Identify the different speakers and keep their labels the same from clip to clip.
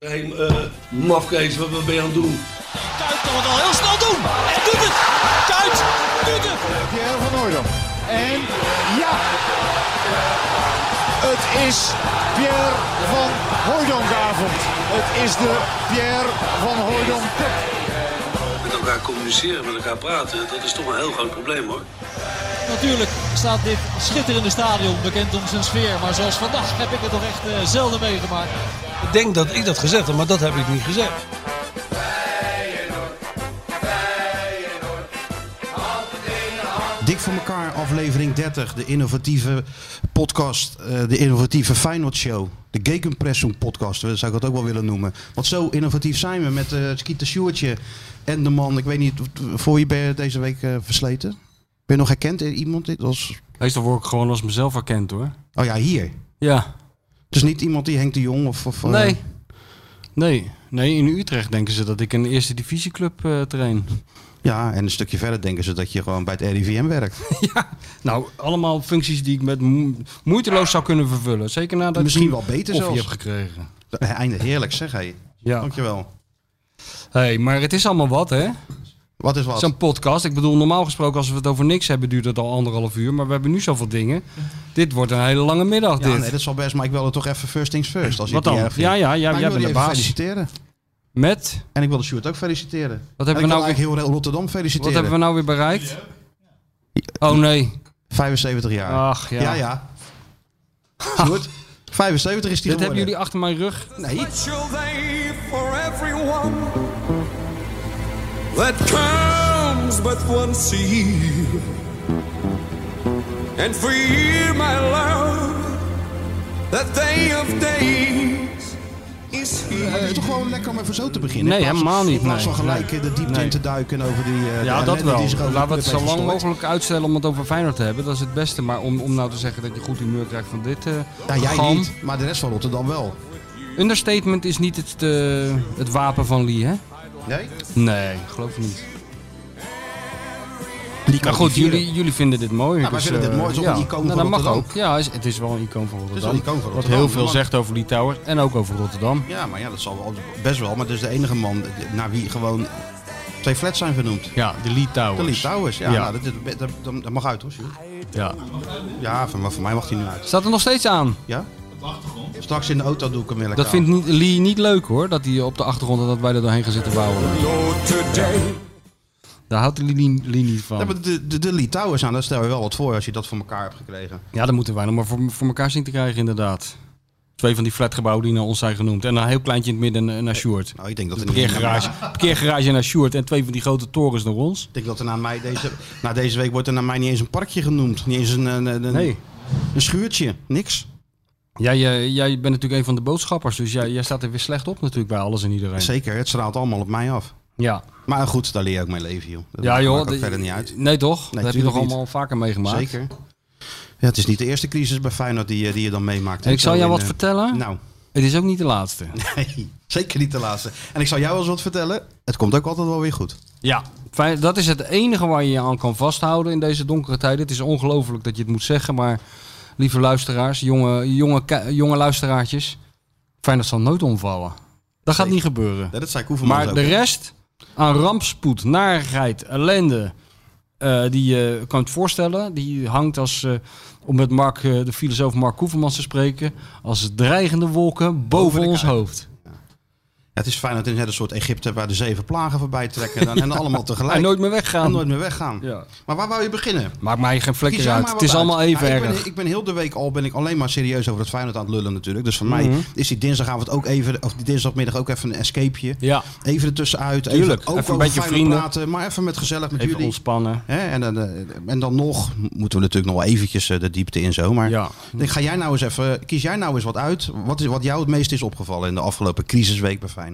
Speaker 1: Hé, eh mafkees, wat, wat ben je aan het doen?
Speaker 2: Kuit kan het al heel snel doen. En doet het. Kuit doet het.
Speaker 3: Pierre van Hooydonk. En ja, het is Pierre van Hooydonkavond. Het is de Pierre van Hooydonk Cup.
Speaker 1: Met elkaar communiceren, met elkaar praten, dat is toch een heel groot probleem hoor.
Speaker 2: Natuurlijk staat dit schitterende stadion bekend om zijn sfeer. Maar zoals vandaag heb ik het toch echt eh, zelden meegemaakt.
Speaker 1: Ik denk dat ik dat gezegd heb, maar dat heb ik niet gezegd.
Speaker 4: Dik voor elkaar, aflevering 30. De innovatieve podcast. eh, de innovatieve Feyenoord Show. De Gegenpressing podcast, eh, zou ik dat ook wel willen noemen. Want zo innovatief zijn we met eh Skeeter Sjoertje en de man. Ik weet niet, voor je ben je deze week eh, versleten? Ben je nog herkend in iemand? Dit was,
Speaker 5: Meestal word ik gewoon als mezelf herkend hoor.
Speaker 4: oh ja, hier.
Speaker 5: Ja.
Speaker 4: Dus niet iemand die Henk de Jong of... of eh,
Speaker 5: Nee. Nee. Nee, in Utrecht denken ze dat ik een eerste divisieclub eh train.
Speaker 4: ja, en een stukje verder denken ze dat je gewoon bij het RIVM werkt.
Speaker 5: ja. Nou, allemaal functies die ik met moe- moeiteloos zou kunnen vervullen. Zeker nadat
Speaker 4: Misschien
Speaker 5: ik
Speaker 4: wel beter
Speaker 5: koffie
Speaker 4: zelfs.
Speaker 5: heb gekregen.
Speaker 4: Einde heerlijk, zeg hé.
Speaker 5: Ja.
Speaker 4: Dankjewel.
Speaker 5: Hey, maar het is allemaal wat hè.
Speaker 4: Wat is wat?
Speaker 5: Zo'n podcast. Ik bedoel, normaal gesproken als we het over niks hebben duurt het al anderhalf uur. Maar we hebben nu zoveel dingen. Dit wordt een hele lange middag
Speaker 4: Ja,
Speaker 5: dit.
Speaker 4: nee, dat is wel best, maar ik wilde toch even first things first. Als je
Speaker 5: wat
Speaker 4: het
Speaker 5: dan?
Speaker 4: niet
Speaker 5: Ja,
Speaker 4: erg vindt.
Speaker 5: ja, ja,
Speaker 4: Maar
Speaker 5: jij
Speaker 4: ik wil
Speaker 5: bent de
Speaker 4: je even
Speaker 5: baas.
Speaker 4: feliciteren.
Speaker 5: Met?
Speaker 4: En ik wil de Sjoerd ook feliciteren. en
Speaker 5: Wat hebben, we
Speaker 4: ik wil
Speaker 5: nou,
Speaker 4: eigenlijk heel heel Rotterdam
Speaker 5: wat
Speaker 4: feliciteren.
Speaker 5: hebben we nou weer bereikt? Oh nee.
Speaker 4: 75 jaar.
Speaker 5: Ach ja.
Speaker 4: ja, ja. Sjoerd, 75 is die
Speaker 5: Dit hebben
Speaker 4: geworden.
Speaker 5: jullie achter mijn rug
Speaker 4: Nee,
Speaker 6: special day for everyone that comes but once a year. And for you, my love, that day of days is
Speaker 4: het is
Speaker 6: here.
Speaker 4: toch gewoon lekker om even zo te beginnen?
Speaker 5: Nee,
Speaker 4: In plaats-
Speaker 5: helemaal niet,
Speaker 4: In plaats
Speaker 5: nee.
Speaker 4: van gelijk eh, de diepte
Speaker 5: Nee.
Speaker 4: in te duiken en over die... eh, de
Speaker 5: Ja, dat
Speaker 4: ellende
Speaker 5: wel.
Speaker 4: Die zich over de
Speaker 5: Laten we het
Speaker 4: club
Speaker 5: zo
Speaker 4: heeft
Speaker 5: lang
Speaker 4: verstoord.
Speaker 5: mogelijk uitstellen om het over Feyenoord te hebben. Dat is het beste. Maar om, om nou te zeggen dat je goed humeur krijgt van dit eh
Speaker 4: Nou, jij
Speaker 5: galm.
Speaker 4: niet, maar de rest van Rotterdam wel.
Speaker 5: Understatement is niet het, eh, het wapen van Lee, hè?
Speaker 4: Nee?
Speaker 5: Nee, geloof ik niet.
Speaker 4: Die
Speaker 5: Maar goed, jullie, jullie vinden dit mooi.
Speaker 4: Ja, wij
Speaker 5: dus,
Speaker 4: Nou, vinden dit
Speaker 5: eh,
Speaker 4: mooi. Het is ook
Speaker 5: ja.
Speaker 4: een icoon
Speaker 5: Nou,
Speaker 4: van
Speaker 5: dat mag
Speaker 4: Rotterdam.
Speaker 5: ook. Ja, is- het is wel een icoon van Rotterdam.
Speaker 4: wel een icoon van
Speaker 5: Wat
Speaker 4: Rotterdam,
Speaker 5: heel veel
Speaker 4: dat mag.
Speaker 5: zegt over Lee Towers en ook over Rotterdam.
Speaker 4: Ja, maar ja, dat zal wel best wel. Maar het is de enige man naar wie gewoon twee flats zijn vernoemd.
Speaker 5: Ja, de Lee Towers.
Speaker 4: De Lee Towers. Ja,
Speaker 5: Ja.
Speaker 4: Nou, dat, dat, dat- dat- dat mag uit hoor, Sjoerd.
Speaker 5: Ja.
Speaker 4: Ja, van, maar voor mij mag hij nu uit.
Speaker 5: Staat er nog steeds aan.
Speaker 4: Ja? Straks in de auto doe ik hem weer lekker
Speaker 5: Dat vindt niet, Lee niet leuk hoor, dat hij op de achtergrond dat wij er doorheen gaan zitten bouwen.
Speaker 6: Though today
Speaker 5: Daar houdt Lee, Lee niet
Speaker 4: aan.
Speaker 5: van.
Speaker 4: Ja, maar de, de, de Lee Towers aan, daar stel je wel wat voor als je dat voor elkaar hebt gekregen.
Speaker 5: Ja, dat moeten wij nog maar voor, voor elkaar zien te krijgen, inderdaad. Twee van die flatgebouwen die naar ons zijn genoemd. En een heel kleintje in het midden eh, naar Sjoerd.
Speaker 4: Nou, ik denk dat, er niet-
Speaker 5: Parkeergarage, parkeergarage naar Sjoerd en twee van die grote torens naar ons.
Speaker 4: ik denk dat er na mij deze, na deze week wordt er naar mij niet eens een parkje genoemd. Niet eens een, een, een,
Speaker 5: Nee.
Speaker 4: een schuurtje. Niks.
Speaker 5: Jij, eh, jij bent natuurlijk een van de boodschappers, dus jij, jij staat er weer slecht op natuurlijk bij alles en iedereen.
Speaker 4: Zeker, het straalt allemaal op mij af.
Speaker 5: Ja,
Speaker 4: Maar goed, daar leer je ook mee leven, joh. Dat
Speaker 5: ja
Speaker 4: maakt
Speaker 5: joh.
Speaker 4: ook
Speaker 5: de-
Speaker 4: verder niet uit.
Speaker 5: Nee toch? dat heb je toch
Speaker 4: tuurlijk niet.
Speaker 5: allemaal vaker meegemaakt?
Speaker 4: Zeker. Ja, het is niet de eerste crisis bij Feyenoord die, eh, die je dan meemaakt.
Speaker 5: En ik zal
Speaker 4: Zo
Speaker 5: jou
Speaker 4: in,
Speaker 5: wat
Speaker 4: eh,
Speaker 5: vertellen.
Speaker 4: Nou,
Speaker 5: Het is ook niet de laatste.
Speaker 4: nee, zeker niet de laatste. En ik zal jou eens wat vertellen. Het komt ook altijd wel weer goed.
Speaker 5: Ja, fijn- dat is het enige waar je je aan kan vasthouden in deze donkere tijden. Het is ongelooflijk dat je het moet zeggen, maar lieve luisteraars, jonge, jonge, ki- jonge luisteraartjes, Feyenoord zal nooit omvallen. Dat gaat niet gebeuren.
Speaker 4: Ja, dat zei Koevermans
Speaker 5: Maar
Speaker 4: ook.
Speaker 5: de rest aan rampspoed, narigheid, ellende, eh, die je kunt voorstellen, die hangt als, eh, om met Mark, eh, de filosoof Mark Koevermans te spreken, als dreigende wolken boven,
Speaker 4: de
Speaker 5: ons
Speaker 4: kei.
Speaker 5: hoofd.
Speaker 4: Ja, het is Feyenoord is net een soort Egypte waar de zeven plagen voorbij trekken. En, dan- en allemaal tegelijk.
Speaker 5: En nooit meer
Speaker 4: En
Speaker 5: weggaan.
Speaker 4: nooit meer weggaan.
Speaker 5: Ja.
Speaker 4: Maar waar wou je beginnen?
Speaker 5: Maakt mij geen
Speaker 4: Kies
Speaker 5: vlekken
Speaker 4: jij
Speaker 5: uit.
Speaker 4: maar
Speaker 5: Het
Speaker 4: wat
Speaker 5: is allemaal
Speaker 4: uit.
Speaker 5: even
Speaker 4: Nou, ik
Speaker 5: erg.
Speaker 4: ben, ik ben heel de week al ben ik alleen maar serieus over het Feyenoord aan het lullen natuurlijk. Dus voor
Speaker 5: Mhm.
Speaker 4: mij is die dinsdagavond ook even, of die dinsdagmiddag ook even een escapeje.
Speaker 5: Ja.
Speaker 4: Even ertussenuit.
Speaker 5: Tuurlijk.
Speaker 4: Even, ook
Speaker 5: Even een
Speaker 4: over
Speaker 5: beetje
Speaker 4: Feyenoord
Speaker 5: vrienden.
Speaker 4: praten. Maar even met gezellig met
Speaker 5: Even
Speaker 4: jullie.
Speaker 5: ontspannen.
Speaker 4: Hè, en, dan, eh, en dan nog moeten we natuurlijk nog wel eventjes eh, de diepte in zo. Maar
Speaker 5: Ja.
Speaker 4: ik denk, ga jij nou eens even, kies jij nou eens wat uit. Wat, is, wat jou het meest is opgevallen in de afgelopen crisisweek bij Feyenoord?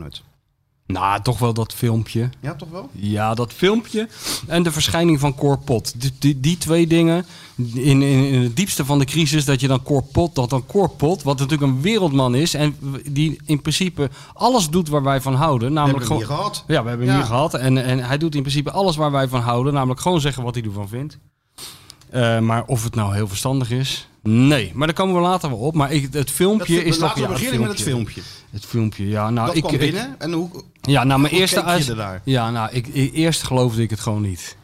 Speaker 5: Nou, toch wel dat filmpje.
Speaker 4: Ja, toch wel?
Speaker 5: Ja, dat filmpje. En de verschijning van Corpot. Die, die, die twee dingen. In, in, in het diepste van de crisis dat je dan Corpot, dat dan Corpot, wat natuurlijk een wereldman is. En die in principe alles doet waar wij van houden. Namelijk
Speaker 4: hebben hem
Speaker 5: gewoon-
Speaker 4: hier gehad.
Speaker 5: Ja, we hebben hem
Speaker 4: Ja.
Speaker 5: hier gehad. En, en hij doet in principe alles waar wij van houden. Namelijk gewoon zeggen wat hij ervan vindt. Eh, maar of het nou heel verstandig is. Nee, maar daar komen we later wel op. Maar ik, het filmpje
Speaker 4: Dat-
Speaker 5: is toch...
Speaker 4: laten we
Speaker 5: ja, het
Speaker 4: beginnen met het filmpje.
Speaker 5: Het filmpje, ja. Nou,
Speaker 4: dat
Speaker 5: ik,
Speaker 4: kwam
Speaker 5: ik-
Speaker 4: binnen. en hoe,
Speaker 5: ja, nou, mijn
Speaker 4: Hoe
Speaker 5: eerste
Speaker 4: keek je
Speaker 5: uit-
Speaker 4: ernaar?
Speaker 5: Ja, nou, ik, i- eerst geloofde ik het gewoon niet.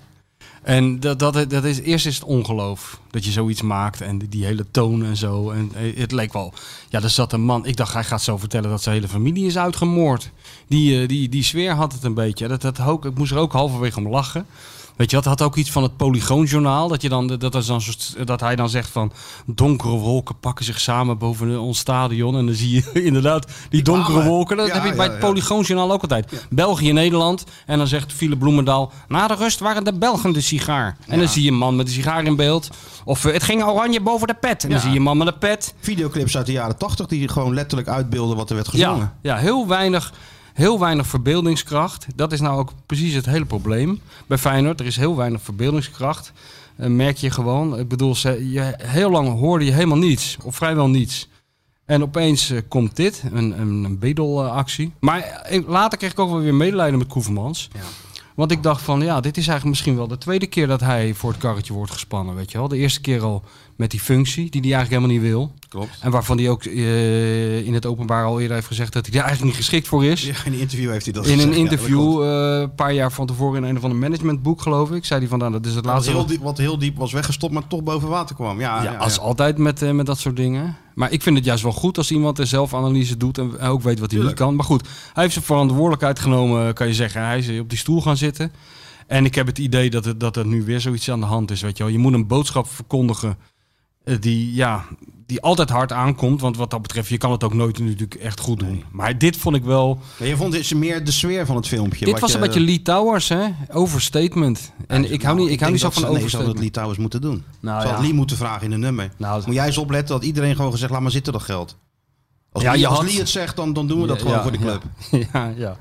Speaker 5: En dat, dat, dat is, eerst is het ongeloof dat je zoiets maakt en die, die hele toon en zo. En eh, het leek wel, ja, er zat een man. Ik dacht, hij gaat zo vertellen dat zijn hele familie is uitgemoord. Die, eh, die, die sfeer had het een beetje. Dat, dat ook, ik moest er ook halverwege om lachen. Weet je, dat had ook iets van het Polygoonjournaal. Dat, je dan, dat, is dan, zo- dat hij dan zegt van donkere wolken pakken zich samen boven ons stadion. En dan zie je inderdaad die donkere
Speaker 4: kwamen.
Speaker 5: wolken. Nou, Dat
Speaker 4: Ja,
Speaker 5: heb je bij
Speaker 4: ja,
Speaker 5: het
Speaker 4: ja.
Speaker 5: Polygoonjournaal ook altijd. België, Nederland. En dan zegt Philip Bloemendaal... Na de rust waren de Belgen de sigaar. En dan zie je een man met een sigaar in beeld. Of eh, het ging oranje boven de pet. En dan
Speaker 4: Ja.
Speaker 5: zie je een man met een pet.
Speaker 4: videoclips uit de jaren 80 die gewoon letterlijk uitbeelden wat er werd gezongen.
Speaker 5: Ja, ja heel, weinig, heel weinig verbeeldingskracht. Dat is nou ook precies het hele probleem bij Feyenoord. Er is heel weinig verbeeldingskracht. Eh, merk je gewoon. Ik bedoel, ze, je, heel lang hoorde je helemaal niets. Of vrijwel niets. En opeens eh, komt dit, een, een, een bedelactie. Maar eh, later kreeg ik ook wel weer medelijden met Koevermans. Want ik dacht van, ja, dit is eigenlijk misschien wel de tweede keer dat hij voor het karretje wordt gespannen, weet je wel. De eerste keer al met die functie, die hij eigenlijk helemaal niet wil.
Speaker 4: Klopt.
Speaker 5: En waarvan hij ook eh, in het openbaar al eerder heeft gezegd dat hij daar eigenlijk niet geschikt voor is.
Speaker 4: Ja, in een interview heeft hij dat
Speaker 5: In
Speaker 4: gezegd,
Speaker 5: een
Speaker 4: ja, dat klopt.
Speaker 5: interview eh, een paar jaar van tevoren in een of ander managementboek, geloof ik, zei hij van, nou, dat is het
Speaker 4: Wat
Speaker 5: laatste...
Speaker 4: heel, diep, wat heel diep was weggestopt, maar toch boven water kwam. Ja,
Speaker 5: Ja, als altijd met, eh, met dat soort dingen. Maar ik vind het juist wel goed als iemand er zelf analyse doet en eh, ook weet wat hij niet kan. Maar goed, hij heeft zijn verantwoordelijkheid genomen, kan je zeggen. Hij is op die stoel gaan zitten. En ik heb het idee dat, het, dat er nu weer zoiets aan de hand is. Weet je, wel. je moet een boodschap verkondigen eh, die, ja, die altijd hard aankomt. Want wat dat betreft, je kan het ook nooit natuurlijk echt goed doen. Maar dit vond ik wel...
Speaker 4: Ja, je vond dit meer de sfeer van het filmpje.
Speaker 5: dit
Speaker 4: wat
Speaker 5: was
Speaker 4: je-
Speaker 5: een beetje Lee Towers, hè? Overstatement. En ik hou
Speaker 4: Nou,
Speaker 5: niet, ik hou
Speaker 4: denk
Speaker 5: niet zo
Speaker 4: dat ze- nee,
Speaker 5: van
Speaker 4: ze hadden het
Speaker 5: overstatement.
Speaker 4: Lee Towers moeten doen.
Speaker 5: Nou,
Speaker 4: ze had
Speaker 5: ja.
Speaker 4: Lee moeten vragen in een nummer.
Speaker 5: Nou,
Speaker 4: Moet jij eens opletten dat iedereen gewoon gezegd, laat maar zitten dat geld. Als,
Speaker 5: Ja,
Speaker 4: Lee,
Speaker 5: je
Speaker 4: als
Speaker 5: had-
Speaker 4: Lee het zegt, dan, dan doen we dat
Speaker 5: Ja,
Speaker 4: gewoon
Speaker 5: ja,
Speaker 4: voor de club.
Speaker 5: Ja, ja, ja.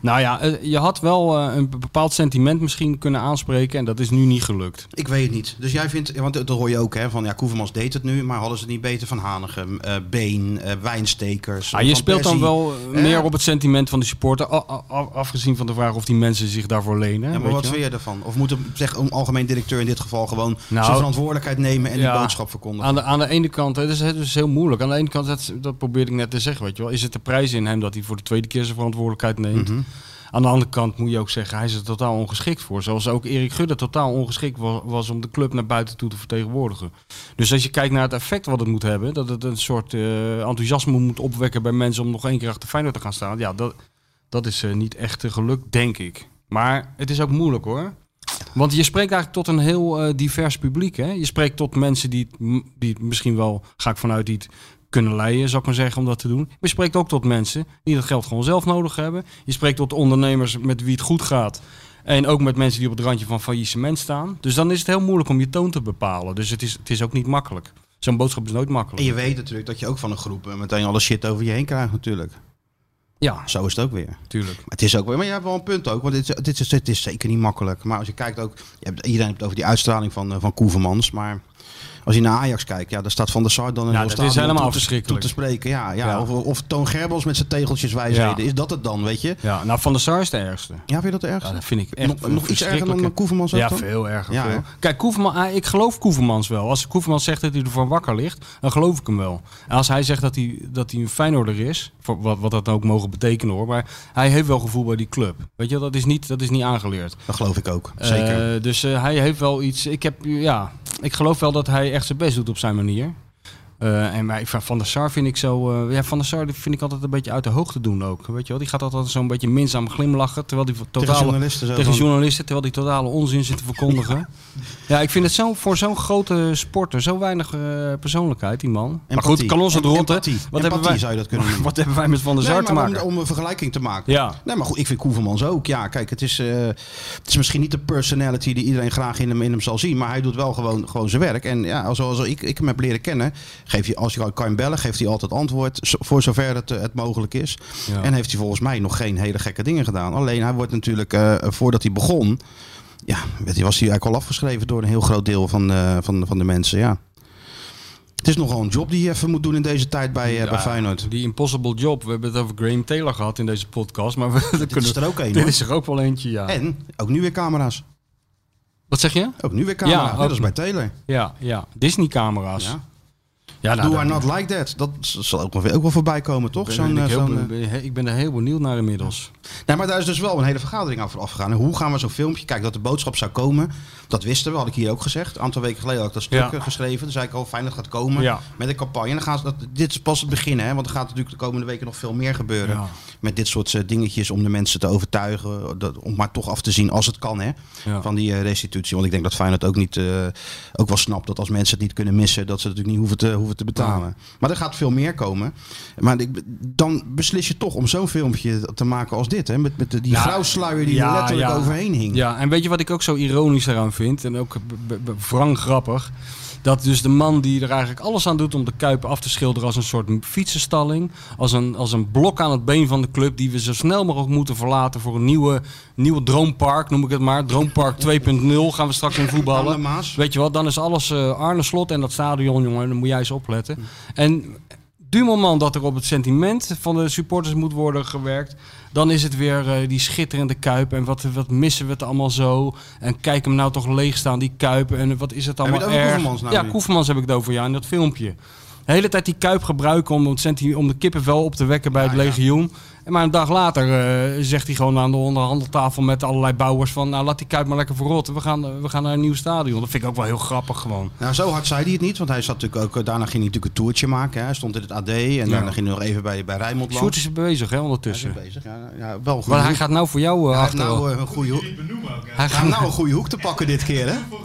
Speaker 5: Nou ja, eh, je had wel eh, een bepaald sentiment misschien kunnen aanspreken en dat is nu niet gelukt.
Speaker 4: Ik weet het niet. Dus jij vindt, want dat hoor je ook, hè, van ja, Koevermans deed het nu, maar hadden ze het niet beter van Hanegem, eh, Been, eh, Wijnstekers.
Speaker 5: Ah, je
Speaker 4: Van
Speaker 5: speelt dan
Speaker 4: Persie?
Speaker 5: wel eh, meer op het sentiment van de supporter, a- a- a- afgezien van de vraag of die mensen zich daarvoor lenen.
Speaker 4: Ja, maar
Speaker 5: weet
Speaker 4: wat
Speaker 5: je?
Speaker 4: vind je ervan? Of moet een, zeg, een algemeen directeur in dit geval gewoon
Speaker 5: Nou,
Speaker 4: zijn verantwoordelijkheid nemen en
Speaker 5: Ja.
Speaker 4: die boodschap verkondigen?
Speaker 5: Aan de, aan de ene kant, het is, het is dus heel moeilijk. Aan de ene kant, dat, dat probeerde ik net te zeggen, weet je wel. Is het de prijs in hem dat hij voor de tweede keer zijn verantwoordelijkheid neemt?
Speaker 4: Mhm.
Speaker 5: Aan de andere kant moet je ook zeggen, hij is er totaal ongeschikt voor. Zoals ook Erik Gudde totaal ongeschikt wa- was om de club naar buiten toe te vertegenwoordigen. Dus als je kijkt naar het effect wat het moet hebben, dat het een soort eh, enthousiasme moet opwekken bij mensen om nog één keer achter Feyenoord te gaan staan. Ja, dat, dat is eh, niet echt eh, gelukt, denk ik. Maar het is ook moeilijk hoor. Want je spreekt eigenlijk tot een heel eh, divers publiek. Hè? Je spreekt tot mensen die, het m- die het misschien wel, ga ik vanuit, die het kunnen leiden, zou ik maar zeggen, om dat te doen. Maar je spreekt ook tot mensen die dat geld gewoon zelf nodig hebben. Je spreekt tot ondernemers met wie het goed gaat. En ook met mensen die op het randje van faillissement staan. Dus dan is het heel moeilijk om je toon te bepalen. Dus het is, het is ook niet makkelijk. Zo'n boodschap is nooit
Speaker 4: En
Speaker 5: makkelijk.
Speaker 4: je weet natuurlijk dat je ook van een groep eh, meteen alle shit over je heen krijgt natuurlijk.
Speaker 5: Ja,
Speaker 4: Zo is het ook weer.
Speaker 5: natuurlijk.
Speaker 4: Maar het is ook wel, maar je hebt wel een punt ook, want dit, is- dit, is, dit is zeker niet makkelijk. Maar als je kijkt ook, je hebt, iedereen heeft het over die uitstraling van, eh, van Koevermans, maar als je naar Ajax kijkt, ja, daar staat Van der Sar dan in
Speaker 5: Ja,
Speaker 4: heel
Speaker 5: dat
Speaker 4: stadion
Speaker 5: is helemaal
Speaker 4: toe te-
Speaker 5: verschrikkelijk.
Speaker 4: Toe te spreken, ja. ja,
Speaker 5: Ja.
Speaker 4: Of, of Toon Gerbels met zijn tegeltjes wijsheden,
Speaker 5: Ja.
Speaker 4: is dat het dan, weet je?
Speaker 5: Ja, nou, Van der Sar is de ergste.
Speaker 4: Ja, vind je dat erg?
Speaker 5: Ja, dat vind ik echt
Speaker 4: nog, nog iets erger dan
Speaker 5: verschrikkelijk, hè.
Speaker 4: eh, Koevermans? ook
Speaker 5: Ja,
Speaker 4: dan?
Speaker 5: veel erger.
Speaker 4: Ja,
Speaker 5: veel.
Speaker 4: hè?
Speaker 5: Kijk, Koeverman, ah, ik geloof Koevermans wel. Als Koevermans zegt dat hij ervan wakker ligt, dan geloof ik hem wel. En als hij zegt dat hij, dat hij een Feyenoorder is, voor wat, wat dat dan ook mogen betekenen hoor, maar hij heeft wel gevoel bij die club. Weet je, dat is niet, dat is niet aangeleerd.
Speaker 4: Dat geloof ik ook, zeker.
Speaker 5: Eh, dus eh, hij heeft wel iets. Ik, heb, ja, ik geloof wel dat hij echt zijn best doet op zijn manier. Eh, en maar ik- van der Sar vind ik zo. eh, ja, van der Sar die vind ik altijd een beetje uit de hoogte doen ook. Weet je wel? Die gaat altijd zo'n beetje minzaam glimlachen. Terwijl die
Speaker 4: Tegen
Speaker 5: totale,
Speaker 4: journalisten zo
Speaker 5: tegen
Speaker 4: van-
Speaker 5: journalisten, terwijl die totale onzin zit te verkondigen. ja, ik vind het zo, voor zo'n grote sporter, zo weinig eh, persoonlijkheid, die man. Maar goed,
Speaker 4: Empathie.
Speaker 5: kan ons het
Speaker 4: Em-
Speaker 5: rotten.
Speaker 4: empathie. Empathie zou je dat kunnen noemen.
Speaker 5: Wat hebben wij met Van der Sar
Speaker 4: Nee,
Speaker 5: te
Speaker 4: maar
Speaker 5: maken?
Speaker 4: Om, om een vergelijking te maken.
Speaker 5: Ja.
Speaker 4: Nee, maar goed, ik vind Koevermans ook. Ja, kijk, het is, eh, het is misschien niet de personality die iedereen graag in hem, in hem zal zien. Maar hij doet wel gewoon, gewoon zijn werk. En ja, zoals ik, ik hem heb leren kennen, geef je, als je kan hem bellen, geeft hij altijd antwoord. zo- Voor zover het, eh, het mogelijk is.
Speaker 5: Ja.
Speaker 4: En heeft hij volgens mij nog geen hele gekke dingen gedaan. Alleen hij wordt natuurlijk, eh, voordat hij begon, ja, weet je, was hij eigenlijk al afgeschreven door een heel groot deel van, eh, van, van de mensen. Ja. Het is nogal een job die je even moet doen in deze tijd bij, eh, bij Feyenoord.
Speaker 5: Die impossible job. We hebben het over Graham Taylor gehad in deze podcast. Maar we, dat kunnen,
Speaker 4: is er ook een,
Speaker 5: Dit
Speaker 4: hoor.
Speaker 5: is er ook wel eentje, ja.
Speaker 4: En ook nu weer camera's.
Speaker 5: Wat zeg je?
Speaker 4: Ook nu weer camera's.
Speaker 5: Ja,
Speaker 4: Net als
Speaker 5: ook.
Speaker 4: bij Taylor.
Speaker 5: Ja, ja. Disney-camera's.
Speaker 4: Ja.
Speaker 5: Ja, nou,
Speaker 4: Do I
Speaker 5: dat-
Speaker 4: not like that? Dat z- zal ook wel, ook wel voorbij komen, toch?
Speaker 5: ben
Speaker 4: Zo'n,
Speaker 5: ik,
Speaker 4: eh,
Speaker 5: heel
Speaker 4: zo'n, eh,
Speaker 5: be- he- ik ben er heel benieuwd naar inmiddels.
Speaker 4: Nee, maar daar is dus wel een hele vergadering aan vooraf gegaan. En hoe gaan we zo'n filmpje... Kijk, dat de boodschap zou komen, dat wisten we. Had ik hier ook gezegd. Een aantal weken geleden had ik dat stuk
Speaker 5: Ja.
Speaker 4: eh, geschreven. Toen zei ik al, fijn dat het gaat komen
Speaker 5: Ja.
Speaker 4: met een campagne. En dan gaan ze, dat, dit is pas het begin, hè. Want er gaat natuurlijk de komende weken nog veel meer gebeuren.
Speaker 5: Ja.
Speaker 4: Met dit soort eh, dingetjes om de mensen te overtuigen. Dat, om maar toch af te zien, als het kan, hè.
Speaker 5: Ja.
Speaker 4: Van die eh, restitutie. Want ik denk dat Feyenoord ook, niet, eh, ook wel snapt dat als mensen het niet kunnen missen... dat ze natuurlijk niet hoeven te, hoeven te betalen. Maar er gaat veel meer komen. Maar ik- dan beslis je toch om zo'n filmpje te maken als dit. Hè? Met, met de- die
Speaker 5: Ja.
Speaker 4: grauwsluier die er letterlijk overheen hing.
Speaker 5: Ja, en weet je wat ik ook zo ironisch eraan vind? En ook b- b- b- wrang grappig. Dat dus de man die er eigenlijk alles aan doet om de Kuip af te schilderen als een soort fietsenstalling. Als een, als een blok aan het been van de club die we zo snel mogelijk moeten verlaten voor een nieuwe, nieuwe droompark, noem ik het maar. Droompark 2.0 gaan we straks in
Speaker 4: Aan de
Speaker 5: voetballen.
Speaker 4: Maas.
Speaker 5: Weet je wat, dan is alles eh Arne Slot en dat stadion, jongen. Dan moet jij eens opletten. En du moment dat er op het sentiment van de supporters moet worden gewerkt... dan is het weer eh, die schitterende Kuip. En wat, wat missen we het allemaal zo? En kijk hem nou toch leegstaan, die Kuip. En wat is het
Speaker 4: je het
Speaker 5: allemaal
Speaker 4: over
Speaker 5: erg?
Speaker 4: Koevermans nou
Speaker 5: ja,
Speaker 4: nu?
Speaker 5: Koevermans heb ik het over, ja, in dat filmpje. De hele tijd die Kuip gebruiken om, het senti- om de kippenvel op te wekken bij het legioen. En Maar een dag later eh, zegt hij gewoon aan de onderhandeltafel met allerlei bouwers van... nou, laat die Kuip maar lekker verrotten. We gaan, eh, we gaan naar een nieuw stadion. Dat vind ik ook wel heel grappig gewoon.
Speaker 4: Nou, zo hard zei hij het niet. Want hij zat natuurlijk ook, eh, daarna ging hij natuurlijk een toertje maken. Hè. Hij stond in het AD en daarna ging hij nog even bij, bij Rijnmond
Speaker 5: Sjoerd is er bezig, hè, ondertussen.
Speaker 4: bezig. Ja, ja, wel goed.
Speaker 5: maar hij gaat nou voor jou eh,
Speaker 4: hij heeft
Speaker 5: achter.
Speaker 4: nou eh, een goede hoek.
Speaker 5: hij,
Speaker 4: Hij heeft
Speaker 5: gaat,
Speaker 4: nou een goede hoek te pakken dit keer,
Speaker 5: Oh,
Speaker 4: hè? Maar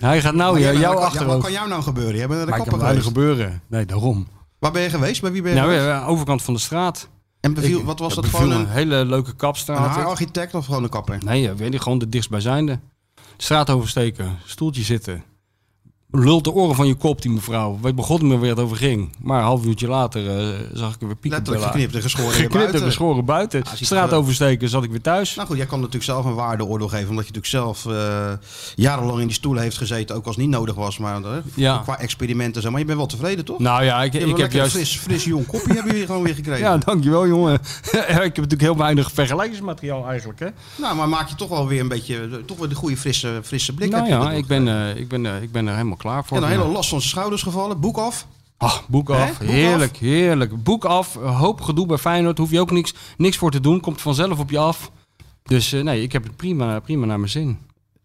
Speaker 5: hij gaat nou
Speaker 4: jij
Speaker 5: jou,
Speaker 4: bent-
Speaker 5: jou
Speaker 4: wat kan- ja,
Speaker 5: achter.
Speaker 4: wat kan jou nou gebeuren? Jij bent naar de
Speaker 5: maar ik
Speaker 4: kapper
Speaker 5: kan weinig
Speaker 4: geweest.
Speaker 5: gebeuren. Nee, daarom.
Speaker 4: Waar ben je geweest? Bij wie ben je
Speaker 5: Nou,
Speaker 4: geweest?
Speaker 5: ja, overkant van de straat.
Speaker 4: En beviel,
Speaker 5: Ik-
Speaker 4: wat was
Speaker 5: ja,
Speaker 4: dat?
Speaker 5: beviel
Speaker 4: Gewoon een,
Speaker 5: me. hele leuke
Speaker 4: een
Speaker 5: kapstraat.
Speaker 4: haararchitect of gewoon een kapper?
Speaker 5: Nee, eh, weet ik gewoon de dichtstbijzijnde. Straat oversteken, stoeltje zitten. Lult de oren van je kop, die mevrouw. We begonnen me weer het over ging. Maar een half uurtje later eh, zag ik er weer pieken.
Speaker 4: Letterlijk
Speaker 5: billen.
Speaker 4: geknipt en geschoren. hier
Speaker 5: Geknipt en
Speaker 4: buiten. Ah,
Speaker 5: geschoren buiten.
Speaker 4: ziet er
Speaker 5: Straat
Speaker 4: wel-
Speaker 5: oversteken, zat ik weer thuis.
Speaker 4: Nou goed, jij kan natuurlijk zelf een waardeoordeel geven. Omdat je natuurlijk zelf eh, jarenlang in die stoelen heeft gezeten. Ook als het niet nodig was. Maar eh,
Speaker 5: Ja.
Speaker 4: qua experimenten. en zo. Maar je bent wel tevreden, toch?
Speaker 5: Nou ja, ik,
Speaker 4: je hebt
Speaker 5: ik
Speaker 4: wel
Speaker 5: heb
Speaker 4: lekker
Speaker 5: juist...
Speaker 4: fris, fris jong kopje hebben jullie gewoon weer gekregen.
Speaker 5: Ja, dankjewel jongen. ik heb natuurlijk heel weinig vergelijkingsmateriaal eigenlijk. Hè?
Speaker 4: Nou, maar maak je toch wel weer een beetje... eh, Toch weer de goede frisse, frisse blik.
Speaker 5: Nou
Speaker 4: heb je
Speaker 5: ja,
Speaker 4: dat
Speaker 5: ik ben, eh, ik, ben, eh, ik ben er helemaal klaar voor.
Speaker 4: En een hele last van zijn schouders gevallen. Boek af.
Speaker 5: Ah, boek af.
Speaker 4: Hè? Boek
Speaker 5: heerlijk, heerlijk. Boek af. Een Hoop gedoe bij Feyenoord. Hoef je ook niks, niks voor te doen. Komt vanzelf op je af. Dus eh, nee, ik heb het prima, prima naar mijn zin.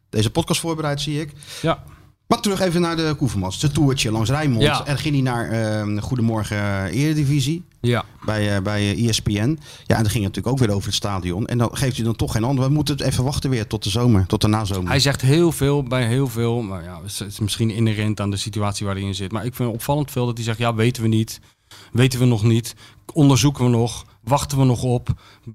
Speaker 4: Deze podcast voorbereid, zie ik.
Speaker 5: Ja.
Speaker 4: Maar terug even naar de Koevermans. Zijn toertje langs Rijnmond.
Speaker 5: Ja.
Speaker 4: En ging hij naar eh, Goedemorgen eh, Eredivisie.
Speaker 5: Ja.
Speaker 4: bij, eh, bij eh, ESPN. Ja, en dan ging het natuurlijk ook weer over het stadion. En dan geeft hij dan toch geen antwoord. We moeten het even wachten weer tot de zomer, tot de nazomer.
Speaker 5: Hij zegt heel veel bij heel veel. Maar ja, het is misschien inherent aan de situatie waar hij in zit. Maar ik vind het opvallend veel dat hij zegt: ja, weten we niet. Weten we nog niet. Onderzoeken we nog. Wachten we nog op.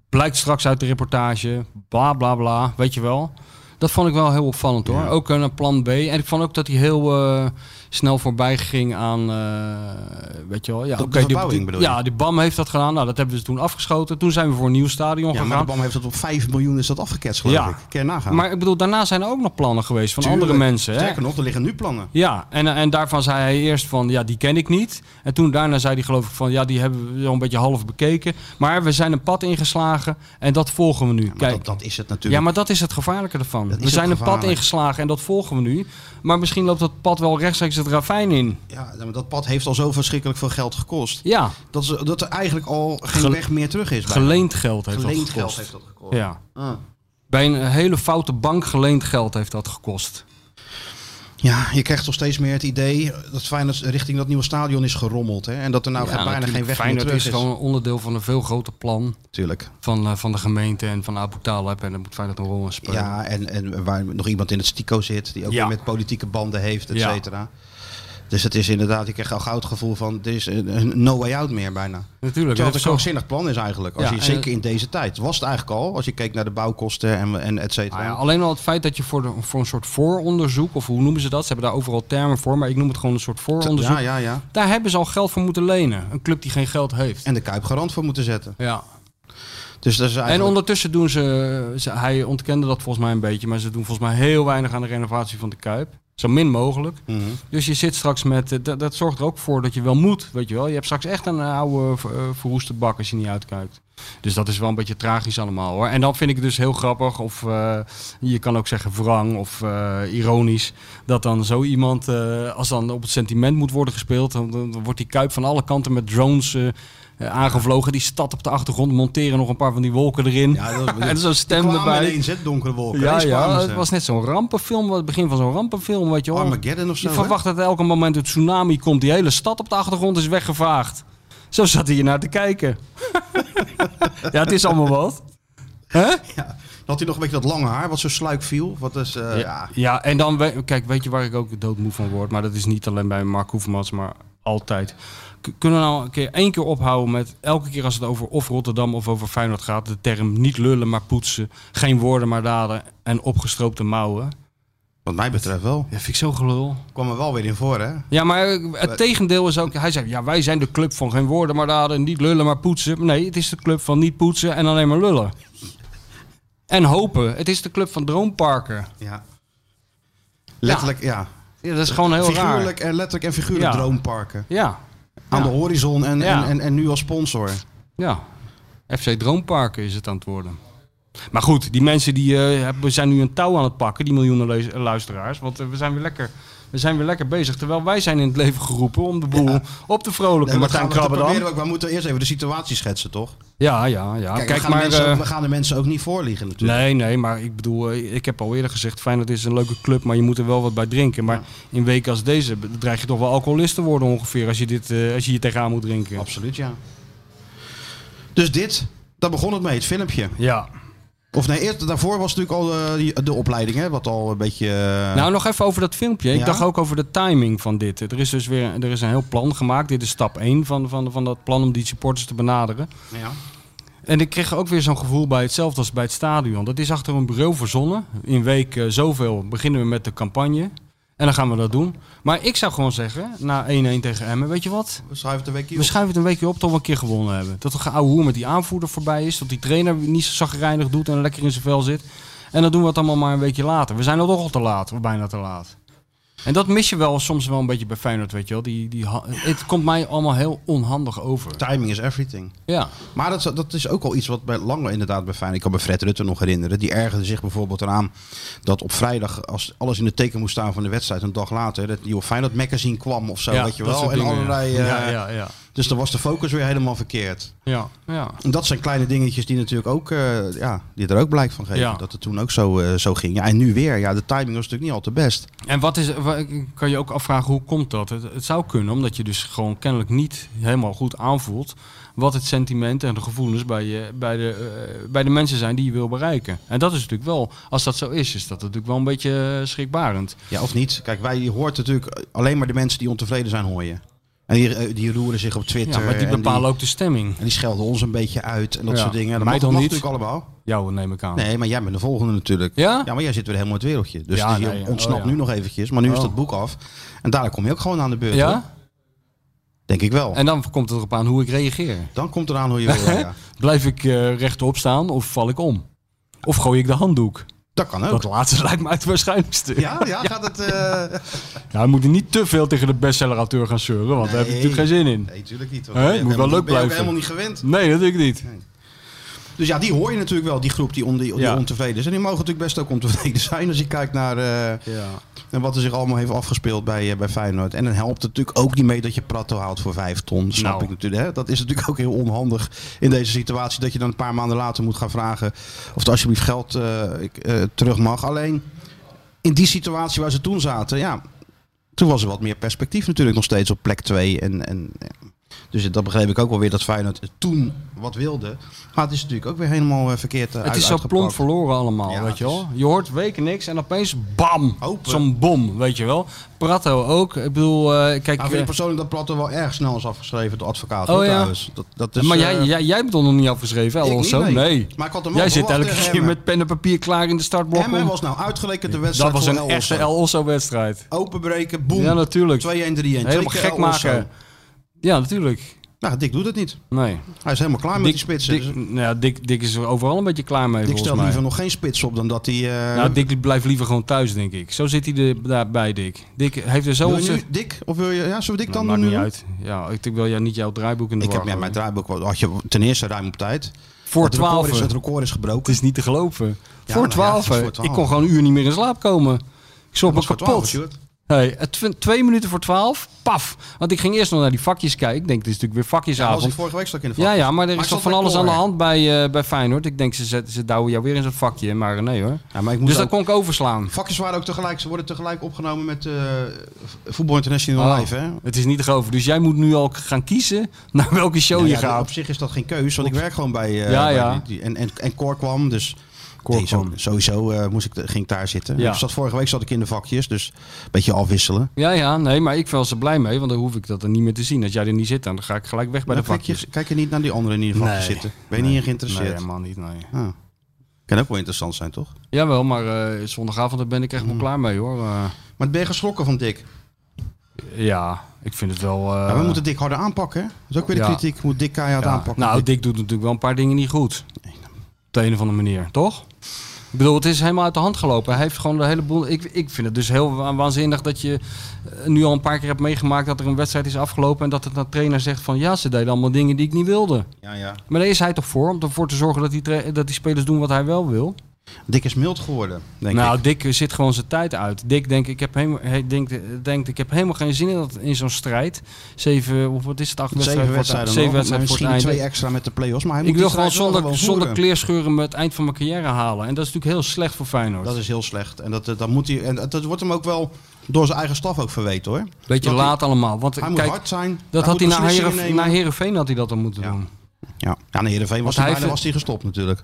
Speaker 5: Blijkt straks uit de reportage. Bla bla bla. Weet je wel. Dat vond ik wel heel opvallend hoor. Ook een plan B. En ik vond ook dat hij heel eh, snel voorbij ging aan. eh, weet je wel. Ja,
Speaker 4: de
Speaker 5: oké, die-
Speaker 4: verbouwing
Speaker 5: die-
Speaker 4: bedoel je?
Speaker 5: ja, die BAM heeft dat gedaan. Nou, dat hebben we toen afgeschoten. Toen zijn we voor een nieuw stadion
Speaker 4: ja, maar de
Speaker 5: gegaan.
Speaker 4: BAM heeft dat op 5 miljoen is dat afgeketst, geloof
Speaker 5: Ja.
Speaker 4: ik. Kun je nagaan.
Speaker 5: Maar ik bedoel, daarna zijn er ook nog plannen geweest van
Speaker 4: Tuurlijk.
Speaker 5: andere mensen. Hè?
Speaker 4: Sterker nog, er liggen nu plannen.
Speaker 5: Ja, en, eh, en daarvan zei hij eerst van, ja, die ken ik niet. En toen daarna zei hij geloof ik van, ja, die hebben we zo'n beetje half bekeken. Maar we zijn een pad ingeslagen en dat volgen we nu.
Speaker 4: Maar dat,
Speaker 5: Kijk,
Speaker 4: dat is het
Speaker 5: ja,
Speaker 4: natuurlijk.
Speaker 5: maar dat is het gevaarlijke ervan.
Speaker 4: Dat is
Speaker 5: We zijn
Speaker 4: het
Speaker 5: een pad
Speaker 4: gevaarlijk.
Speaker 5: ingeslagen en dat volgen we nu. Maar misschien loopt dat pad wel rechtstreeks het ravijn in.
Speaker 4: Ja, maar dat pad heeft al zo verschrikkelijk veel geld gekost.
Speaker 5: Ja,
Speaker 4: Dat, is, dat er eigenlijk al geen
Speaker 5: Gele-
Speaker 4: weg meer terug is. bijna.
Speaker 5: geleend geld heeft
Speaker 4: Geleend
Speaker 5: dat gekost.
Speaker 4: geld heeft dat gekost.
Speaker 5: Ja.
Speaker 4: Ah.
Speaker 5: Bij een hele foute bank geleend geld heeft dat gekost.
Speaker 4: Ja, je krijgt toch steeds meer het idee dat Feyenoord richting dat nieuwe stadion is gerommeld. Hè? En dat er nou geen- bijna geen weg meer
Speaker 5: Feyenoord
Speaker 4: terug
Speaker 5: is
Speaker 4: is.
Speaker 5: gewoon een onderdeel van een veel groter plan.
Speaker 4: Natuurlijk.
Speaker 5: van, eh, van de gemeente en van Abu Talib. En dan moet Feyenoord een rol in spelen.
Speaker 4: Ja, en, en waar nog iemand in het stico zit, die ook
Speaker 5: Ja.
Speaker 4: weer met politieke banden heeft, et
Speaker 5: Ja.
Speaker 4: cetera. Dus het is inderdaad, ik krijg al gauw het gevoel van, er is een- een no way out meer bijna.
Speaker 5: Natuurlijk.
Speaker 4: Terwijl
Speaker 5: dat
Speaker 4: het
Speaker 5: is
Speaker 4: een
Speaker 5: ook-
Speaker 4: krankzinnig plan is eigenlijk, als
Speaker 5: Ja,
Speaker 4: je,
Speaker 5: en-
Speaker 4: zeker in deze tijd. Was het eigenlijk al, als je keek naar de bouwkosten en, en et cetera.
Speaker 5: Ah ja, alleen al het feit dat je voor, de, voor een soort vooronderzoek, of hoe noemen ze dat? Ze hebben daar overal termen voor, maar ik noem het gewoon een soort vooronderzoek.
Speaker 4: ja, ja, ja.
Speaker 5: Daar hebben ze al geld voor moeten lenen. Een club die geen geld heeft.
Speaker 4: En de Kuip garant voor moeten zetten.
Speaker 5: Ja.
Speaker 4: Dus dat is
Speaker 5: En
Speaker 4: eigenlijk...
Speaker 5: ondertussen doen ze, ze- hij ontkende dat volgens mij een beetje, maar ze doen volgens mij heel weinig aan de renovatie van de Kuip. Zo min mogelijk.
Speaker 4: Mhm.
Speaker 5: Dus je zit straks met. eh, dat- dat zorgt er ook voor dat je wel moet. Weet je wel. Je hebt straks echt een oude eh, verroeste bak als je niet uitkijkt. Dus dat is wel een beetje tragisch allemaal hoor. En dan vind ik het dus heel grappig. Of eh, je kan ook zeggen wrang of eh, ironisch. Dat dan zo iemand. eh, als dan op het sentiment moet worden gespeeld. Dan, dan wordt die kuip van alle kanten met drones. eh, eh, aangevlogen, die stad op de achtergrond, monteren nog een paar van die wolken erin. en zo'n stem erbij.
Speaker 4: in zet donkere wolken.
Speaker 5: Ja,
Speaker 4: Eens kwamen
Speaker 5: ja,
Speaker 4: ze.
Speaker 5: het was net zo'n rampenfilm, het begin van zo'n rampenfilm, weet je wel.
Speaker 4: Armageddon of zo,
Speaker 5: Je
Speaker 4: hè?
Speaker 5: verwacht dat elke moment een tsunami komt, die hele stad op de achtergrond is weggevaagd. Zo zat hij naar te kijken. ja, het is allemaal wat. Hè?
Speaker 4: Ja. Had hij nog een beetje dat lange haar wat zo sluik viel? Wat is, eh, ja.
Speaker 5: Ja, en dan, we- kijk, weet je waar ik ook doodmoe van word? Maar dat is niet alleen bij Mark Hoefmans, maar altijd. K- kunnen we nou een keer, één keer ophouden met elke keer als het over of Rotterdam of over Feyenoord gaat, de term niet lullen, maar poetsen, geen woorden, maar daden en opgestroopte mouwen?
Speaker 4: Wat mij betreft wel.
Speaker 5: Dat vind ik zo gelul.
Speaker 4: Kwam er wel weer in voor, hè?
Speaker 5: Ja, maar het tegendeel is ook. Hij zei: Ja, wij zijn de club van geen woorden maar daden. Niet lullen, maar poetsen. Nee, het is de club van niet poetsen en alleen maar lullen. En hopen. Het is de club van droomparken.
Speaker 4: Ja. Letterlijk, ja.
Speaker 5: Ja, dat is gewoon heel
Speaker 4: Figuurlijk en letterlijk en figuurlijk
Speaker 5: Ja.
Speaker 4: droomparken.
Speaker 5: raar. Ja,
Speaker 4: Aan
Speaker 5: Ja.
Speaker 4: de horizon en,
Speaker 5: Ja.
Speaker 4: en, en, en nu als sponsor.
Speaker 5: ja. FC Droomparken is het aan het worden. Maar goed, die mensen die eh, hebben- zijn nu een touw aan het pakken, die miljoenen leus- luisteraars. Want eh, we zijn weer lekker. We zijn weer lekker bezig, terwijl wij zijn in het leven geroepen om de boel op te vrolijken.
Speaker 4: Nee, maar
Speaker 5: Martijn
Speaker 4: gaan we,
Speaker 5: Krabbe
Speaker 4: proberen
Speaker 5: dan.
Speaker 4: we ook- we moeten eerst even de situatie schetsen, toch?
Speaker 5: Ja, ja, ja.
Speaker 4: Kijk,
Speaker 5: Kijk,
Speaker 4: we, gaan
Speaker 5: maar...
Speaker 4: de mensen,
Speaker 5: eh,
Speaker 4: ook- we gaan de mensen ook niet voorliegen natuurlijk.
Speaker 5: Nee, nee, maar ik bedoel, eh, ik heb al eerder gezegd, Feyenoord is een leuke club, maar je moet er wel wat bij drinken. Maar in weken als deze be- dreig je toch wel alcoholist te worden ongeveer als je, dit, eh, als je hier tegenaan moet drinken.
Speaker 4: Absoluut, ja. Dus dit, daar begon het mee, het filmpje.
Speaker 5: Ja.
Speaker 4: Of nee, eerst, daarvoor was natuurlijk al eh, die- de, opleiding, hè? Wat al een beetje... eh,
Speaker 5: Nou, nog even over dat filmpje. Ik
Speaker 4: Ja?
Speaker 5: dacht ook over de timing van dit. Er is dus weer er is een heel plan gemaakt. Dit is stap 1 van, van, van dat plan om die supporters te benaderen.
Speaker 4: ja.
Speaker 5: En ik kreeg ook weer zo'n gevoel bij hetzelfde als bij het stadion. Dat is achter een bureau verzonnen. In week eh, zoveel beginnen we met de campagne. En dan gaan we dat doen. Maar ik zou gewoon zeggen, na 1-1 tegen Emmen, weet je wat?
Speaker 4: We schuiven het een weekje op.
Speaker 5: We schuiven het een weekje op tot we een keer gewonnen hebben. Dat we ouwe hoer met die aanvoerder voorbij is. Dat die trainer niet zo zagrijnig doet en lekker in zijn vel zit. En dan doen we het allemaal maar een weekje later. We zijn al toch al te laat, of bijna te laat. En dat mis je wel soms wel een beetje bij Feyenoord, weet je wel. Die, die, ha- het komt mij allemaal heel onhandig over.
Speaker 4: Timing is everything.
Speaker 5: Ja.
Speaker 4: Maar dat, is- dat is ook al iets wat bij langer inderdaad bij Feyenoord. Ik kan me Fred Rutte nog herinneren. Die ergerde zich bijvoorbeeld eraan dat op vrijdag, als alles in het teken moest staan van de wedstrijd, een dag later, dat die op Feyenoord magazine kwam of zo,
Speaker 5: ja,
Speaker 4: weet je
Speaker 5: dat
Speaker 4: wel.
Speaker 5: soort
Speaker 4: En
Speaker 5: dingen, ja.
Speaker 4: allerlei, eh,
Speaker 5: ja, ja, ja.
Speaker 4: Dus dan was de focus weer helemaal verkeerd.
Speaker 5: Ja, ja.
Speaker 4: En dat zijn kleine dingetjes die natuurlijk ook, eh, ja, die er ook blijk van geven.
Speaker 5: Ja.
Speaker 4: Dat het toen ook zo, eh, zo ging. Ja, en nu weer. Ja, de timing was natuurlijk niet al te best.
Speaker 5: En wat is, wa- ik kan je ook afvragen hoe komt dat? Het, het zou kunnen omdat je dus gewoon kennelijk niet helemaal goed aanvoelt wat het sentiment en de gevoelens bij, je, bij, de, eh, bij de mensen zijn die je wil bereiken. En dat is natuurlijk wel, als dat zo is, is dat natuurlijk wel een beetje eh, schrikbarend.
Speaker 4: Ja, of niet? Kijk, wij je hoort natuurlijk alleen maar de mensen die ontevreden zijn, hoor je. En die, eh, die roeren zich op Twitter.
Speaker 5: Ja, maar die
Speaker 4: en
Speaker 5: bepalen ook de stemming.
Speaker 4: En die schelden ons een beetje uit en dat
Speaker 5: Ja.
Speaker 4: soort dingen. Dat
Speaker 5: Mij
Speaker 4: mag,
Speaker 5: dan
Speaker 4: mag
Speaker 5: niet.
Speaker 4: natuurlijk allemaal.
Speaker 5: Jou neem ik aan.
Speaker 4: Nee, maar jij bent de volgende natuurlijk.
Speaker 5: Ja?
Speaker 4: maar jij zit weer helemaal in het wereldje. Dus
Speaker 5: Ja,
Speaker 4: die
Speaker 5: nee, ja.
Speaker 4: ontsnapt
Speaker 5: Oh, ja.
Speaker 4: nu nog eventjes. Maar nu is
Speaker 5: Oh.
Speaker 4: dat boek af. En daarna kom je ook gewoon aan de beurt. hoor.
Speaker 5: Ja?
Speaker 4: Denk ik wel.
Speaker 5: En dan komt het erop aan hoe ik reageer.
Speaker 4: Dan komt eraan hoe je wil. ja.
Speaker 5: Blijf ik eh, rechtop staan of val ik om? Of gooi ik de handdoek?
Speaker 4: Dat kan ook.
Speaker 5: Dat laatste lijkt me het waarschijnlijkste.
Speaker 4: Ja, ja, gaat het... eh,
Speaker 5: Ja, we moeten niet te veel tegen de bestsellerauteur gaan zeuren, want daar heb ik
Speaker 4: Nee.
Speaker 5: natuurlijk geen zin in.
Speaker 4: Nee, natuurlijk niet.
Speaker 5: Hè?
Speaker 4: want
Speaker 5: Moet wel leuk
Speaker 4: ben je ook
Speaker 5: blijven.
Speaker 4: helemaal niet gewend.
Speaker 5: Nee, natuurlijk niet.
Speaker 4: Dus ja, die hoor je natuurlijk wel, die groep die, on, die, die
Speaker 5: Ja.
Speaker 4: ontevreden is. En die mogen natuurlijk best ook ontevreden zijn als je kijkt naar eh,
Speaker 5: Ja.
Speaker 4: en wat er zich allemaal heeft afgespeeld bij, eh, bij Feyenoord. En dan helpt het natuurlijk ook niet mee dat je Pratto haalt voor vijf ton. Snap
Speaker 5: Nou.
Speaker 4: ik natuurlijk. Hè? Dat is natuurlijk ook heel onhandig in deze situatie. Dat je dan een paar maanden later moet gaan vragen of er alsjeblieft geld eh, ik, eh, terug mag. Alleen in die situatie waar ze toen zaten, ja, toen was er wat meer perspectief natuurlijk nog steeds op plek 2. En, en, ja. dus dat begreep ik ook wel weer dat Feyenoord toen wat wilde. Maar het is natuurlijk ook weer helemaal eh, verkeerd eh,
Speaker 5: Het
Speaker 4: uit-
Speaker 5: is zo
Speaker 4: uitgepakt.
Speaker 5: plomp verloren allemaal,
Speaker 4: Ja,
Speaker 5: weet je
Speaker 4: het
Speaker 5: wel. Je hoort weken niks en opeens bam,
Speaker 4: Open.
Speaker 5: zo'n bom, weet je wel. Pratto ook, ik bedoel, eh, kijk...
Speaker 4: Nou, vind ik
Speaker 5: eh,
Speaker 4: persoonlijk dat Platte wel erg snel is afgeschreven door advocaat.
Speaker 5: Oh,
Speaker 4: hoor,
Speaker 5: ja.
Speaker 4: trouwens. Dat, dat is,
Speaker 5: maar jij,
Speaker 4: eh,
Speaker 5: jij, jij bent er nog niet afgeschreven,
Speaker 4: ik
Speaker 5: hè,
Speaker 4: niet,
Speaker 5: Alonso?
Speaker 4: nee.
Speaker 5: Nee.
Speaker 4: Maar ik had hem wel
Speaker 5: Jij zit
Speaker 4: verwacht
Speaker 5: elke
Speaker 4: tegen
Speaker 5: keer
Speaker 4: Emmen.
Speaker 5: met pen en papier klaar in de startblok. om-
Speaker 4: Emmen was nou uitgeleken de
Speaker 5: Dat
Speaker 4: wedstrijd
Speaker 5: was
Speaker 4: voor
Speaker 5: een
Speaker 4: El Osso.
Speaker 5: echte El Osso-wedstrijd.
Speaker 4: Openbreken, boem.
Speaker 5: Ja, natuurlijk.
Speaker 4: 2-1, 3-1. Twee
Speaker 5: Helemaal
Speaker 4: keer
Speaker 5: gek
Speaker 4: El Osso.
Speaker 5: maken. Ja, natuurlijk.
Speaker 4: Nou, Dick doet het niet.
Speaker 5: Nee.
Speaker 4: Hij is helemaal klaar met die spitsen.
Speaker 5: Dick,
Speaker 4: Dus Dick,
Speaker 5: nou ja, Dick, Dick is er overal een beetje klaar mee volgens
Speaker 4: stelt
Speaker 5: mij.
Speaker 4: liever nog geen spits op dan dat hij... eh,
Speaker 5: Nou, Dick blijft liever gewoon thuis, denk ik. Zo zit hij er daarbij, Dick. Dick heeft er zo
Speaker 4: wil je
Speaker 5: ontzettend-
Speaker 4: nu Dick? Of wil je... Ja, zullen we Dick dan
Speaker 5: Nou, maakt
Speaker 4: doen
Speaker 5: niet
Speaker 4: nu?
Speaker 5: uit. Ja, ik ik wil jou niet jouw draaiboek in de
Speaker 4: Ik
Speaker 5: war
Speaker 4: heb ja, mijn
Speaker 5: gooien.
Speaker 4: draaiboek had je ten eerste ruim op tijd.
Speaker 5: Voor
Speaker 4: Het record
Speaker 5: twaalf.
Speaker 4: is- Het
Speaker 5: Het
Speaker 4: record is gebroken.
Speaker 5: is niet te geloven.
Speaker 4: Ja, nou
Speaker 5: voor
Speaker 4: ja,
Speaker 5: twaalf.
Speaker 4: het is voor
Speaker 5: ik
Speaker 4: 12.
Speaker 5: kon gewoon een uur niet meer in slaap komen. Ik schrok me
Speaker 4: was voor 12,
Speaker 5: kapot.
Speaker 4: Sjoerd.
Speaker 5: Hey, het tw- twee minuten voor twaalf. Paf. Want ik ging eerst nog naar die vakjes kijken. Ik denk, het is natuurlijk weer
Speaker 4: Dat was ik
Speaker 5: vakjesavond.
Speaker 4: vorige week stak in de
Speaker 5: Ja, ja, maar er
Speaker 4: ik zat
Speaker 5: is toch van
Speaker 4: bij
Speaker 5: alles aan de
Speaker 4: Cor.
Speaker 5: hand bij, eh, bij Feyenoord. Ik denk, ze, zet, ze douwen jou weer in zo'n vakje. Maar eh, nee hoor.
Speaker 4: Ja, maar ik moest
Speaker 5: Dus dat
Speaker 4: ook-
Speaker 5: kon ik overslaan.
Speaker 4: Vakjes waren ook tegelijk, ze worden tegelijk opgenomen met eh, Voetbal International
Speaker 5: Oh,
Speaker 4: Live. Hè?
Speaker 5: Het is niet te geloven. Dus jij moet nu al gaan kiezen naar welke show
Speaker 4: Nou
Speaker 5: je
Speaker 4: ja,
Speaker 5: gaat.
Speaker 4: Op zich is dat geen keus, want ik werk gewoon bij. eh,
Speaker 5: Ja,
Speaker 4: bij
Speaker 5: ja.
Speaker 4: die- die- en, en, en Cor kwam, dus.
Speaker 5: Cor
Speaker 4: Nee, zo-
Speaker 5: kwam.
Speaker 4: Sowieso eh, moest ik, ging ik daar zitten.
Speaker 5: Ja.
Speaker 4: Ik zat, vorige week zat ik in de vakjes, dus een beetje afwisselen.
Speaker 5: Ja, ja, nee, maar ik was er blij mee, want dan hoef ik dat er niet meer te zien. Als jij er niet zit, dan ga ik gelijk weg bij
Speaker 4: Maar
Speaker 5: de
Speaker 4: dan kijk
Speaker 5: vakjes.
Speaker 4: je, kijk je niet naar die anderen in ieder geval zitten. Ben je niet in geïnteresseerd?
Speaker 5: Nee, helemaal niet, nee.
Speaker 4: Ah. Kan ook wel interessant zijn, toch?
Speaker 5: Jawel, maar eh, zondagavond daar ben ik echt
Speaker 4: Mm.
Speaker 5: wel klaar mee, hoor. Eh,
Speaker 4: Maar ben je geschrokken van Dick?
Speaker 5: ja, ik vind het wel... eh,
Speaker 4: Ja, we moeten Dick harder aanpakken. hè? Dat is ook weer de
Speaker 5: ja.
Speaker 4: kritiek. Moet Dick keihard
Speaker 5: ja.
Speaker 4: aanpakken.
Speaker 5: Nou, Dick doet natuurlijk wel een paar dingen niet goed. Op de een of andere manier, toch? Ik bedoel, het is helemaal uit de hand gelopen. Hij heeft gewoon de hele boel... Ik, ik vind het dus heel wa- waanzinnig dat je eh, nu al een paar keer hebt meegemaakt... dat er een wedstrijd is afgelopen en dat het de trainer zegt van... ja, ze deden allemaal dingen die ik niet wilde.
Speaker 4: ja, ja.
Speaker 5: Maar daar is hij toch voor, om ervoor te zorgen dat die, tra- dat die spelers doen wat hij wel wil.
Speaker 4: Dick is mild geworden, denk
Speaker 5: nou,
Speaker 4: ik.
Speaker 5: Dick zit gewoon zijn tijd uit. Dick denkt, ik heb helemaal, hij denkt, denkt, ik heb helemaal geen zin in, dat, in zo'n strijd. Zeven, of wat is het, acht wedstrijden
Speaker 4: Zeven
Speaker 5: voor het-
Speaker 4: wedstrijden
Speaker 5: zeven
Speaker 4: nog.
Speaker 5: wedstrijden voor het
Speaker 4: Misschien twee
Speaker 5: einde.
Speaker 4: extra met de play-offs. Maar hij moet
Speaker 5: Ik wil
Speaker 4: die
Speaker 5: gewoon
Speaker 4: strijd
Speaker 5: zonder,
Speaker 4: wel
Speaker 5: zonder
Speaker 4: voeren.
Speaker 5: kleerscheuren me het eind van mijn carrière halen. En dat is natuurlijk heel slecht voor Feyenoord.
Speaker 4: Dat is heel slecht. En dat, eh, dat, moet hij, en dat, dat wordt hem ook wel door zijn eigen staf ook verweten hoor.
Speaker 5: Beetje
Speaker 4: dat hij-
Speaker 5: laat allemaal. Want
Speaker 4: Hij moet
Speaker 5: kijk,
Speaker 4: hard zijn.
Speaker 5: dat had hij
Speaker 4: moet
Speaker 5: naar,
Speaker 4: beslissingen
Speaker 5: Heeren,
Speaker 4: nemen.
Speaker 5: naar Heerenveen had hij dat dan moeten
Speaker 4: Ja.
Speaker 5: doen.
Speaker 4: Ja, ja naar Heerenveen was
Speaker 5: Want
Speaker 4: hij,
Speaker 5: hij
Speaker 4: bijna
Speaker 5: vindt-
Speaker 4: was hij gestopt natuurlijk.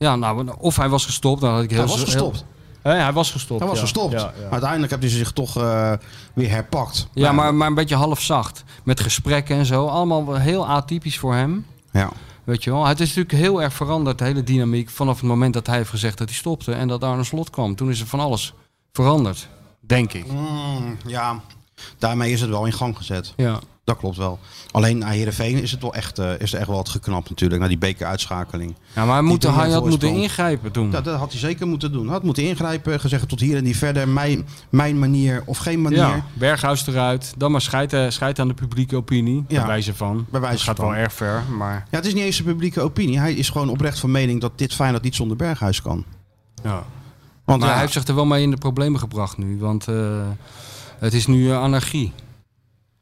Speaker 5: Ja, nou, of hij was gestopt. Dan had ik heel
Speaker 4: Hij was
Speaker 5: heel-
Speaker 4: gestopt.
Speaker 5: Hé, hij was gestopt.
Speaker 4: Hij was
Speaker 5: ja.
Speaker 4: gestopt.
Speaker 5: Ja, ja.
Speaker 4: Maar Uiteindelijk heeft hij zich toch eh, weer herpakt.
Speaker 5: Ja, maar, maar een beetje halfzacht. Met gesprekken en zo. Allemaal wel heel atypisch voor hem.
Speaker 4: Ja.
Speaker 5: Weet je wel. Het is natuurlijk heel erg veranderd, de hele dynamiek. Vanaf het moment dat hij heeft gezegd dat hij stopte. En dat Arne Slot kwam. Toen is er van alles veranderd. Denk ik.
Speaker 4: Mm, ja, daarmee is het wel in gang gezet.
Speaker 5: Ja.
Speaker 4: Dat klopt wel. Alleen naar Heerenveen is, het wel echt, eh, is er echt wel wat geknapt natuurlijk. Naar die bekeruitschakeling.
Speaker 5: ja maar hij,
Speaker 4: Die
Speaker 5: moet,
Speaker 4: toen
Speaker 5: hij
Speaker 4: een
Speaker 5: had moeten
Speaker 4: voorsprong.
Speaker 5: ingrijpen toen.
Speaker 4: Ja, dat had hij zeker moeten doen. Had moeten ingrijpen, gezegd tot hier en niet verder. Mijn, mijn manier of geen manier.
Speaker 5: ja, Berghuis eruit. Dan maar scheid, eh, scheid aan de publieke opinie.
Speaker 4: Ja.
Speaker 5: Bij wijze van.
Speaker 4: Bij wijze
Speaker 5: dat gaat
Speaker 4: van.
Speaker 5: wel erg ver, maar...
Speaker 4: Ja, het is niet eens de publieke opinie. Hij is gewoon oprecht van mening dat dit Feyenoord niet zonder Berghuis kan.
Speaker 5: Ja.
Speaker 4: Want
Speaker 5: Maar
Speaker 4: ja,
Speaker 5: hij heeft zich er wel mee in de problemen gebracht nu. Want eh, het is nu eh, anarchie.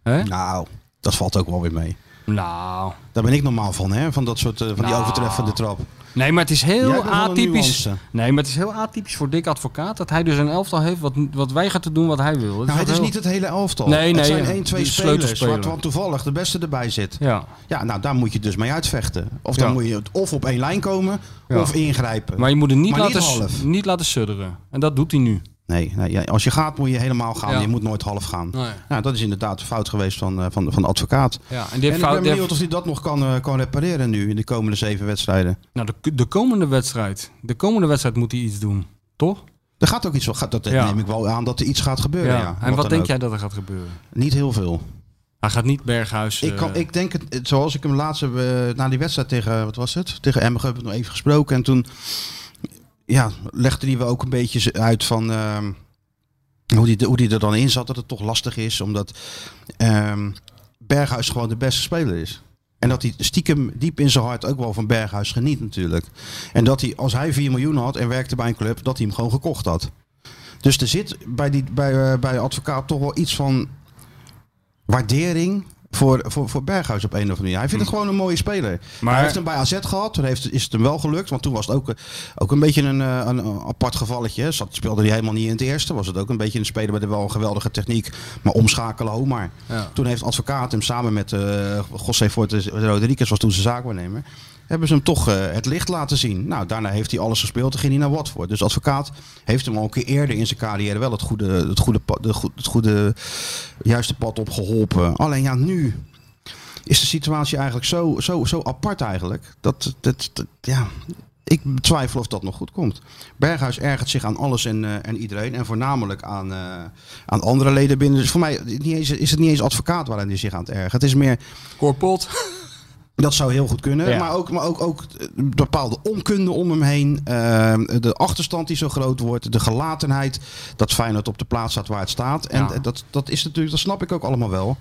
Speaker 5: Hè?
Speaker 4: Nou, dat valt ook wel weer mee.
Speaker 5: Nou...
Speaker 4: Daar ben ik normaal van, hè? Van dat soort eh, van die
Speaker 5: Nou.
Speaker 4: overtreffende trap.
Speaker 5: Nee, maar het is
Speaker 4: Jij
Speaker 5: heel
Speaker 4: bent wel een
Speaker 5: atypisch.
Speaker 4: nuance.
Speaker 5: Nee, maar het is heel atypisch voor Dick Advocaat dat hij dus een elftal heeft wat, wat weigert te doen wat hij wil. Dus Dat
Speaker 4: Nou, het
Speaker 5: wel
Speaker 4: is
Speaker 5: heel-
Speaker 4: niet het hele elftal.
Speaker 5: Nee, nee,
Speaker 4: het zijn
Speaker 5: ja.
Speaker 4: één, twee
Speaker 5: Die
Speaker 4: spelers waar
Speaker 5: sleutelspeler.
Speaker 4: dan toevallig de beste erbij zit.
Speaker 5: Ja,
Speaker 4: Ja, nou daar moet je dus mee uitvechten. Of dan
Speaker 5: Ja.
Speaker 4: moet je het of op één lijn komen
Speaker 5: Ja.
Speaker 4: of ingrijpen.
Speaker 5: maar je moet het niet,
Speaker 4: Maar niet
Speaker 5: laten, s-
Speaker 4: half.
Speaker 5: niet laten sudderen. En dat doet hij nu.
Speaker 4: Nee, nee, ja, als je gaat moet je helemaal gaan.
Speaker 5: Ja.
Speaker 4: Je moet nooit half gaan.
Speaker 5: Nee.
Speaker 4: Nou, dat is inderdaad de fout geweest van, eh, van, van de advocaat.
Speaker 5: Ja, en die
Speaker 4: en
Speaker 5: heeft
Speaker 4: ik ben
Speaker 5: fout. die
Speaker 4: benieuwd
Speaker 5: heeft-
Speaker 4: of hij dat nog kan, eh, kan repareren nu in de komende zeven wedstrijden.
Speaker 5: Nou, de, de komende wedstrijd. De komende wedstrijd moet hij iets doen, toch?
Speaker 4: Er gaat ook iets gaat, dat
Speaker 5: Ja.
Speaker 4: neem ik wel aan dat er iets gaat gebeuren. Ja.
Speaker 5: En wat,
Speaker 4: dan
Speaker 5: denk
Speaker 4: ook.
Speaker 5: jij dat er gaat gebeuren?
Speaker 4: Niet heel veel.
Speaker 5: Hij gaat niet Berghuis.
Speaker 4: Ik, kan,
Speaker 5: eh,
Speaker 4: ik denk, het, het- zoals ik hem laatst heb, eh, na die wedstrijd tegen, wat was het? Tegen Emmen heb ik nog even gesproken. En toen ja, legde hij wel ook een beetje z- uit van ehm, hoe, die, hoe die er dan in zat. Dat het toch lastig is, omdat ehm, Berghuis gewoon de beste speler is. En dat hij stiekem diep in zijn hart ook wel van Berghuis geniet natuurlijk. En dat hij, als hij 4 miljoen had en werkte bij een club, dat hij hem gewoon gekocht had. Dus er zit bij, die, bij, eh, bij advocaat toch wel iets van waardering voor, voor, voor Berghuis op een of andere manier. Hij vindt het gewoon een mooie speler. Maar...
Speaker 5: Hmm. Maar-
Speaker 4: Hij heeft hem bij AZ gehad, toen heeft, is het hem wel gelukt. Want toen was het ook, eh, ook een beetje een, eh, een eh, apart gevalletje. hè. Zat, speelde hij helemaal niet in het eerste. Was het ook een beetje een speler met wel een geweldige techniek. Maar omschakelen, ho maar.
Speaker 5: Ja.
Speaker 4: Toen heeft advocaat hem samen met eh José Fortes Rodriguez, was toen zijn zaakwaarnemer, hebben ze hem toch eh, het licht laten zien. Nou, daarna heeft hij alles gespeeld, toen ging hij naar Watford. Dus advocaat heeft hem al een keer eerder in zijn carrière wel het goede, het goede, pa- de goe- het goede juiste pad op geholpen. Alleen ja, nu is de situatie eigenlijk zo, zo, zo apart eigenlijk. Dat, dat, dat- ja, Ik twijfel of dat nog goed komt. Berghuis ergert zich aan alles en, eh, en iedereen. En voornamelijk aan, eh, aan andere leden binnen. Dus voor mij niet eens, is het niet eens advocaat waarin hij zich aan het ergert. Het is meer,
Speaker 5: Korpot.
Speaker 4: dat zou heel goed kunnen.
Speaker 3: Ja.
Speaker 4: Maar, ook, maar ook, ook bepaalde onkunde om hem heen. eh, de achterstand die zo groot wordt. De gelatenheid. Dat Feyenoord op de plaats staat waar het staat. En
Speaker 5: Ja.
Speaker 4: dat, dat is natuurlijk, dat snap ik ook allemaal wel.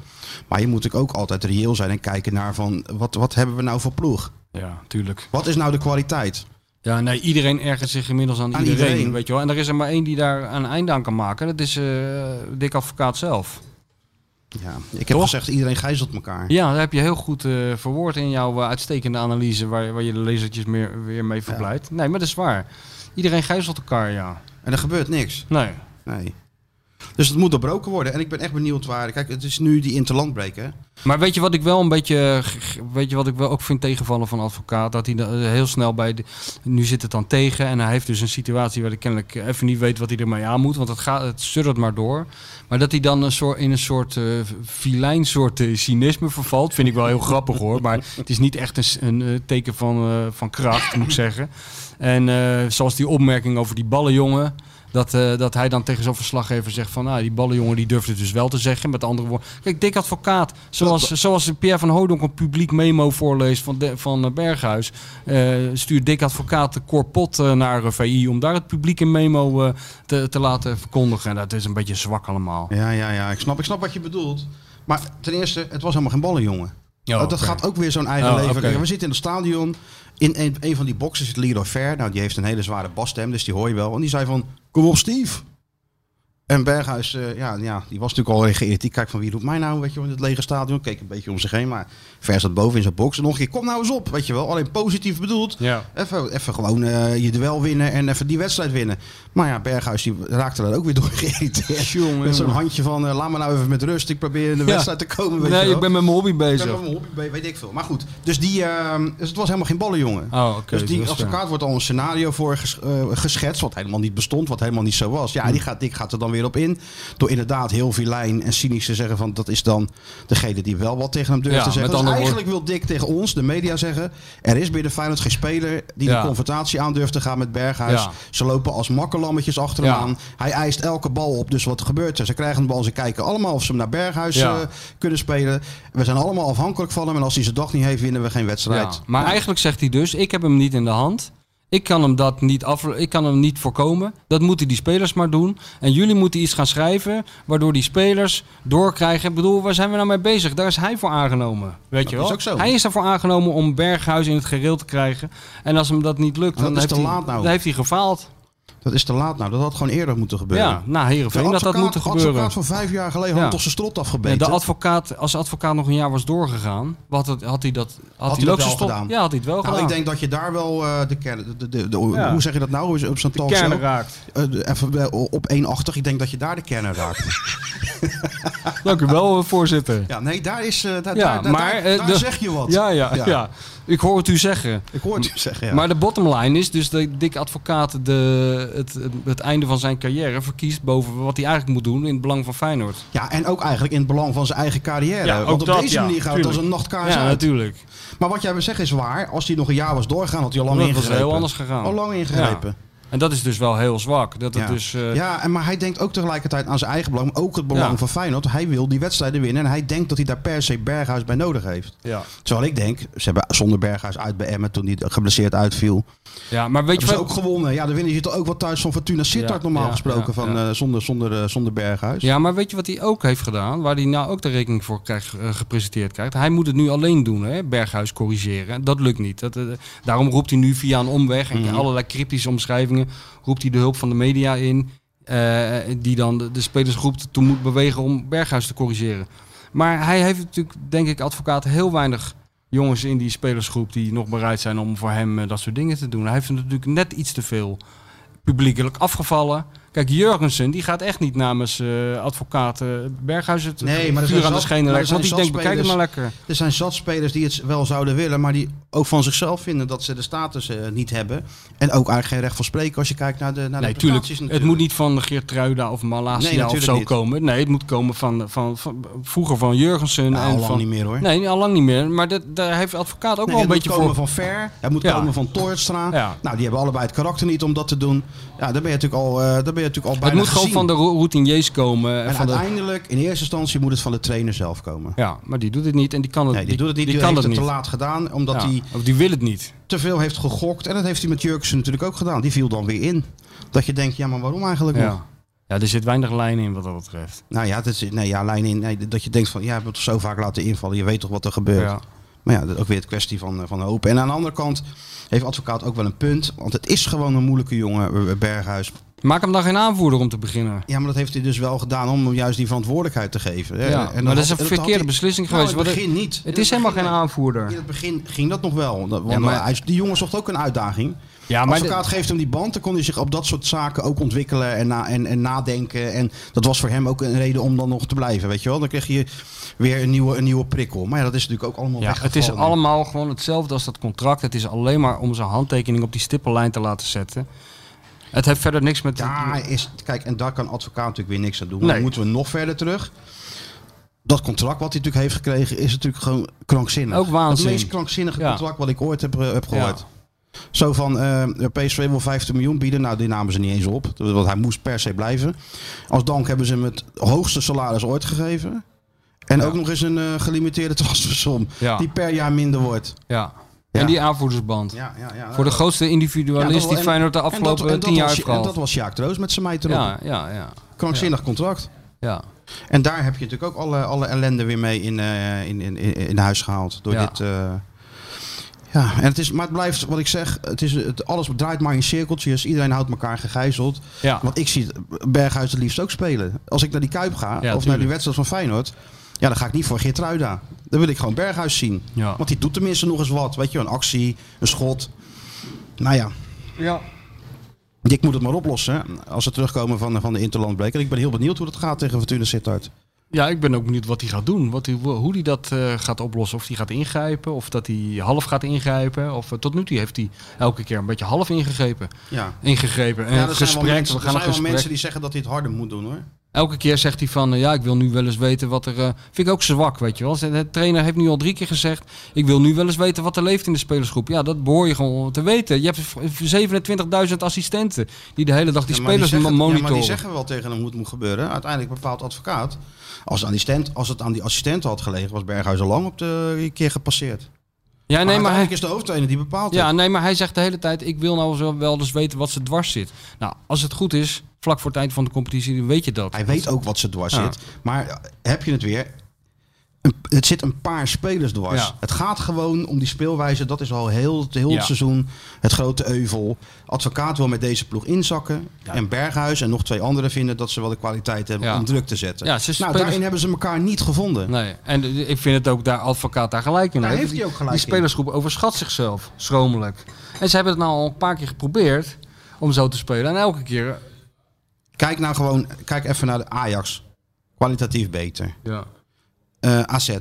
Speaker 4: Maar je moet natuurlijk ook altijd reëel zijn en kijken naar van wat, wat hebben we nou voor ploeg?
Speaker 5: Ja, tuurlijk.
Speaker 4: Wat is nou de kwaliteit?
Speaker 5: Ja, nee, iedereen ergert zich inmiddels aan,
Speaker 4: Aan
Speaker 5: iedereen,
Speaker 4: iedereen.
Speaker 5: Weet je wel. En er is er maar één die daar een einde aan kan maken. Dat is eh Dick Advocaat zelf.
Speaker 4: Ja, ik heb
Speaker 5: Toch?
Speaker 4: gezegd, iedereen gijzelt elkaar.
Speaker 5: Ja, dat heb je heel goed eh, verwoord in jouw eh, uitstekende analyse. Waar, waar je de lezertjes meer, weer mee verblijft. Nee, maar dat is waar. Iedereen gijzelt elkaar, ja.
Speaker 4: En er gebeurt niks.
Speaker 5: Nee.
Speaker 4: Nee. Dus het moet doorbroken worden. En ik ben echt benieuwd waar. Kijk, het is nu die interlandbreek, hè?
Speaker 5: Maar weet je wat ik wel een beetje. Weet je wat ik wel ook vind tegenvallen van advocaat? Dat hij dan, eh, heel snel bij. De, nu zit het dan tegen. En hij heeft dus een situatie waar hij kennelijk even niet weet wat hij ermee aan moet. Want het, gaat, het suddert maar door. Maar dat hij dan een soort, in een soort eh filijn soort eh, cynisme vervalt. Vind ik wel heel grappig hoor. Maar het is niet echt een, s- een eh, teken van, eh, van kracht, moet ik zeggen. En eh, zoals die opmerking over die ballenjongen. Dat, eh, dat hij dan tegen zo'n verslaggever zegt van... Nou, die ballenjongen die durft het dus wel te zeggen. Met andere woorden... Kijk, dik advocaat. Zoals, zoals Pierre van Houdonk een publiek memo voorleest van, de, van eh, Berghuis... eh, stuurt dik advocaat de korpot eh, naar eh, VI... om daar het publiek een memo eh, te, te laten verkondigen. En dat is een beetje zwak allemaal.
Speaker 4: Ja, ja, ja. Ik snap, ik snap wat je bedoelt. Maar ten eerste, het was helemaal geen ballen, jongen. Oh,
Speaker 5: Ja,
Speaker 4: dat
Speaker 5: oké.
Speaker 4: gaat ook weer zo'n eigen
Speaker 5: Oh,
Speaker 4: leven.
Speaker 5: oké.
Speaker 4: Kijk, We zitten in het stadion. In een, een van die boxen zit Leroy Fair. Nou, die heeft een hele zware basstem, dus die hoor je wel. En die zei van, kom op Steve. En Berghuis, eh, ja, ja, die was natuurlijk al geïrriteerd. Die kijkt van, wie roept mij nou, weet je wel, in het lege stadion. Keek een beetje om zich heen, maar Ver staat boven in zijn box. En nog een keer, kom nou eens op, weet je wel. Alleen positief bedoeld.
Speaker 5: Ja.
Speaker 4: Even, even gewoon eh, je duel winnen en even die wedstrijd winnen. Maar ja, Berghuis die raakte daar ook weer door geïrriteerd.
Speaker 5: Jongen,
Speaker 4: met zo'n
Speaker 5: jongen.
Speaker 4: handje van, eh, laat me nou even met rust. Ik probeer in de
Speaker 5: Ja.
Speaker 4: wedstrijd te komen. Weet je
Speaker 5: Nee,
Speaker 4: wel.
Speaker 5: ik ben met mijn hobby
Speaker 4: Ik ben
Speaker 5: bezig.
Speaker 4: met mijn hobby bezig, weet ik veel. Maar goed, dus, die, ehm, dus het was helemaal geen ballen, jongen.
Speaker 5: Oh, oké.
Speaker 4: dus die
Speaker 5: dat is waar.
Speaker 4: advocaat wordt al een scenario voor ges- eh, geschetst, wat helemaal niet bestond, wat helemaal niet zo was. Ja,
Speaker 5: Hm.
Speaker 4: die gaat, Dick gaat er dan weer op in. Door inderdaad heel vilijn en cynisch te zeggen van dat is dan degene die wel wat tegen hem durft
Speaker 5: Ja,
Speaker 4: te zeggen.
Speaker 5: met
Speaker 4: Dus
Speaker 5: andere
Speaker 4: eigenlijk wil Dick tegen ons, de media, zeggen er is binnen Feyenoord geen speler die
Speaker 5: Ja.
Speaker 4: de confrontatie aan durft te gaan met Berghuis.
Speaker 5: Ja.
Speaker 4: Ze lopen als makkelammetjes achter hem
Speaker 5: Ja.
Speaker 4: aan. Hij eist elke bal op, dus wat gebeurt er? Ze krijgen de bal, ze kijken allemaal of ze hem naar Berghuis
Speaker 5: Ja.
Speaker 4: eh, kunnen spelen. We zijn allemaal afhankelijk van hem en als hij zijn dag niet heeft, winnen we geen wedstrijd.
Speaker 5: Ja, maar eigenlijk zegt hij dus, ik heb hem niet in de hand. Ik kan hem dat niet af, ik kan hem niet voorkomen. Dat moeten die spelers maar doen. En jullie moeten iets gaan schrijven, waardoor die spelers doorkrijgen. Ik bedoel, waar zijn we nou mee bezig? Daar is hij voor aangenomen. Weet je
Speaker 4: is
Speaker 5: wel?
Speaker 4: ook zo.
Speaker 5: Hij is ervoor aangenomen om Berghuis in het gereel te krijgen. En als hem Ah, dat niet lukt,
Speaker 4: Maar dat
Speaker 5: dan,
Speaker 4: is
Speaker 5: heeft
Speaker 4: te
Speaker 5: hij,
Speaker 4: laat nou.
Speaker 5: dan heeft hij gefaald.
Speaker 4: Dat is te laat nou. Dat had gewoon eerder moeten gebeuren.
Speaker 5: Ja, nou Heerenveen dat dat moet gebeuren.
Speaker 4: advocaat van vijf jaar geleden
Speaker 5: Ja.
Speaker 4: had toch zijn strot
Speaker 5: Ja,
Speaker 4: afgebeten.
Speaker 5: de advocaat, als de advocaat nog een jaar was doorgegaan, wat had, had hij dat had,
Speaker 4: hij dat
Speaker 5: ook
Speaker 4: wel
Speaker 5: zijn stop-
Speaker 4: gedaan?
Speaker 5: Ja, had hij het wel
Speaker 4: nou,
Speaker 5: gedaan.
Speaker 4: ik denk dat je daar wel eh, de kern... De, de, de- de-
Speaker 5: Ja.
Speaker 4: Hoe zeg je dat nou? Is Op zo'n
Speaker 5: de
Speaker 4: talkshow?
Speaker 5: kern raakt.
Speaker 4: Eh, de- even eh, op 1,80. Ik denk dat je daar de kern raakt.
Speaker 5: Dank u wel, eh, voorzitter.
Speaker 4: ja, nee, daar is... eh, daar,
Speaker 5: Ja,
Speaker 4: daar- daar-
Speaker 5: maar,
Speaker 4: daar,
Speaker 5: eh,
Speaker 4: daar
Speaker 5: de-
Speaker 4: zeg je wat.
Speaker 5: Ja, ja,
Speaker 4: Ja.
Speaker 5: ja, Ik hoor het u zeggen.
Speaker 4: Ik hoor het je zeggen, ja.
Speaker 5: Maar de bottom line is dus dat Dick Advocaat de, het, het, het einde van zijn carrière verkiest boven wat hij eigenlijk moet doen in het belang van Feyenoord.
Speaker 4: ja, en ook eigenlijk in het belang van zijn eigen carrière.
Speaker 5: Ja, ook
Speaker 4: Want op
Speaker 5: dat,
Speaker 4: deze
Speaker 5: ja,
Speaker 4: manier gaat het als
Speaker 5: tuurlijk.
Speaker 4: een nachtkaars
Speaker 5: ja,
Speaker 4: uit.
Speaker 5: natuurlijk.
Speaker 4: Maar wat jij wil zeggen is waar. Als hij nog een jaar was doorgegaan, had hij al lang
Speaker 5: Dat was
Speaker 4: ingegrepen.
Speaker 5: heel anders gegaan.
Speaker 4: Al lang ingegrepen.
Speaker 5: En dat is dus wel heel zwak. Dat het
Speaker 4: Ja.
Speaker 5: dus, eh,
Speaker 4: ja, en maar hij denkt ook tegelijkertijd aan zijn eigen belang, maar ook het belang
Speaker 5: Ja.
Speaker 4: van Feyenoord. Hij wil die wedstrijden winnen en hij denkt dat hij daar per se Berghuis bij nodig heeft.
Speaker 5: ja.
Speaker 4: Terwijl ik denk, ze hebben zonder Berghuis uit bij Emmen toen hij geblesseerd uitviel.
Speaker 5: Ja, maar weet
Speaker 4: Hebben
Speaker 5: je
Speaker 4: ze
Speaker 5: wel.
Speaker 4: ook gewonnen. Ja, dan winnen ze toch ook wat thuis van Fortuna Sittard
Speaker 5: Ja,
Speaker 4: normaal
Speaker 5: ja,
Speaker 4: gesproken
Speaker 5: ja,
Speaker 4: van,
Speaker 5: ja.
Speaker 4: eh, zonder, zonder, eh, zonder Berghuis.
Speaker 5: Ja, maar weet je wat hij ook heeft gedaan? Waar hij nou ook de rekening voor krijgt, eh, gepresenteerd krijgt. Hij moet het nu alleen doen, hè? Berghuis corrigeren. Dat lukt niet. Dat, eh, daarom roept hij nu via een omweg en allerlei cryptische omschrijvingen. roept hij de hulp van de media in. eh, die dan de, de spelersgroep toe moet bewegen om Berghuis te corrigeren. Maar hij heeft natuurlijk, denk ik, advocaat heel weinig jongens in die spelersgroep die nog bereid zijn om voor hem eh, dat soort dingen te doen. Hij heeft natuurlijk net iets te veel publiekelijk afgevallen. Kijk, Jurgensen die gaat echt niet namens eh advocaat eh, Berghuis het
Speaker 4: Nee, maar er zijn
Speaker 5: vuur aan de
Speaker 4: zat-
Speaker 5: schenen
Speaker 4: maar er
Speaker 5: leggen. Want die
Speaker 4: zijn
Speaker 5: denkt, bekijk het maar
Speaker 4: zatspelers-
Speaker 5: lekker.
Speaker 4: Er zijn zat spelers die het wel zouden willen, maar die ook van zichzelf vinden dat ze de status eh, niet hebben. En ook eigenlijk geen recht van spreken als je kijkt naar de, naar
Speaker 5: Nee,
Speaker 4: de
Speaker 5: tuurlijk.
Speaker 4: prestaties
Speaker 5: Het moet niet van Geertruida of
Speaker 4: Nee,
Speaker 5: Malasia of
Speaker 4: natuurlijk
Speaker 5: zo
Speaker 4: niet.
Speaker 5: komen. Nee, het moet komen van, van, van vroeger van Jurgensen.
Speaker 4: Nou,
Speaker 5: en
Speaker 4: al lang
Speaker 5: van,
Speaker 4: niet meer hoor.
Speaker 5: Nee, al lang niet meer. Maar dat, daar heeft advocaat ook
Speaker 4: Nee,
Speaker 5: wel een
Speaker 4: het
Speaker 5: beetje
Speaker 4: moet komen
Speaker 5: voor.
Speaker 4: van Ver, het moet
Speaker 5: Ja.
Speaker 4: komen van Toortstra.
Speaker 5: Ja.
Speaker 4: Nou, die hebben allebei het karakter niet om dat te doen. Ja, dan ben je natuurlijk al, eh dan ben je natuurlijk al bijna
Speaker 5: Het moet gewoon
Speaker 4: gezien.
Speaker 5: van de ro- routiniers komen. En
Speaker 4: En
Speaker 5: van de,
Speaker 4: uiteindelijk, in eerste instantie, moet het van de trainer zelf komen.
Speaker 5: ja, maar die doet het niet en die kan het,
Speaker 4: Nee, die, doet het niet. Die,
Speaker 5: kan
Speaker 4: heeft
Speaker 5: het
Speaker 4: het
Speaker 5: niet.
Speaker 4: te laat gedaan, omdat
Speaker 5: Ja,
Speaker 4: hij
Speaker 5: Of die wil het niet.
Speaker 4: te veel heeft gegokt. En dat heeft hij met Jurksen natuurlijk ook gedaan. Die viel dan weer in. Dat je denkt, ja, maar waarom eigenlijk nog?
Speaker 5: Ja. ja, er zit weinig lijn in wat dat betreft.
Speaker 4: Nou ja, dat is, nee, ja lijn in, nee, dat je denkt van, ja, je hebt het zo vaak laten invallen. Je weet toch wat er gebeurt.
Speaker 5: Ja.
Speaker 4: Maar ja, dat is ook weer het kwestie van, eh, van hoop. En aan de andere kant heeft advocaat ook wel een punt. Want het is gewoon een moeilijke jongen, eh, Berghuis.
Speaker 5: Maak hem dan geen aanvoerder om te beginnen.
Speaker 4: Ja, maar dat heeft hij dus wel gedaan om hem juist die verantwoordelijkheid te geven. hè.
Speaker 5: Ja,
Speaker 4: En dan
Speaker 5: maar dat
Speaker 4: had-
Speaker 5: is een
Speaker 4: had
Speaker 5: verkeerde
Speaker 4: hij-
Speaker 5: beslissing
Speaker 4: Nou,
Speaker 5: geweest.
Speaker 4: in het
Speaker 5: Want het-
Speaker 4: begin niet. In
Speaker 5: Het is helemaal geen
Speaker 4: begin- In
Speaker 5: aanvoerder.
Speaker 4: het begin ging dat nog wel. Dat- Want eh,
Speaker 5: Ja, maar-
Speaker 4: hij- die jongen zocht ook een uitdaging.
Speaker 5: Ja, maar
Speaker 4: advocaat geeft hem die band, dan kon hij zich op dat soort zaken ook ontwikkelen en, na, en, en nadenken. En dat was voor hem ook een reden om dan nog te blijven, weet je wel. Dan kreeg je weer een nieuwe, een nieuwe prikkel. Maar ja, dat is natuurlijk ook allemaal
Speaker 5: Ja, het is
Speaker 4: weggevallen.
Speaker 5: allemaal gewoon hetzelfde als dat contract. Het is alleen maar om zijn handtekening op die stippellijn te laten zetten. Het heeft verder niks met...
Speaker 4: Ja, is, kijk, en daar kan advocaat natuurlijk weer niks aan doen. Maar
Speaker 5: Nee.
Speaker 4: dan moeten we nog verder terug. Dat contract wat hij natuurlijk heeft gekregen is natuurlijk gewoon krankzinnig.
Speaker 5: Ook waanzin.
Speaker 4: Het meest krankzinnige
Speaker 5: Ja.
Speaker 4: contract wat ik ooit heb, eh, heb gehoord. Zo van, eh, PSV wil 15 miljoen bieden. Nou, die namen ze niet eens op. Want hij moest per se blijven. Als dank hebben ze hem het hoogste salaris ooit gegeven. En ook nog eens een eh, gelimiteerde transfersom.
Speaker 5: Ja.
Speaker 4: Die per jaar minder wordt.
Speaker 5: Ja.
Speaker 4: Ja.
Speaker 5: En die aanvoerdersband.
Speaker 4: Ja, ja, ja.
Speaker 5: Voor de grootste individualist
Speaker 4: Ja, dat wel-
Speaker 5: die Feyenoord de
Speaker 4: en dat-
Speaker 5: afgelopen
Speaker 4: en dat
Speaker 5: tien jaar
Speaker 4: was-
Speaker 5: heeft
Speaker 4: En dat
Speaker 5: gehad.
Speaker 4: was Sjaak Troost met zijn meid erop.
Speaker 5: Ja, ja, ja.
Speaker 4: Krankzinnig contract.
Speaker 5: ja.
Speaker 4: En daar heb je natuurlijk ook alle, alle ellende weer mee in, eh, in, in, in, in huis gehaald. Door
Speaker 5: Ja.
Speaker 4: dit. eh, ja, en het is, maar het blijft wat ik zeg. Het is, het, alles draait maar in cirkeltjes. Iedereen houdt elkaar gegijzeld.
Speaker 5: Ja.
Speaker 4: Want ik zie Berghuis het liefst ook spelen. Als ik naar die Kuip ga, of naar
Speaker 5: tuurlijk.
Speaker 4: die wedstrijd van Feyenoord. Ja, dan ga ik niet voor Geertruida. Dan wil ik gewoon Berghuis zien.
Speaker 5: Ja.
Speaker 4: Want die doet tenminste nog eens wat. Weet je, een actie, een schot. Nou ja,
Speaker 5: ja.
Speaker 4: ik moet het maar oplossen. Als ze terugkomen van, van de Interlandbreak. En ik ben heel benieuwd hoe dat gaat tegen Fortuna Sittard.
Speaker 5: Ja, ik ben ook benieuwd wat hij gaat doen. Wat hij, hoe hij dat eh, gaat oplossen. Of hij gaat ingrijpen. Of dat hij half gaat ingrijpen. Of eh, tot nu toe heeft hij elke keer een beetje half ingegrepen.
Speaker 4: Ja.
Speaker 5: Ingegrepen. En
Speaker 4: Ja, er zijn wel
Speaker 5: gesprek.
Speaker 4: mensen,
Speaker 5: we
Speaker 4: er
Speaker 5: gaan
Speaker 4: zijn
Speaker 5: een
Speaker 4: wel
Speaker 5: gesprek.
Speaker 4: mensen die zeggen dat hij het harder moet doen hoor.
Speaker 5: Elke keer zegt hij van, eh, ja, ik wil nu wel eens weten wat er... eh, vind ik ook zwak, weet je wel. De trainer heeft nu al drie keer gezegd, ik wil nu wel eens weten wat er leeft in de spelersgroep. Ja, dat behoor je gewoon te weten. Je hebt 27.000 assistenten die de hele dag die
Speaker 4: Ja, maar
Speaker 5: spelers
Speaker 4: zeggen- ja,
Speaker 5: monitoren.
Speaker 4: maar die zeggen wel tegen hem hoe het moet gebeuren. Uiteindelijk bepaalt advocaat. Als het aan die, stand, als het aan die assistent had gelegen, was Berghuis al lang op de keer gepasseerd. Maar,
Speaker 5: ja, nee, maar hij,
Speaker 4: uiteindelijk is de hoofdtrainer die bepaalt
Speaker 5: ja,
Speaker 4: het.
Speaker 5: nee, maar hij zegt de hele tijd, ik wil nou wel- wel eens weten wat ze dwars zit. Nou, als het goed is, vlak voor het eind van de competitie, dan weet je dat.
Speaker 4: Hij weet ook wat ze dwars
Speaker 5: Ja.
Speaker 4: zit. Maar eh, heb je het weer? Een- Het zit een paar spelers dwars.
Speaker 5: Ja.
Speaker 4: Het gaat gewoon om die speelwijze. Dat is al heel, heel
Speaker 5: Ja.
Speaker 4: het seizoen het grote euvel. Advocaat wil met deze ploeg inzakken. En Berghuis en nog twee anderen vinden dat ze wel de kwaliteit hebben
Speaker 5: Ja.
Speaker 4: om druk te zetten.
Speaker 5: Ja, ze
Speaker 4: nou,
Speaker 5: spelers-
Speaker 4: daarin hebben ze elkaar niet gevonden.
Speaker 5: Nee, en eh, ik vind het ook daar advocaat daar gelijk in.
Speaker 4: Daar
Speaker 5: hè.
Speaker 4: heeft
Speaker 5: Die-
Speaker 4: hij ook gelijk
Speaker 5: Die
Speaker 4: in.
Speaker 5: spelersgroep overschat zichzelf schromelijk. En ze hebben het nou al een paar keer geprobeerd om zo te spelen. En elke keer.
Speaker 4: Kijk nou gewoon, kijk even naar de Ajax. Kwalitatief beter.
Speaker 5: Ja.
Speaker 4: Eh AZ,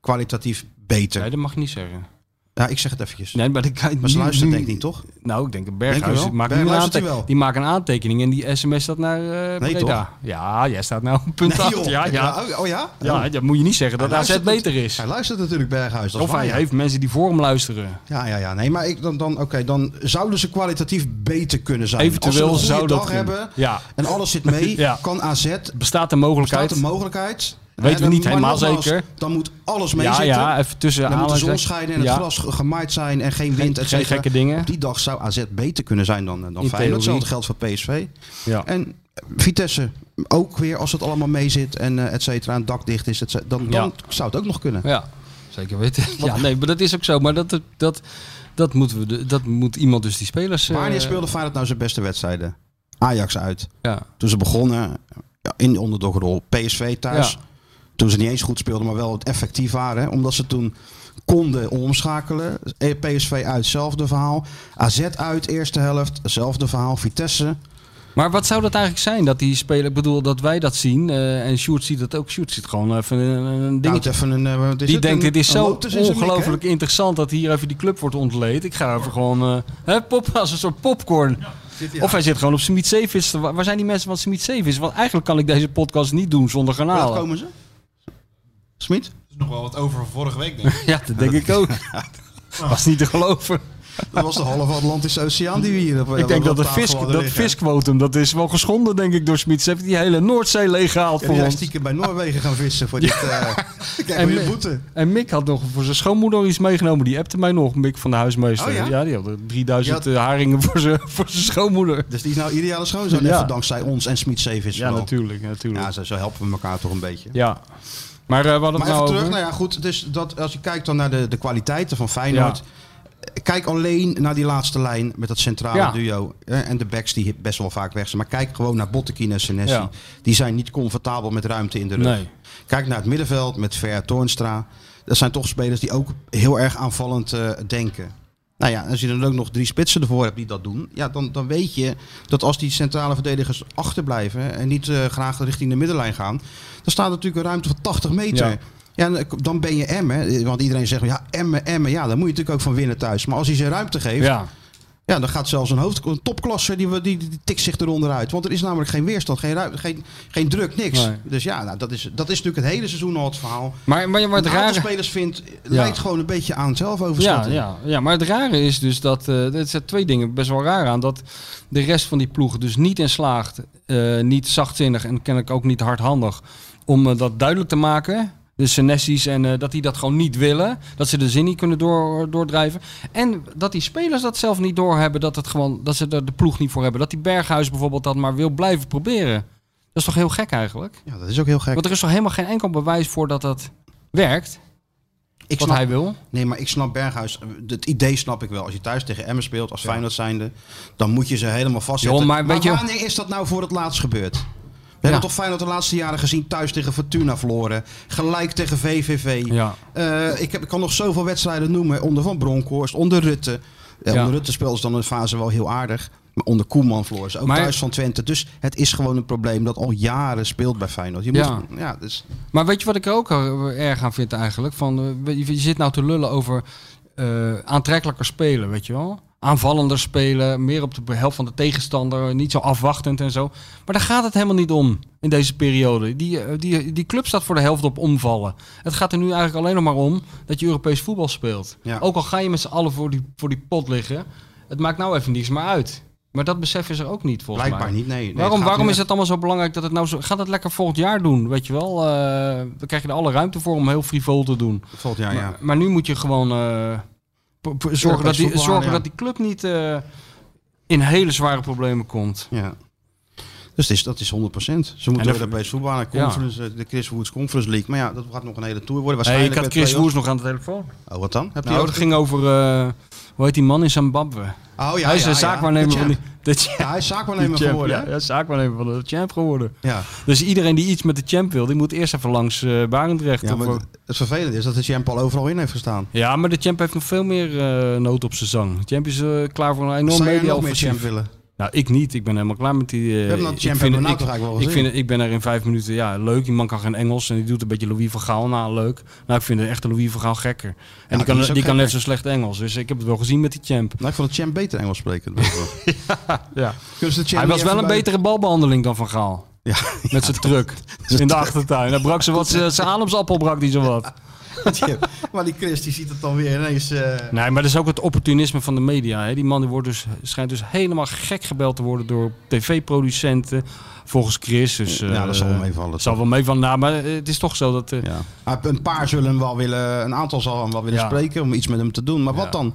Speaker 4: kwalitatief beter.
Speaker 5: Nee, dat mag je niet zeggen.
Speaker 4: Ja, ik zeg het eventjes.
Speaker 5: Nee, maar, ik,
Speaker 4: Maar ze luisteren denk ik niet, toch?
Speaker 5: Nou, ik denk dat
Speaker 4: Denk je
Speaker 5: Berghuis.
Speaker 4: wel?
Speaker 5: Die maakt,
Speaker 4: Berg
Speaker 5: nu een
Speaker 4: luistert
Speaker 5: aante-
Speaker 4: hij wel.
Speaker 5: die maakt een aantekening en die sms staat naar eh
Speaker 4: Nee,
Speaker 5: Breda.
Speaker 4: toch?
Speaker 5: Ja, jij staat nou op punt
Speaker 4: Nee,
Speaker 5: 8.
Speaker 4: joh.
Speaker 5: Ja, ja.
Speaker 4: Oh, oh ja?
Speaker 5: ja, dat moet je niet zeggen dat
Speaker 4: Hij
Speaker 5: AZ
Speaker 4: luistert
Speaker 5: beter
Speaker 4: nat-
Speaker 5: is.
Speaker 4: Hij luistert natuurlijk Berghuis. Dat is
Speaker 5: Of
Speaker 4: waar,
Speaker 5: hij
Speaker 4: ja.
Speaker 5: heeft mensen die voor hem luisteren.
Speaker 4: Ja, ja, ja. Nee, maar ik, dan, dan, oké, dan zouden ze kwalitatief beter kunnen zijn.
Speaker 5: Eventueel
Speaker 4: Als ze een
Speaker 5: zou
Speaker 4: goede
Speaker 5: dat
Speaker 4: dag
Speaker 5: kunnen.
Speaker 4: hebben
Speaker 5: Ja.
Speaker 4: en alles zit mee,
Speaker 5: Ja.
Speaker 4: kan AZ...
Speaker 5: Bestaat de
Speaker 4: Staat
Speaker 5: mogelijkheid?
Speaker 4: de mogelijkheid?
Speaker 5: Weten
Speaker 4: Hè,
Speaker 5: we
Speaker 4: dan-
Speaker 5: niet
Speaker 4: maar
Speaker 5: helemaal
Speaker 4: nogmaals,
Speaker 5: zeker.
Speaker 4: Dan moet alles mee
Speaker 5: ja,
Speaker 4: zitten.
Speaker 5: ja, even tussen
Speaker 4: Dan moet de zon
Speaker 5: aanhalingstekens.
Speaker 4: schijnen en het
Speaker 5: Ja.
Speaker 4: gras ge- gemaaid zijn en geen wind. et
Speaker 5: geen
Speaker 4: cetera.
Speaker 5: gekke dingen.
Speaker 4: Op die dag zou AZ beter kunnen zijn dan, eh, dan
Speaker 5: In
Speaker 4: Feyenoord. Hetzelfde
Speaker 5: theorie.
Speaker 4: geldt voor PSV.
Speaker 5: Ja.
Speaker 4: En eh, Vitesse ook weer, als het allemaal mee zit en eh, et cetera, en het dak dicht is, et cetera, dan, dan zou het ook nog kunnen.
Speaker 5: Ja, zeker weten. Ja, nee, maar dat is ook zo. Maar dat, dat, dat, moeten we, de- dat moet iemand dus die spelers... eh,
Speaker 4: Wanneer speelde Feyenoord nou zijn beste wedstrijden? Ajax uit.
Speaker 5: Ja,
Speaker 4: Toen ze begonnen ja, in de onderdogrol. PSV thuis.
Speaker 5: Ja.
Speaker 4: Toen ze niet eens goed speelden, maar wel effectief waren. hè, Omdat ze toen konden omschakelen. Eh, PSV uit, zelfde verhaal. AZ uit, eerste helft, zelfde verhaal. Vitesse.
Speaker 5: Maar wat zou dat eigenlijk zijn? Dat die speler, ik bedoel, dat wij dat zien eh, en Sjoerd ziet dat ook. Sjoerd ziet gewoon even een, een
Speaker 4: Nou, het
Speaker 5: dingetje.
Speaker 4: even een, eh, wat is
Speaker 5: die
Speaker 4: het?
Speaker 5: denkt,
Speaker 4: Een-
Speaker 5: dit is
Speaker 4: een
Speaker 5: zo
Speaker 4: Lotus in zijn mik, hè?
Speaker 5: ongelooflijk interessant dat hier even die club wordt ontleed. Ik ga even gewoon, eh, hè, pop, als een soort popcorn. Of hij zit gewoon op Smit Zeevis. te wa- Waar zijn die mensen van Smit Zeevis? Want eigenlijk kan ik deze podcast niet doen zonder
Speaker 4: Hoe laat
Speaker 5: garnalen.
Speaker 4: komen ze? Smit?
Speaker 7: is nog wel wat over van vorige week, denk ik.
Speaker 5: Ja, dat denk ik ook. Was niet te geloven.
Speaker 4: Dat was de halve Atlantische Oceaan die we hier op
Speaker 5: ik denk dat de vis, dat visquotum, dat is wel geschonden denk ik door Smits. Ze heeft die hele Noordzee leeggehaald
Speaker 4: Ja,
Speaker 5: voor
Speaker 4: die zijn
Speaker 5: ons.
Speaker 4: stiekem bij Noorwegen gaan vissen voor dit... eh krijgen
Speaker 5: En
Speaker 4: we weer
Speaker 5: me-
Speaker 4: boete.
Speaker 5: En Mick had nog voor zijn schoonmoeder iets meegenomen. Die appte mij nog, Mick van de huismeester.
Speaker 4: Oh ja?
Speaker 5: die had er 3000
Speaker 4: Ja.
Speaker 5: eh, haringen voor zijn, voor zijn schoonmoeder.
Speaker 4: Dus die is nou ideale schoonzoon,
Speaker 5: Ja.
Speaker 4: even dankzij ons en Smit Zeevis.
Speaker 5: Ja,
Speaker 4: vooral.
Speaker 5: natuurlijk, natuurlijk.
Speaker 4: Ja,
Speaker 5: Ja.
Speaker 4: zo, zo helpen we elkaar toch een beetje.
Speaker 5: Maar eh wat het
Speaker 4: Maar
Speaker 5: nou
Speaker 4: even terug,
Speaker 5: over?
Speaker 4: nou ja, goed. Dus dat, als je kijkt dan naar de, de kwaliteiten van Feyenoord. Kijk alleen naar die laatste lijn met dat centrale
Speaker 5: Ja.
Speaker 4: duo. eh, En de backs die best wel vaak weg zijn. Maar kijk gewoon naar Bottekin en Senesi.
Speaker 5: Ja.
Speaker 4: Die zijn niet comfortabel met ruimte in de rug.
Speaker 5: Nee.
Speaker 4: Kijk naar het middenveld met Ver Toornstra. Dat zijn toch spelers die ook heel erg aanvallend eh, denken. Nou ja, als je dan ook nog drie spitsen ervoor hebt die dat doen. Ja, dan, dan weet je dat als die centrale verdedigers achterblijven. En niet eh, graag richting de middenlijn gaan. Dan staat natuurlijk een ruimte van 80 meter.
Speaker 5: Ja.
Speaker 4: Ja. en dan ben je Emmen. Want iedereen zegt, ja, Emmen, Emmen. Ja, daar moet je natuurlijk ook van winnen thuis. Maar als hij zijn ruimte geeft, ja.
Speaker 5: Ja.
Speaker 4: dan gaat zelfs een, hoofd, een topklasse, die, die, die tikt zich eronder uit. Want er is namelijk geen weerstand, geen, ruimte, geen, geen druk, niks.
Speaker 5: Nee.
Speaker 4: Dus ja, nou, dat, is, dat is natuurlijk het hele seizoen al het verhaal.
Speaker 5: Maar, maar, maar
Speaker 4: Wat
Speaker 5: het
Speaker 4: een aantal
Speaker 5: rare...
Speaker 4: spelers vindt, leidt gewoon een beetje aan
Speaker 5: Ja,
Speaker 4: zelfoverschatting.
Speaker 5: ja, ja, maar het rare is dus dat... eh er zijn twee dingen best wel raar aan. Dat de rest van die ploeg dus niet in slaagt. eh, niet zachtzinnig en kennelijk ook niet hardhandig. Om eh, dat duidelijk te maken. De Senessies en eh, dat die dat gewoon niet willen. Dat ze de zin niet kunnen door, doordrijven. En dat die spelers dat zelf niet doorhebben. Dat, het gewoon, dat ze er de ploeg niet voor hebben. Dat die Berghuis bijvoorbeeld dat maar wil blijven proberen. Dat is toch heel gek eigenlijk?
Speaker 4: Ja, dat is ook heel gek.
Speaker 5: Want er is toch helemaal geen enkel bewijs voor dat dat werkt.
Speaker 4: ik
Speaker 5: wat
Speaker 4: snap,
Speaker 5: hij wil.
Speaker 4: Nee, maar ik snap Berghuis. eh, Het idee snap ik wel. Als je thuis tegen Emmen speelt, als Feyenoord zijnde, dan moet je ze helemaal vastzetten.
Speaker 5: Joh, maar weet je-
Speaker 4: wanneer is dat nou voor het laatst gebeurd? We
Speaker 5: Ja.
Speaker 4: hebben toch Feyenoord de laatste jaren gezien thuis tegen Fortuna verloren. Gelijk tegen VVV.
Speaker 5: Ja.
Speaker 4: Eh, ik, heb, ik kan nog zoveel wedstrijden noemen. Onder Van Bronckhorst, onder Rutte. Eh,
Speaker 5: Ja.
Speaker 4: Onder Rutte speelden ze dan een fase wel heel aardig. Maar onder Koeman verloren ze ook
Speaker 5: Maar-
Speaker 4: thuis van Twente. Dus het is gewoon een probleem dat al jaren speelt bij Feyenoord. Je moet,
Speaker 5: Ja.
Speaker 4: ja. Ja, dus,
Speaker 5: Maar weet je wat ik er ook er- erg aan vind eigenlijk? Van, eh, je je zit nou te lullen over eh, aantrekkelijker spelen, weet je wel? Aanvallender spelen, meer op de helft van de tegenstander, niet zo afwachtend en zo. Maar daar gaat het helemaal niet om in deze periode. Die, eh, die, die club staat voor de helft op omvallen. Het gaat er nu eigenlijk alleen nog maar om dat je Europees voetbal speelt.
Speaker 4: Ja.
Speaker 5: Ook al ga je met z'n allen voor die, voor die pot liggen, het maakt nou even niks meer uit. Maar dat besef is er ook niet volgens mij.
Speaker 4: blijkbaar niet. Nee, Nee, het
Speaker 5: Waarom,
Speaker 4: gaat
Speaker 5: waarom
Speaker 4: nu
Speaker 5: is het allemaal zo belangrijk dat het nou zo... Gaat het lekker volgend jaar doen, weet je wel? Eh, dan krijg je er alle ruimte voor om heel frivol te doen.
Speaker 4: echt- Volgend jaar, ja.
Speaker 5: Maar, maar nu moet je gewoon eh, p- p- zorgen, dat die,
Speaker 4: voetbal
Speaker 5: zorgen
Speaker 4: aan, ja.
Speaker 5: dat die club niet eh, in hele zware problemen komt.
Speaker 4: Ja. Dus het is, dat is 100%. Ze moeten
Speaker 5: dat-
Speaker 4: weer Europees voetbal aan. Conference, eh, De Chris Woods Conference League. Maar ja, dat gaat nog een hele tour worden.
Speaker 5: Hey,
Speaker 4: Waarschijnlijk
Speaker 5: ik had
Speaker 4: met
Speaker 5: Chris
Speaker 4: play-offs.
Speaker 5: Woers nog aan de telefoon.
Speaker 4: Oh, wat dan? Heb je
Speaker 5: Nou,
Speaker 4: ook-
Speaker 5: dat ging over... eh, hoe heet die man in Zimbabwe?
Speaker 4: Oh, ja,
Speaker 5: Hij is
Speaker 4: ja,
Speaker 5: een
Speaker 4: ja.
Speaker 5: zaakwaarnemer
Speaker 4: De
Speaker 5: van die...
Speaker 4: champ.
Speaker 5: De champ,
Speaker 4: Ja, hij is zaakwaarnemer
Speaker 5: de champ,
Speaker 4: geworden.
Speaker 5: ja,
Speaker 4: hè?
Speaker 5: ja, zaakwaarnemer van de champ geworden.
Speaker 4: Ja.
Speaker 5: Dus iedereen die iets met de champ wil, die moet eerst even langs eh Barendrecht.
Speaker 4: Ja,
Speaker 5: of,
Speaker 4: maar
Speaker 5: eh,
Speaker 4: het- het vervelende is dat de champ al overal in heeft gestaan.
Speaker 5: Ja, maar de champ heeft nog veel meer eh, nood op zijn zang. De champ is eh, klaar voor een enorm
Speaker 4: Zou jij nog meer
Speaker 5: media
Speaker 4: champ willen?
Speaker 5: Nou, ik niet. Ik ben helemaal klaar met die... eh,
Speaker 4: hebben dat
Speaker 5: ik
Speaker 4: champ
Speaker 5: vind
Speaker 4: hebben we
Speaker 5: het-
Speaker 4: nou toch
Speaker 5: ik-
Speaker 4: eigenlijk wel
Speaker 5: ik,
Speaker 4: gezien?
Speaker 5: vind, het- ik ben er in vijf minuten, ja, leuk. Die man kan geen Engels en die doet een beetje Louis van Gaal na, leuk. Nou, ik vind de echte Louis van Gaal gekker. En die,
Speaker 4: die
Speaker 5: kan,
Speaker 4: is ook
Speaker 5: die kan net zo
Speaker 4: gekker.
Speaker 5: slecht Engels. Dus ik heb het wel gezien met die champ.
Speaker 4: Nou, ik vond de champ beter Engels spreken. ja. Kunnen ze de champ
Speaker 5: Hij
Speaker 4: niet
Speaker 5: was wel
Speaker 4: even
Speaker 5: een
Speaker 4: bij-
Speaker 5: betere balbehandeling dan van Gaal.
Speaker 4: Ja.
Speaker 5: Met zijn truck in de achtertuin. Hij brak ze wat, ze- zijn ademsappel brak die zo wat.
Speaker 4: maar die Chris die ziet het dan weer ineens... eh,
Speaker 5: Nee, maar dat is ook het opportunisme van de media. Hè. Die man die wordt dus, schijnt dus helemaal gek gebeld te worden door tv-producenten. Volgens Chris. Dus, eh,
Speaker 4: Ja, dat zal wel meevallen,
Speaker 5: dat zal wel meevallen. Nou, maar eh, het is toch zo dat... eh, ja.
Speaker 4: ja. Maar Een paar zullen hem wel willen, een aantal zal hem wel willen
Speaker 5: Ja.
Speaker 4: spreken om iets met hem te doen. Maar wat
Speaker 5: Ja.
Speaker 4: dan?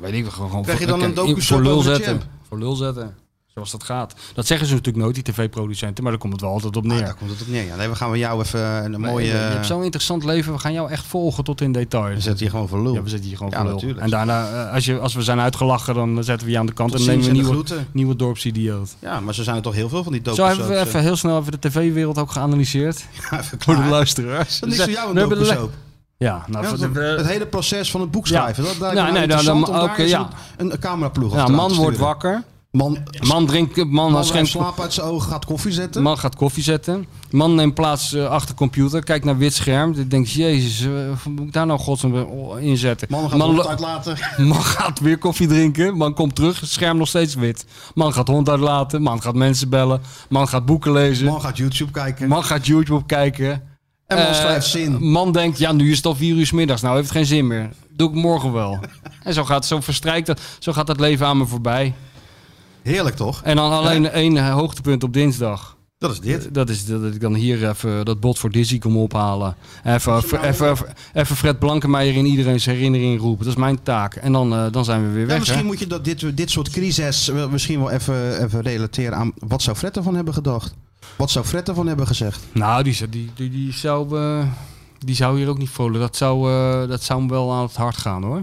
Speaker 5: weet ik wel, gewoon...
Speaker 4: Krijg je
Speaker 5: voor-
Speaker 4: dan een
Speaker 5: kijk,
Speaker 4: docu-shop
Speaker 5: Voor lul
Speaker 4: over de
Speaker 5: zetten.
Speaker 4: champ?
Speaker 5: Voor lul zetten. Zoals dat gaat. Dat zeggen ze natuurlijk nooit, die tv-producenten. Maar daar komt het wel altijd op
Speaker 4: Ah,
Speaker 5: neer.
Speaker 4: daar komt het op neer. Ja, nee, we gaan we jou even een
Speaker 5: Maar,
Speaker 4: mooie...
Speaker 5: eh, Je hebt zo'n interessant leven. We gaan jou echt volgen tot in detail.
Speaker 4: We zetten hier gewoon voor lul.
Speaker 5: Ja, we zitten hier gewoon
Speaker 4: Ja,
Speaker 5: voor lul.
Speaker 4: natuurlijk.
Speaker 5: En daarna, eh, als, je, als we zijn uitgelachen, dan zetten we je aan de kant.
Speaker 4: Tot
Speaker 5: en nemen we een
Speaker 4: ziens en de
Speaker 5: nieuwe,
Speaker 4: groeten.
Speaker 5: nieuwe dorpsidioot.
Speaker 4: Ja, maar ze zijn er toch heel veel van die dopen.
Speaker 5: Zo hebben we even heel snel even de tv-wereld ook geanalyseerd. Voor de
Speaker 4: klaar.
Speaker 5: luisteraars.
Speaker 4: Dat is voor jou
Speaker 5: We
Speaker 4: een
Speaker 5: hebben de le-
Speaker 4: dopensoap.
Speaker 5: Ja, nou,
Speaker 4: dus Ja,
Speaker 5: voor
Speaker 4: dat-
Speaker 5: de-
Speaker 4: Het hele proces van het boek schrijven.
Speaker 5: Ja.
Speaker 4: Dat lijkt
Speaker 5: Ja,
Speaker 4: me nou
Speaker 5: nee, dan-
Speaker 4: interessant
Speaker 5: dan-
Speaker 4: om daar
Speaker 5: oké,
Speaker 4: eens
Speaker 5: ja.
Speaker 4: een, een cameraploeg
Speaker 5: ja,
Speaker 4: achteraan
Speaker 5: man
Speaker 4: te
Speaker 5: wordt
Speaker 4: sturen.
Speaker 5: wakker.
Speaker 4: Man,
Speaker 5: Man, drinkt, man,
Speaker 4: man
Speaker 5: schenkt-
Speaker 4: schijnt slaap uit zijn ogen, gaat koffie zetten.
Speaker 5: man gaat koffie zetten. Man neemt plaats eh, achter computer, kijkt naar wit scherm. Die denkt, jezus, eh, hoe moet ik daar nou godsnaam in zetten?
Speaker 4: man gaat
Speaker 5: man,
Speaker 4: man,
Speaker 5: lo-
Speaker 4: uitlaten.
Speaker 5: man gaat weer koffie drinken. Man komt terug, scherm nog steeds wit. Man gaat hond uitlaten. Man gaat mensen bellen. Man gaat boeken lezen. Man,
Speaker 4: Man gaat YouTube kijken.
Speaker 5: gaat YouTube kijken.
Speaker 4: en man
Speaker 5: Eh,
Speaker 4: schrijft zin.
Speaker 5: Man denkt, ja, nu is het al vier uur 's middags. Nou heeft het geen zin meer. Doe ik morgen wel. en zo gaat, zo verstrijkt dat, zo gaat dat leven aan me voorbij.
Speaker 4: Heerlijk toch?
Speaker 5: En dan alleen één eh, hoogtepunt op dinsdag.
Speaker 4: Dat is dit.
Speaker 5: Dat is dat ik dan hier even dat bot voor Dizzy kom ophalen. Even, even,
Speaker 4: nou-
Speaker 5: even, even Fred Blankenmeijer in iedereen's herinnering roepen. Dat is mijn taak. En dan, eh, dan zijn we weer
Speaker 4: Ja,
Speaker 5: weg.
Speaker 4: misschien
Speaker 5: hè?
Speaker 4: moet je dat, dit, dit soort crises wel- misschien wel even, even relateren aan wat zou Fred ervan hebben gedacht? Wat zou Fred ervan hebben gezegd?
Speaker 5: Nou, die, zou- die, die, die zou, eh, die zou hier ook niet vrolijk. Dat zou, eh, dat zou hem wel aan het hart gaan hoor.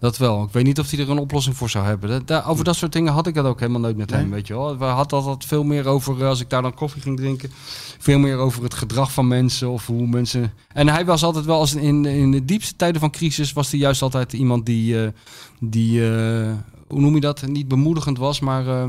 Speaker 5: Dat wel. Ik weet niet of hij er een oplossing voor zou hebben. Dat, daar, over dat soort dingen had ik dat ook helemaal nooit met hem. Weet je wel. We hadden altijd veel meer over, eh, als ik daar dan koffie ging drinken, veel meer over het gedrag van mensen of hoe mensen. En hij was altijd wel, als in, in de diepste tijden van crisis, was hij juist altijd iemand die, eh, die eh, hoe noem je dat? Niet bemoedigend was, maar. eh,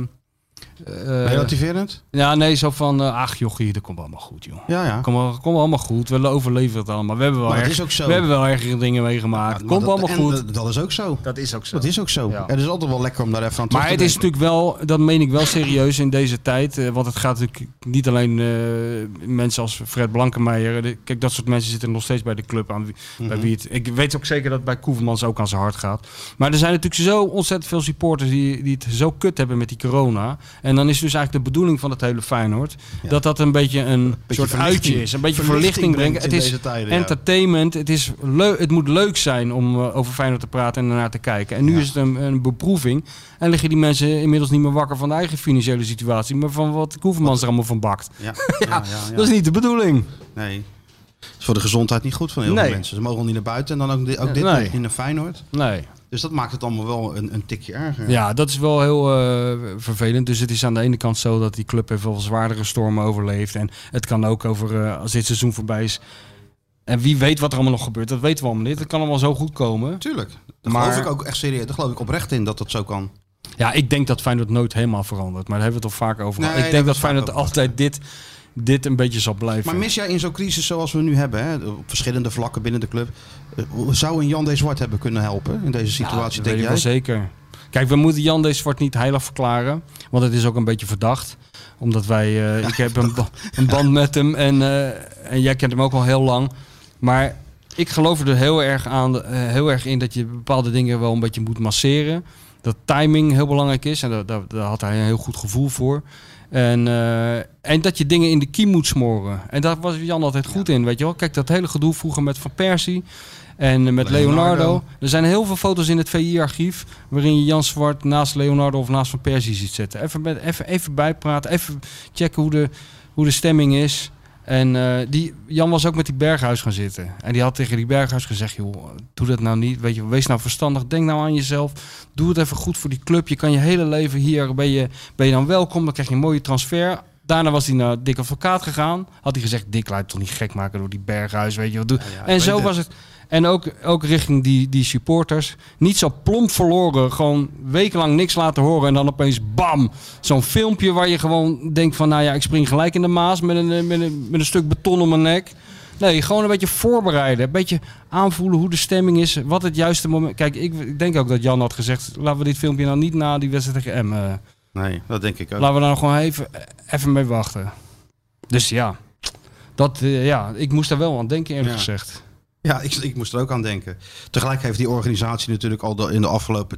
Speaker 5: eh,
Speaker 4: Relativerend?
Speaker 5: ja, nee, zo van, eh, ach jochie, dat komt allemaal goed, joh.
Speaker 4: Ja, ja.
Speaker 5: Kom, wel- kom allemaal goed. We overleven het allemaal. We hebben wel,
Speaker 4: Maar dat
Speaker 5: erg,
Speaker 4: is ook zo.
Speaker 5: We hebben wel ergere dingen meegemaakt.
Speaker 4: Maar
Speaker 5: Komt
Speaker 4: dat-
Speaker 5: allemaal
Speaker 4: en
Speaker 5: goed.
Speaker 4: Dat, dat is ook zo.
Speaker 5: Dat is ook zo.
Speaker 4: Dat is ook zo.
Speaker 5: Ja.
Speaker 4: Het is altijd wel lekker om daar even aan terug
Speaker 5: maar
Speaker 4: te
Speaker 5: het is
Speaker 4: denken.
Speaker 5: natuurlijk wel, dat meen ik wel serieus in deze tijd. eh, Want het gaat natuurlijk niet alleen eh, mensen als Fred Blankenmeijer. eh, de- Kijk, dat soort mensen zitten nog steeds bij de club aan. Wie, bij
Speaker 4: Mhm.
Speaker 5: wie het, ik weet ook zeker dat het bij Koevermans ook aan zijn hart gaat. Maar er zijn natuurlijk zo ontzettend veel supporters die, die het zo kut hebben met die corona. En dan is dus eigenlijk de bedoeling van het hele Feyenoord.
Speaker 4: Ja.
Speaker 5: Dat dat een beetje een soort
Speaker 4: verlichting.
Speaker 5: uitje is. Een beetje
Speaker 4: Verlichting
Speaker 5: verlichting brengen.
Speaker 4: brengt
Speaker 5: Het
Speaker 4: in
Speaker 5: is
Speaker 4: deze tijden, ja.
Speaker 5: entertainment. Het, is leu- het moet leuk zijn om eh, over Feyenoord te praten en ernaar te kijken. En nu is het een, een beproeving. En liggen die mensen inmiddels niet meer wakker van de eigen financiële situatie. Maar van wat Koevermans er allemaal van bakt.
Speaker 4: Ja, ja, ja, ja.
Speaker 5: Dat is niet de bedoeling.
Speaker 4: Nee. Dat is voor de gezondheid niet goed van heel
Speaker 5: Nee.
Speaker 4: veel mensen. Ze mogen niet naar buiten en dan ook, di- ook dit
Speaker 5: Nee.
Speaker 4: niet in de Feyenoord.
Speaker 5: Nee.
Speaker 4: Dus dat maakt het allemaal wel een, een tikje erger.
Speaker 5: Ja, dat is wel heel eh, vervelend. Dus het is aan de ene kant zo dat die club heeft wel zwaardere stormen overleefd. En het kan ook over, eh, als dit seizoen voorbij is... En wie weet wat er allemaal nog gebeurt, dat weten we allemaal niet. Het kan allemaal zo goed komen.
Speaker 4: Tuurlijk. Daar
Speaker 5: Maar-
Speaker 4: geloof ik ook echt serieus. Daar geloof ik oprecht in dat dat zo kan.
Speaker 5: Ja, ik denk dat Feyenoord nooit helemaal verandert. Maar daar hebben we het al vaak over gehad.
Speaker 4: Nee,
Speaker 5: ik
Speaker 4: daar
Speaker 5: denk
Speaker 4: hebben
Speaker 5: dat
Speaker 4: we
Speaker 5: Feyenoord
Speaker 4: het vaak over
Speaker 5: altijd dit, dit een beetje zal blijven.
Speaker 4: Maar mis jij in zo'n crisis zoals we nu hebben, hè, op verschillende vlakken binnen de club, eh, zou een Jan de Zwart hebben kunnen helpen in deze
Speaker 5: Ja,
Speaker 4: situatie, denk
Speaker 5: dat weet ik
Speaker 4: jij?
Speaker 5: wel zeker. Kijk, we moeten Jan de Zwart niet heilig verklaren. Want het is ook een beetje verdacht. Omdat wij... eh, ik heb een, ba- een band met hem. En, eh, en jij kent hem ook al heel lang. Maar ik geloof er dus heel erg, aan, eh, heel erg in dat je bepaalde dingen wel een beetje moet masseren. Dat timing heel belangrijk is. En daar, daar, daar had hij een heel goed gevoel voor. En, eh, en dat je dingen in de kiem moet smoren. En daar was Jan altijd goed in, weet je wel. Kijk, dat hele gedoe vroeger met Van Persie en eh, met Leonardo.
Speaker 4: Leonardo.
Speaker 5: Er zijn heel veel foto's in het VI-archief... waarin je Jan Zwart naast Leonardo of naast Van Persie ziet zitten. Even, met, even, even bijpraten, even checken hoe de, hoe de stemming is. En eh, die, Jan was ook met die Berghuis gaan zitten. En die had tegen die Berghuis gezegd... joh, doe dat nou niet, weet je, wees nou verstandig, denk nou aan jezelf... Doe het even goed voor die club. Je kan je hele leven hier. Ben je, ben je dan welkom? Dan krijg je een mooie transfer. Daarna was hij naar Dick Advocaat gegaan. Had hij gezegd: Dick, laat je toch niet gek maken door die berghuis. Weet je wat? Doe. en
Speaker 4: weet
Speaker 5: zo
Speaker 4: het.
Speaker 5: was het. En ook, ook richting die, die supporters. Niet zo plomp verloren. Gewoon wekenlang niks laten horen. En dan opeens bam. Zo'n filmpje waar je gewoon denkt: van nou ja, ik spring gelijk in de maas met een, eh, met een, met een stuk beton om mijn nek. Nee, gewoon een beetje voorbereiden. Een beetje aanvoelen hoe de stemming is. Wat het juiste moment. Kijk, ik, ik denk ook dat Jan had gezegd. Laten we dit filmpje nou niet na die wedstrijd tegen Emmen. eh,
Speaker 4: Nee, dat denk ik ook.
Speaker 5: Laten we daar nou gewoon even, even mee wachten. Dus ja. Dat, eh, ja, ik moest daar wel aan denken, eerlijk
Speaker 4: Ja.
Speaker 5: gezegd.
Speaker 4: Ja, ik, ik moest er ook aan denken. Tegelijk heeft die organisatie natuurlijk al de- in de afgelopen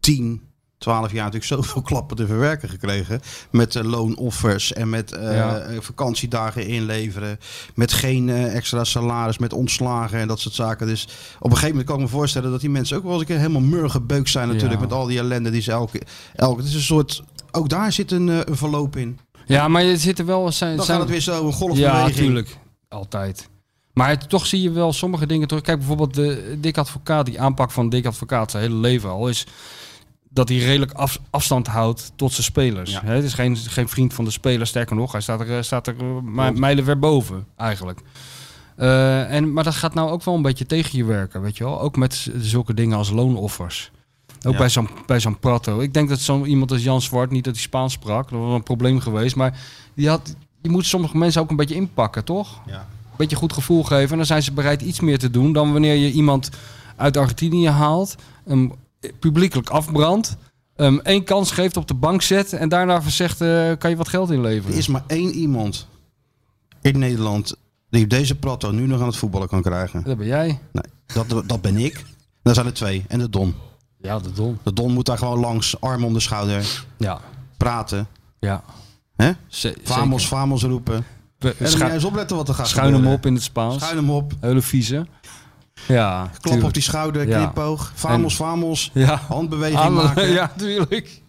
Speaker 4: 10, 12 jaar natuurlijk zoveel klappen te verwerken gekregen. Met eh, loonoffers en met eh,
Speaker 5: Ja.
Speaker 4: eh, vakantiedagen inleveren. Met geen eh, extra salaris, met ontslagen en dat soort zaken. Dus op een gegeven moment kan ik me voorstellen dat die mensen ook wel eens een keer helemaal murgebeukt zijn natuurlijk.
Speaker 5: Ja.
Speaker 4: Met al die ellende die ze elke, elke... Het is een soort... Ook daar zit een, eh, een verloop in.
Speaker 5: Ja, maar er zitten wel... Zijn,
Speaker 4: Dan
Speaker 5: zijn-
Speaker 4: gaat het weer zo een golfbeweging.
Speaker 5: Ja, natuurlijk. Altijd. Maar het- toch zie je wel sommige dingen terug. Kijk bijvoorbeeld de Dick Advocaat, die aanpak van Dick Advocaat zijn hele leven al is dat hij redelijk af- afstand houdt tot zijn spelers.
Speaker 4: Ja.
Speaker 5: Hè, het is geen, geen vriend van de speler, sterker nog, hij staat er, eh, staat er eh, mi- mijlen ver boven eigenlijk. Eh, en, maar dat gaat nou ook wel een beetje tegen je werken, weet je wel. Ook met z- zulke dingen als loonoffers. Ook
Speaker 4: Ja.
Speaker 5: bij zo'n bij zo'n Prato. Ik denk dat zo iemand als Jan Zwart, niet dat hij Spaans sprak, dat was wel een probleem geweest. Maar die had, je moet sommige mensen ook een beetje inpakken, toch?
Speaker 7: Ja.
Speaker 5: Een beetje goed gevoel geven. En dan zijn ze bereid iets meer te doen dan wanneer je iemand uit Argentinië haalt, hem publiekelijk afbrandt, hem één kans geeft op de bank zet en daarna zegt, eh, kan je wat geld
Speaker 4: Er
Speaker 5: inleveren?
Speaker 4: is maar één iemand in Nederland die deze Prato nu nog aan het voetballen kan krijgen.
Speaker 5: Dat ben jij.
Speaker 4: Nee, dat, dat ben ik. Dan zijn er twee. En de Don.
Speaker 5: Ja, de dom.
Speaker 4: De Don moet daar gewoon langs, arm om de schouder,
Speaker 5: Ja,
Speaker 4: praten.
Speaker 5: ja.
Speaker 4: Hè?
Speaker 5: Ze-
Speaker 4: Vamos,
Speaker 5: zeker.
Speaker 4: vamos roepen.
Speaker 5: We-
Speaker 4: En dan moet
Speaker 5: schu-
Speaker 4: jij eens opletten wat er gaat
Speaker 5: schuin hem
Speaker 4: gebeuren.
Speaker 5: op in het Spaans.
Speaker 4: Schuin hem op.
Speaker 5: Hele vieze. Ja,
Speaker 4: Klap op die schouder,
Speaker 5: Ja.
Speaker 4: knipoog. Vamos, vamos.
Speaker 5: Ja.
Speaker 4: Handbeweging
Speaker 5: Aan-
Speaker 4: maken.
Speaker 5: Ja, tuurlijk.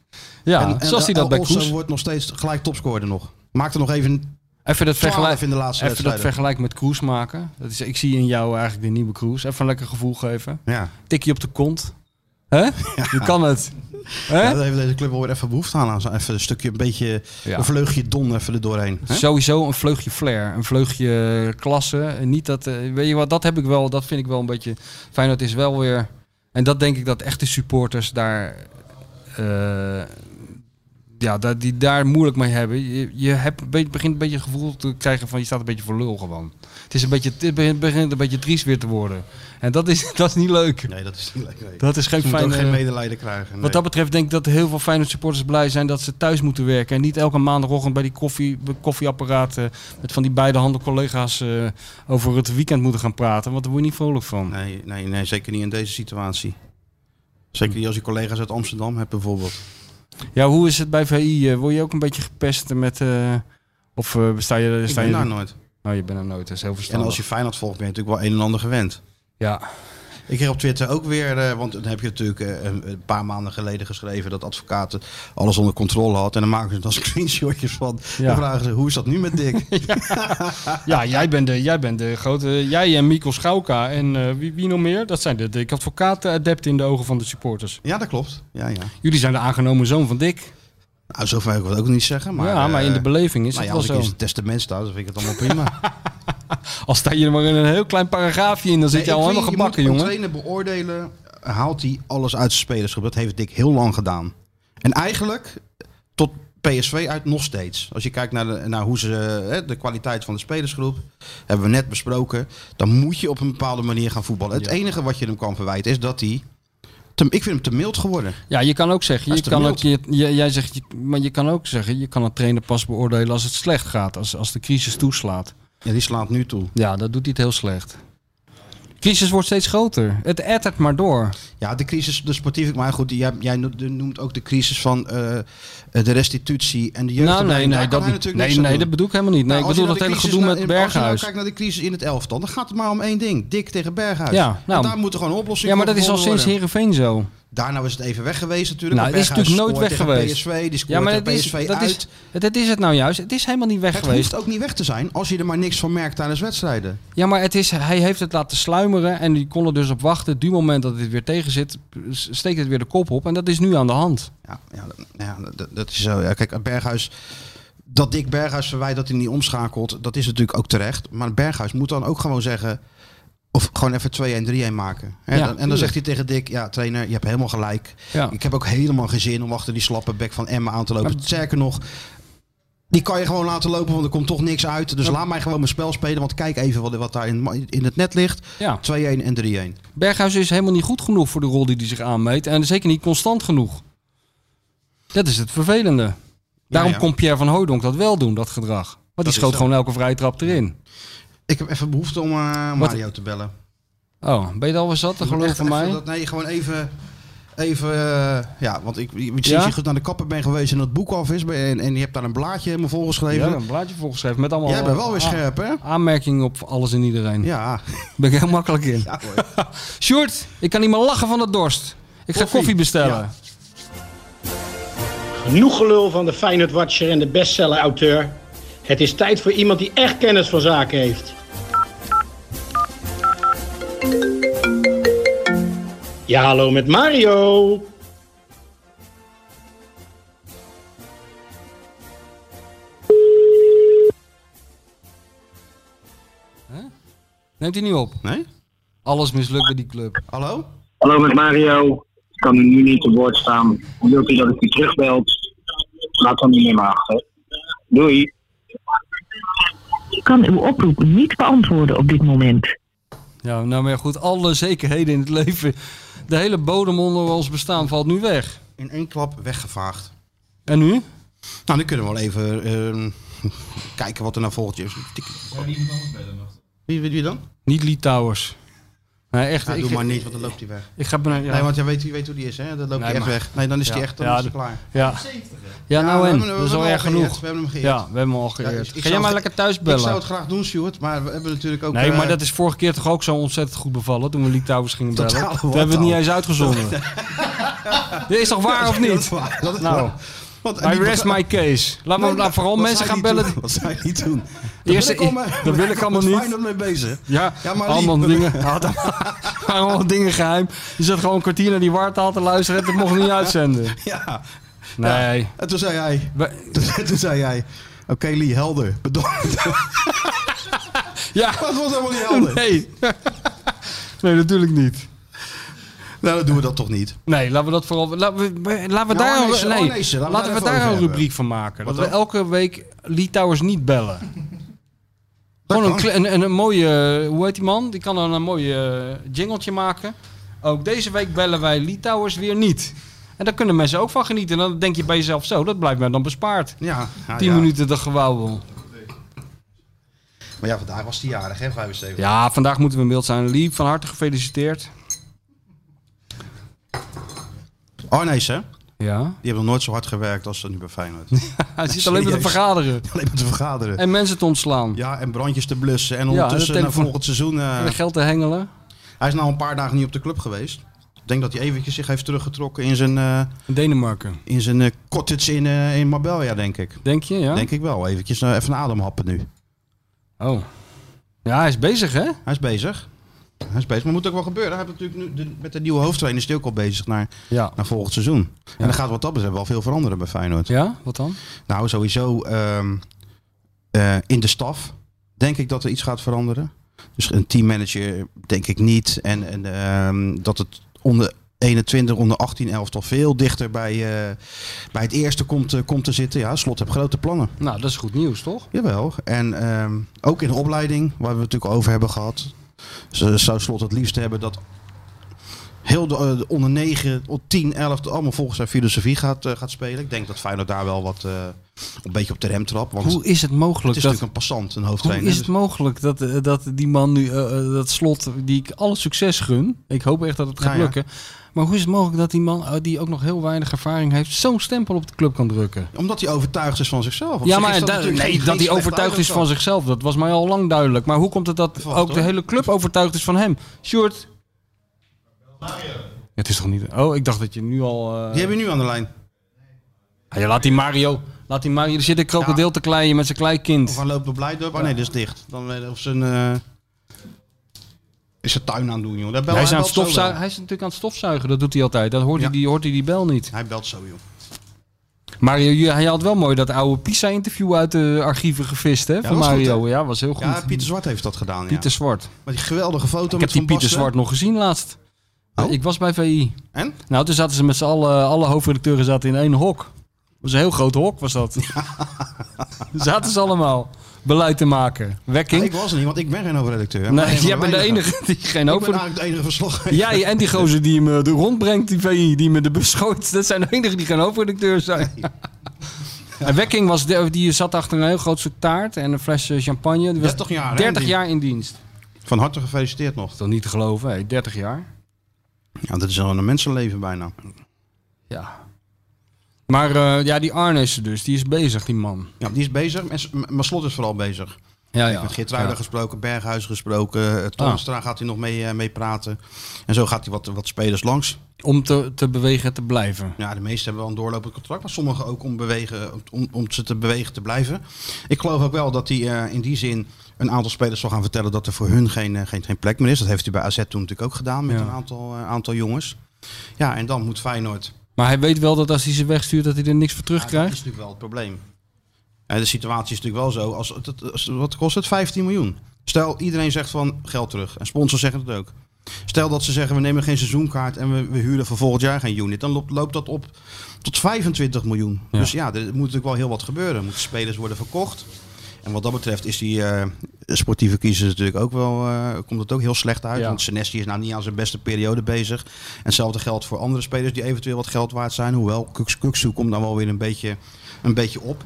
Speaker 5: Ja,
Speaker 4: En
Speaker 5: zoals hij dat bij
Speaker 4: Osso
Speaker 5: Kroes.
Speaker 4: wordt nog steeds gelijk topscorer nog. Maakt er nog even
Speaker 5: Even dat
Speaker 4: 12
Speaker 5: vergelijk,
Speaker 4: in de laatste
Speaker 5: even dat
Speaker 4: wedstrijden.
Speaker 5: vergelijk met Kroes maken. Dat is, ik zie in jou eigenlijk de nieuwe Kroes. Even een lekker gevoel geven.
Speaker 4: Ja.
Speaker 5: Tikje op de kont. hè? Je kan het. hè?
Speaker 4: Ja, daar heeft deze club wel weer even behoefte aan. aan zo- Even een stukje, een beetje,
Speaker 5: Ja.
Speaker 4: een vleugje don even er doorheen. hè?
Speaker 5: Sowieso een vleugje flair, een vleugje klasse. En niet dat, eh, weet je wat, dat heb ik wel, dat vind ik wel een beetje. Feyenoord is wel weer, en dat denk ik dat echte supporters daar, eh, ja, dat die daar moeilijk mee hebben. Je, je hebt, een beetje- begint een beetje het gevoel te krijgen van je staat een beetje voor lul gewoon. Het, is een beetje, het begint, begint een beetje triest weer te worden. En dat is, dat is niet leuk.
Speaker 4: Nee, dat is niet leuk. Nee.
Speaker 5: Dat is geen
Speaker 4: Ze moeten ook
Speaker 5: fijne...
Speaker 4: geen medelijden krijgen. nee.
Speaker 5: Wat dat betreft denk ik dat heel veel Feyenoord supporters blij zijn dat ze thuis moeten werken. En niet elke maandagochtend bij die koffie, bij koffieapparaat eh, met van die beide handen collega's eh, over het weekend moeten gaan praten. Want daar word je niet vrolijk van.
Speaker 4: Nee, nee, nee, zeker niet in deze situatie. Zeker niet als je collega's uit Amsterdam hebt bijvoorbeeld.
Speaker 5: Ja, hoe is het bij VI? Eh, Word je ook een beetje gepest met... eh, of eh, sta je...
Speaker 4: Ik
Speaker 5: Sta
Speaker 4: ben
Speaker 5: je
Speaker 4: daar nooit.
Speaker 5: Nou, je bent er nooit. Dat is heel
Speaker 4: En
Speaker 5: verstandig.
Speaker 4: als je Feyenoord volgt ben je natuurlijk wel een en ander gewend.
Speaker 5: Ja,
Speaker 4: Ik heb op Twitter ook weer, eh, want dan heb je natuurlijk eh, een een paar maanden geleden geschreven dat advocaten alles onder controle had. En dan maken ze dan screenshotjes van.
Speaker 5: Ja.
Speaker 4: Dan vragen ze, hoe is dat nu met Dick?
Speaker 5: ja jij, bent de, jij bent de grote... Jij en Mikkel Schauka en eh, wie, wie nog meer? Dat zijn de dik advocaten adepten in de ogen van de supporters.
Speaker 4: ja, dat klopt. Ja, ja.
Speaker 5: Jullie zijn de aangenomen zoon van Dick.
Speaker 4: Nou, zo ver wil ik het ook niet zeggen. Maar,
Speaker 5: ja, maar in de
Speaker 4: eh,
Speaker 5: beleving is
Speaker 4: nou ja,
Speaker 5: het
Speaker 4: als
Speaker 5: wel
Speaker 4: ik
Speaker 5: zo.
Speaker 4: in het testament sta, dan vind ik het allemaal prima.
Speaker 5: Als sta je er maar in een heel klein paragraafje in, dan zit je al helemaal gebakken, jongen.
Speaker 4: trainen beoordelen, haalt hij alles uit zijn spelersgroep. Dat heeft Dick heel lang gedaan. En eigenlijk tot PSV uit nog steeds. Als je kijkt naar, de, naar hoe ze, hè, de kwaliteit van de spelersgroep, hebben we net besproken. Dan moet je op een bepaalde manier gaan voetballen. Het enige wat je hem kan verwijten is dat hij... te- ik vind hem te mild geworden.
Speaker 5: Ja, je kan ook zeggen,
Speaker 4: Hij
Speaker 5: je
Speaker 4: is te
Speaker 5: kan ook,
Speaker 4: mild.
Speaker 5: je, je- jij zegt, je- maar je kan ook zeggen, je kan een trainer pas beoordelen als het slecht gaat, als, als de crisis toeslaat.
Speaker 4: Ja, die slaat nu toe.
Speaker 5: Ja, dat doet hij het heel slecht. De crisis wordt steeds groter. Het ettert maar door.
Speaker 4: Ja, de crisis, de sportieve... Maar goed, jij, jij noemt ook de crisis van eh, de restitutie en de jeugd.
Speaker 5: nou, nee, nee,
Speaker 4: dat,
Speaker 5: dat, nee, nee dat bedoel ik helemaal niet. Nee,
Speaker 4: Nou, als
Speaker 5: ik
Speaker 4: je
Speaker 5: bedoel
Speaker 4: naar
Speaker 5: dat hele
Speaker 4: de crisis
Speaker 5: gedoe
Speaker 4: na-
Speaker 5: met
Speaker 4: in- Als je nou
Speaker 5: Berghuis.
Speaker 4: kijkt naar de crisis in het elftal, dan gaat het maar om één ding. Dik tegen Berghuis.
Speaker 5: Ja, nou,
Speaker 4: en daar moet er gewoon een oplossing
Speaker 5: Ja, maar
Speaker 4: voor
Speaker 5: dat is al
Speaker 4: gevonden
Speaker 5: sinds Heerenveen zo.
Speaker 4: worden. Daarna is het even weg geweest natuurlijk.
Speaker 5: Nou,
Speaker 4: want
Speaker 5: het is
Speaker 4: Berghuis
Speaker 5: natuurlijk nooit
Speaker 4: scoort
Speaker 5: weg
Speaker 4: tegen
Speaker 5: geweest.
Speaker 4: PSV, die scoort
Speaker 5: Ja, maar
Speaker 4: tegen
Speaker 5: dat is,
Speaker 4: PSV
Speaker 5: dat,
Speaker 4: uit.
Speaker 5: is, dat is het nou juist. Het is helemaal niet weg
Speaker 4: het
Speaker 5: geweest.
Speaker 4: hoeft ook niet weg te zijn als je er maar niks van merkt tijdens wedstrijden.
Speaker 5: Ja, maar het is, hij heeft het laten sluimeren en die kon er dus op wachten. Du moment dat dit weer tegen zit, s- steekt het weer de kop op. En dat is nu aan de hand.
Speaker 4: Ja, ja, dat- ja dat, dat is zo. Ja, kijk, Berghuis... Dat Dick Berghuis verwijt dat hij niet omschakelt, dat is natuurlijk ook terecht. Maar Berghuis moet dan ook gewoon zeggen... Of gewoon even 2-1, 3-1 maken. Hè,
Speaker 5: Ja,
Speaker 4: dan- en dan
Speaker 5: tuurlijk.
Speaker 4: zegt hij tegen Dick... Ja, trainer, je hebt helemaal gelijk.
Speaker 5: Ja.
Speaker 4: Ik heb ook helemaal geen zin om achter die slappe bek van Emma aan te lopen. Sterker nog, die kan je gewoon laten lopen, want er komt toch niks uit. Dus laat mij gewoon mijn spel spelen, want kijk even wat, wat daar in, in het net ligt.
Speaker 5: Ja.
Speaker 4: 2-1 en 3-1.
Speaker 5: Berghuis is helemaal niet goed genoeg voor de rol die hij zich aanmeet. En zeker niet constant genoeg. Dat is het vervelende. Daarom
Speaker 4: Nou ja.
Speaker 5: kon Pierre van Hooydonk dat wel doen, dat gedrag. Want die
Speaker 4: is
Speaker 5: schoot
Speaker 4: zo.
Speaker 5: gewoon elke vrije trap erin.
Speaker 4: Ik heb even behoefte om eh,
Speaker 5: Wat-
Speaker 4: Mario te bellen.
Speaker 5: Oh, ben je er alweer zat? Dat geloof
Speaker 4: Echt
Speaker 5: van
Speaker 4: even
Speaker 5: mij.
Speaker 4: dat- nee, gewoon even... Even, eh, ja, want ik, sinds
Speaker 5: Ja?
Speaker 4: je goed naar de kapper ben geweest en dat boek af is ben- en, en je hebt daar een blaadje helemaal
Speaker 5: Ja,
Speaker 4: volgeschreven.
Speaker 5: een blaadje volgeschreven met allemaal
Speaker 4: Jij bent wel weer
Speaker 5: a-
Speaker 4: scherp, hè?
Speaker 5: aanmerkingen op alles en iedereen.
Speaker 4: Ja.
Speaker 5: Ben ik heel makkelijk in.
Speaker 4: ja hoor.
Speaker 5: Sjoerd, ik kan niet meer lachen van de dorst. Ik ga
Speaker 4: Koffie.
Speaker 5: koffie bestellen.
Speaker 4: Ja.
Speaker 8: Genoeg gelul van de Feyenoord Watcher en de bestseller auteur. Het is tijd voor iemand die echt kennis van zaken heeft. Ja, hallo met Mario.
Speaker 5: Neemt hij niet op.
Speaker 4: Nee?
Speaker 5: Alles mislukt bij die club.
Speaker 4: Hallo?
Speaker 8: Hallo met Mario.
Speaker 9: kan er nu niet te woord staan. Wilt u dat ik u terugbelt? Laat dan die nummer achter. Doei.
Speaker 10: kan uw oproep niet beantwoorden op dit moment.
Speaker 5: Ja, nou maar ja, goed, alle zekerheden in het leven, de hele bodem onder ons bestaan valt nu weg.
Speaker 4: In één klap weggevaagd.
Speaker 5: En nu?
Speaker 4: Nou, nu kunnen we wel even ehm, kijken wat er naar volgt. Jezus, tik- Wie, wie, wie dan?
Speaker 5: Niet Litouwers. Nee, echt.
Speaker 4: Ja,
Speaker 5: ik,
Speaker 4: doe maar niet, want dan loopt hij weg.
Speaker 5: ik ga bijna- ja.
Speaker 4: Nee, want jij weet, je weet hoe die is, hè? Dan loopt
Speaker 5: Nee,
Speaker 4: hij echt
Speaker 5: maar-
Speaker 4: weg. Nee, dan is hij
Speaker 5: Ja.
Speaker 4: echt dan
Speaker 5: Ja,
Speaker 4: is die
Speaker 5: de-
Speaker 4: klaar.
Speaker 5: ja. ja, nou
Speaker 4: we
Speaker 5: en,
Speaker 4: hebben- we
Speaker 5: dat is
Speaker 4: hebben
Speaker 5: al
Speaker 4: hem
Speaker 5: erg
Speaker 4: al geëerd,
Speaker 5: genoeg.
Speaker 4: we hebben hem geëerd.
Speaker 5: Ja, we hebben hem al
Speaker 4: Ja, ik- ik
Speaker 5: geëerd. Ga jij
Speaker 4: zou
Speaker 5: maar
Speaker 4: het-
Speaker 5: lekker thuis
Speaker 4: Ik zou
Speaker 5: bellen.
Speaker 4: het graag doen, Stuart, maar we hebben natuurlijk ook...
Speaker 5: Nee, maar
Speaker 4: eh,
Speaker 5: dat is vorige keer toch ook zo ontzettend goed bevallen toen we Litouwers gingen bellen.
Speaker 4: Totale
Speaker 5: Toen hebben we het niet
Speaker 4: wartaal.
Speaker 5: eens uitgezonden. Dit is toch waar of niet?
Speaker 4: Dat is
Speaker 5: Nou,
Speaker 4: waar. Want,
Speaker 5: I rest my case. Laat maar, laat vooral mensen gaan bellen.
Speaker 4: Wat zou je niet doen? Dat
Speaker 5: Eerst- dat wil ik allemaal niet.
Speaker 4: Daar mee bezig.
Speaker 5: Ja,
Speaker 4: Ja, maar
Speaker 5: allemaal
Speaker 4: lief.
Speaker 5: dingen. Ja, dat waren allemaal dingen geheim. Je zat gewoon een kwartier naar die wartaal te luisteren en dat mocht niet uitzenden.
Speaker 4: Ja.
Speaker 5: Nee.
Speaker 4: En toen zei hij...
Speaker 5: We-
Speaker 4: Toen, toen zei hij... Oké, Lee, helder. Bedankt.
Speaker 5: ja,
Speaker 4: Dat was helemaal niet helder.
Speaker 5: nee. Nee, natuurlijk niet.
Speaker 4: Nou, dan doen we dat toch niet.
Speaker 5: Nee, laten we dat vooral. Laten we, maar laten we
Speaker 4: Nou,
Speaker 5: daar,
Speaker 4: Arnezen,
Speaker 5: een, nee,
Speaker 4: Arnezen,
Speaker 5: laten
Speaker 4: laten we daar even
Speaker 5: we daar
Speaker 4: over
Speaker 5: een
Speaker 4: hebben.
Speaker 5: rubriek van maken.
Speaker 4: Wat
Speaker 5: dat we
Speaker 4: dan?
Speaker 5: elke week Litouwers niet bellen. Gewoon een,
Speaker 4: kan.
Speaker 5: kle- een, een, een mooie. eh, Hoe heet die man? Die kan dan een mooie eh, jingletje maken. Ook deze week bellen wij Litouwers weer niet. En daar kunnen mensen ook van genieten. En dan denk je bij jezelf zo, dat blijft mij dan bespaard.
Speaker 4: Ja. ja,
Speaker 5: 10
Speaker 4: ja.
Speaker 5: minuten dat gewauwel.
Speaker 4: Maar ja, vandaag was hij jarig, hè? 75.
Speaker 5: Ja, Ah, vandaag moeten we in beeld zijn. Lief, van harte gefeliciteerd.
Speaker 4: Arnees, hè?
Speaker 5: Ja.
Speaker 4: Die hebben nog nooit zo hard gewerkt als ze nu bij Feyenoord.
Speaker 5: Hij zit alleen maar te
Speaker 4: Serieus.
Speaker 5: vergaderen.
Speaker 4: Alleen maar te vergaderen.
Speaker 5: En mensen te ontslaan.
Speaker 4: Ja, en brandjes te blussen. En
Speaker 5: Eh. en de
Speaker 4: ondertussen naar
Speaker 5: telefoon-
Speaker 4: volgend seizoen... eh,
Speaker 5: En geld te hengelen.
Speaker 4: hij is nou een paar dagen niet op de club geweest. Ik denk dat hij eventjes zich heeft teruggetrokken in zijn, eh,
Speaker 5: In Denemarken.
Speaker 4: in zijn eh, cottage in, eh, in Marbella, denk ik.
Speaker 5: Denk je, ja?
Speaker 4: Denk ik wel. Eventjes nou, even een ademhappen nu.
Speaker 5: Oh. Ja, hij is bezig, hè?
Speaker 4: Hij is bezig. Hij is bezig. Maar moet ook wel gebeuren. Hij heeft natuurlijk nu de- met de nieuwe hoofdtrainer is hij ook al bezig naar,
Speaker 5: Ja.
Speaker 4: naar volgend seizoen. En er gaat wat dat betreft wel veel veranderen bij Feyenoord.
Speaker 5: Ja, wat dan?
Speaker 4: Nou, sowieso ehm, eh, in de staf denk ik dat er iets gaat veranderen. Dus een teammanager denk ik niet. En, en ehm, dat het onder 21, onder 18, 11 toch veel dichter bij, eh, bij het eerste komt, eh, komt te zitten. Ja, Slot heb grote plannen.
Speaker 5: Nou, dat is goed nieuws, toch?
Speaker 4: Jawel. En ehm, ook in de opleiding, waar we het natuurlijk over hebben gehad. Ze zou slot het liefst hebben dat heel de, eh, de onder 9, op 10, 11 allemaal volgens zijn filosofie gaat, eh, gaat spelen. Ik denk dat Feyenoord daar wel wat eh, een beetje op de rem trapt. Want
Speaker 5: Hoe is het
Speaker 4: het
Speaker 5: mogelijk
Speaker 4: is
Speaker 5: dat...
Speaker 4: natuurlijk een passant, een
Speaker 5: Hoe
Speaker 4: hoofdtrainer. Dus
Speaker 5: is het mogelijk dat, eh, dat die man nu, eh, eh, dat slot, die ik alle succes gun. Ik hoop echt dat het gaat
Speaker 4: Ja, ja.
Speaker 5: lukken. Maar hoe is het mogelijk dat die man, eh, die ook nog heel weinig ervaring heeft, zo'n stempel op de club kan drukken?
Speaker 4: Dus- omdat hij overtuigd is van zichzelf. Op zich
Speaker 5: ja,
Speaker 4: is
Speaker 5: maar da-
Speaker 4: natuurlijk
Speaker 5: nee,
Speaker 4: geen-
Speaker 5: dat
Speaker 4: geen
Speaker 5: hij
Speaker 4: slecht
Speaker 5: overtuigd is van
Speaker 4: eigenschap.
Speaker 5: zichzelf, dat was mij al lang duidelijk. Maar hoe komt het dat
Speaker 4: Wacht,
Speaker 5: ook de
Speaker 4: hoor.
Speaker 5: hele club overtuigd is van hem? Sjoerd? Ja, het is toch niet... Oh, ik dacht dat je nu al... eh,
Speaker 4: Die heb je nu aan de lijn.
Speaker 5: Ah, ja, laat die Mario. Laat die Mario. Er zit een krokodil te kleien met zijn
Speaker 4: Of
Speaker 5: kleinkind.
Speaker 4: hij loopt op Blijdorp. Oh nee, dat is dicht. Dan, eh, of zijn... eh, is zijn tuin aan het doen, joh. Daar bel-
Speaker 5: Hij is, aan het
Speaker 4: belt zo wel.
Speaker 5: stofzuigen. hij is natuurlijk aan het stofzuigen. Dat doet hij altijd. Dat hoort,
Speaker 4: Ja.
Speaker 5: hij, die, hoort hij die bel niet.
Speaker 4: Hij belt zo, joh.
Speaker 5: Mario, je- hij had wel mooi dat oude Pisa-interview uit de archieven gevist hè, van
Speaker 4: was goed,
Speaker 5: Mario.
Speaker 4: hè?
Speaker 5: ja, was heel goed.
Speaker 4: Ja, Pieter Zwart heeft dat gedaan, ja.
Speaker 5: Pieter Zwart.
Speaker 4: Maar die geweldige foto
Speaker 5: Ik
Speaker 4: met
Speaker 5: heb die
Speaker 4: Van
Speaker 5: Pieter
Speaker 4: Basten.
Speaker 5: Zwart nog gezien laatst.
Speaker 4: Oh.
Speaker 5: Ik was bij VI.
Speaker 4: En?
Speaker 5: Nou, toen zaten ze met z'n allen, alle hoofdredacteuren zaten in één hok. Dat was een heel groot hok, was dat. zaten ze allemaal beleid te maken. Wekking.
Speaker 4: ik was er niet, want ik ben geen hoofdredacteur. maar
Speaker 5: nee,
Speaker 4: een van
Speaker 5: jij bent de
Speaker 4: weinigen.
Speaker 5: enige Nou, die geen
Speaker 4: Ik ben
Speaker 5: hoofdredacteur...
Speaker 4: eigenlijk de enige verslag.
Speaker 5: Jij en die gozer die me de rondbrengt, die VI, die me de bus gooit. Dat zijn de enigen die geen hoofdredacteur zijn. En Wekking was de, die zat achter een heel groot stuk taart en een fles eh, champagne. Die was
Speaker 4: 30 jaar, hè,
Speaker 5: 30
Speaker 4: die-
Speaker 5: jaar in dienst. Dat
Speaker 4: Van harte gefeliciteerd nog.
Speaker 5: is toch niet te geloven, hè? 30 jaar.
Speaker 4: Ja, dat is al een mensenleven bijna.
Speaker 5: Ja. Maar eh, ja, die Arnissen dus, die is bezig, die man.
Speaker 4: Ja, die is bezig, en s- m- maar Slot is vooral bezig.
Speaker 5: Ja,
Speaker 4: Ik heb met Geertruiden
Speaker 5: Ja. Ah.
Speaker 4: gesproken, Berghuis gesproken, eh, Toornstra gaat hij nog mee, eh, mee praten. En zo gaat hij wat, wat spelers langs.
Speaker 5: Om te, te bewegen en te blijven.
Speaker 4: Ja, de meesten hebben wel een doorlopend contract, maar sommigen ook om, bewegen, om, om ze te bewegen te blijven. Ik geloof ook wel dat hij eh, in die zin een aantal spelers zal gaan vertellen dat er voor hun geen, eh, geen, geen plek meer is. Dat heeft hij bij AZ toen natuurlijk ook gedaan met
Speaker 5: Ja.
Speaker 4: een aantal, eh, aantal jongens. Ja, en dan moet Feyenoord.
Speaker 5: Maar hij weet wel dat als hij ze wegstuurt, dat hij er niks voor
Speaker 4: dat is
Speaker 5: terugkrijgt.
Speaker 4: natuurlijk wel het probleem. En de situatie is natuurlijk wel zo. Als, het- het- als, wat kost het? 15 miljoen. Stel, iedereen zegt van geld terug. En sponsors zeggen het ook. Stel dat ze zeggen, we nemen geen seizoenkaart en we, we huren voor volgend jaar geen unit. Dan loopt, loopt dat op tot 25 miljoen.
Speaker 5: Ja.
Speaker 4: Dus ja, er moet natuurlijk wel heel wat gebeuren. Er moeten spelers worden verkocht. En wat dat betreft is die eh, sportieve kiezer natuurlijk ook wel, eh, komt het ook heel slecht uit.
Speaker 5: Ja.
Speaker 4: Want Senesi is nou niet aan zijn beste periode bezig. En hetzelfde geldt voor andere spelers die eventueel wat geld waard zijn. Hoewel, Kuksu- Kuksu komt dan wel weer een beetje, een beetje op.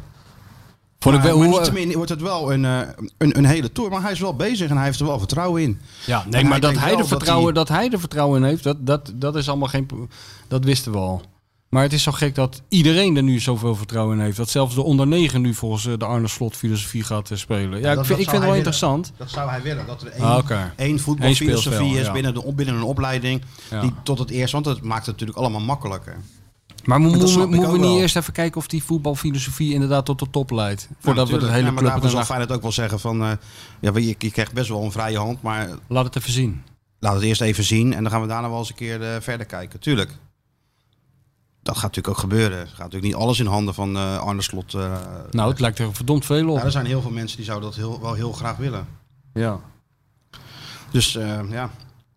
Speaker 5: Vond ik
Speaker 4: Maar,
Speaker 5: wel,
Speaker 4: maar
Speaker 5: hoe-
Speaker 4: niettemin wordt het wel een, eh, een, een hele tour. Maar hij is wel bezig en hij heeft er wel vertrouwen in.
Speaker 5: ja,
Speaker 4: En
Speaker 5: nee,
Speaker 4: hij
Speaker 5: maar dat
Speaker 4: denkt
Speaker 5: hij,
Speaker 4: wel
Speaker 5: er
Speaker 4: dat hij-
Speaker 5: vertrouwen, dat hij er vertrouwen in heeft, dat, dat, dat is allemaal geen. pro- Dat wisten we al. Maar het is zo gek dat iedereen er nu zoveel vertrouwen in heeft. Dat zelfs de onder 9 nu volgens eh, de Arne Slot filosofie gaat eh, spelen. Ja,
Speaker 4: dat-
Speaker 5: ik
Speaker 4: dat
Speaker 5: vind, ik vind het
Speaker 4: zou
Speaker 5: wel
Speaker 4: hij
Speaker 5: interessant.
Speaker 4: Dat zou hij willen. Dat er één,
Speaker 5: Ah, oké.
Speaker 4: één
Speaker 5: Eén
Speaker 4: voetbalfilosofie
Speaker 5: speelstijl,
Speaker 4: is
Speaker 5: ja.
Speaker 4: binnen, de, binnen een opleiding.
Speaker 5: Ja.
Speaker 4: Die tot het eerst. Want dat maakt het natuurlijk allemaal makkelijker.
Speaker 5: Maar mo-
Speaker 4: Dat
Speaker 5: moeten
Speaker 4: snap
Speaker 5: we-
Speaker 4: ik
Speaker 5: moeten we
Speaker 4: ook
Speaker 5: niet
Speaker 4: wel.
Speaker 5: eerst even kijken of die voetbalfilosofie inderdaad tot de top leidt? Voordat we de hele
Speaker 4: ja, maar
Speaker 5: club
Speaker 4: daarvoor zal
Speaker 5: ernaar...
Speaker 4: Feyenoord ook wel zeggen van... eh, ja, je, je krijgt best wel een vrije hand. Maar
Speaker 5: Laat het even zien.
Speaker 4: laat het eerst even zien. En dan gaan we daarna wel eens een keer eh, verder kijken. Tuurlijk. Dat gaat natuurlijk ook gebeuren. Er gaat natuurlijk niet alles in handen van eh Arne Slot. eh,
Speaker 5: Nou, het lijkt er verdomd veel
Speaker 4: ja, er
Speaker 5: op.
Speaker 4: zijn heel veel mensen die zouden dat heel, wel heel graag willen.
Speaker 5: Ja.
Speaker 4: Dus eh, ja,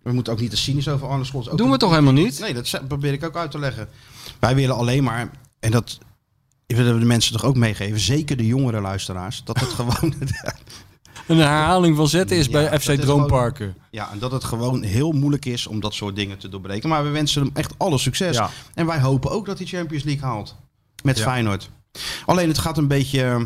Speaker 4: we moeten ook niet te cynisch over Arne Slot. Ook
Speaker 5: Doen we toch helemaal niet?
Speaker 4: Nee, dat ze- probeer ik ook uit te leggen. Wij willen alleen maar, en dat willen we de mensen toch ook meegeven, zeker de jongere luisteraars, dat het gewoon,
Speaker 5: Een herhaling van zetten is
Speaker 4: Ja,
Speaker 5: bij
Speaker 4: dat
Speaker 5: FC
Speaker 4: is gewoon-
Speaker 5: Droomparken.
Speaker 4: ja, en dat het gewoon heel moeilijk is om dat soort dingen te doorbreken. Maar we wensen hem echt alle succes.
Speaker 5: Ja.
Speaker 4: En wij hopen ook dat hij Champions League haalt met
Speaker 5: Ja.
Speaker 4: Feyenoord. Alleen het gaat een beetje eh,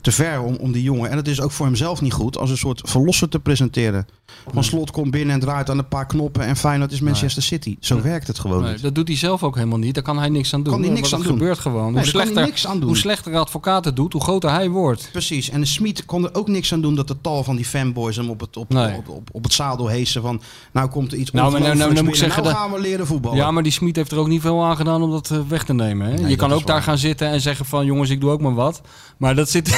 Speaker 4: te ver om, om die jongen. En het is ook voor hemzelf niet goed als een soort verlosser te presenteren. Van slot komt binnen en draait aan een paar knoppen en Feyenoord is Manchester City. Zo werkt het gewoon
Speaker 5: Nee,
Speaker 4: niet.
Speaker 5: dat doet hij zelf ook helemaal niet. Daar kan hij niks aan doen.
Speaker 4: Kan hij
Speaker 5: Want
Speaker 4: niks
Speaker 5: dat
Speaker 4: aan doen.
Speaker 5: gebeurt gewoon.
Speaker 4: daar
Speaker 5: hoe,
Speaker 4: kan hij
Speaker 5: slechter,
Speaker 4: niks aan doen.
Speaker 5: hoe slechter de advocaat het doet, hoe groter hij wordt.
Speaker 4: Precies, en de Smit kon er ook niks aan doen dat de tal van die fanboys hem op het, op,
Speaker 5: Nee.
Speaker 4: op, op, op het zadel heesen van... Nou komt er iets
Speaker 5: Nou, maar nou- nou- nou
Speaker 4: ongelooflijks
Speaker 5: moet ik
Speaker 4: binnen,
Speaker 5: zeggen
Speaker 4: nou gaan we leren voetballen.
Speaker 5: Ja, maar die Smit heeft er ook niet veel aan gedaan om dat eh, weg te nemen. Hè?
Speaker 4: Nee,
Speaker 5: je kan
Speaker 4: dat
Speaker 5: ook
Speaker 4: is
Speaker 5: daar
Speaker 4: waar.
Speaker 5: gaan zitten en zeggen van jongens, ik doe ook maar wat. Maar dat zit,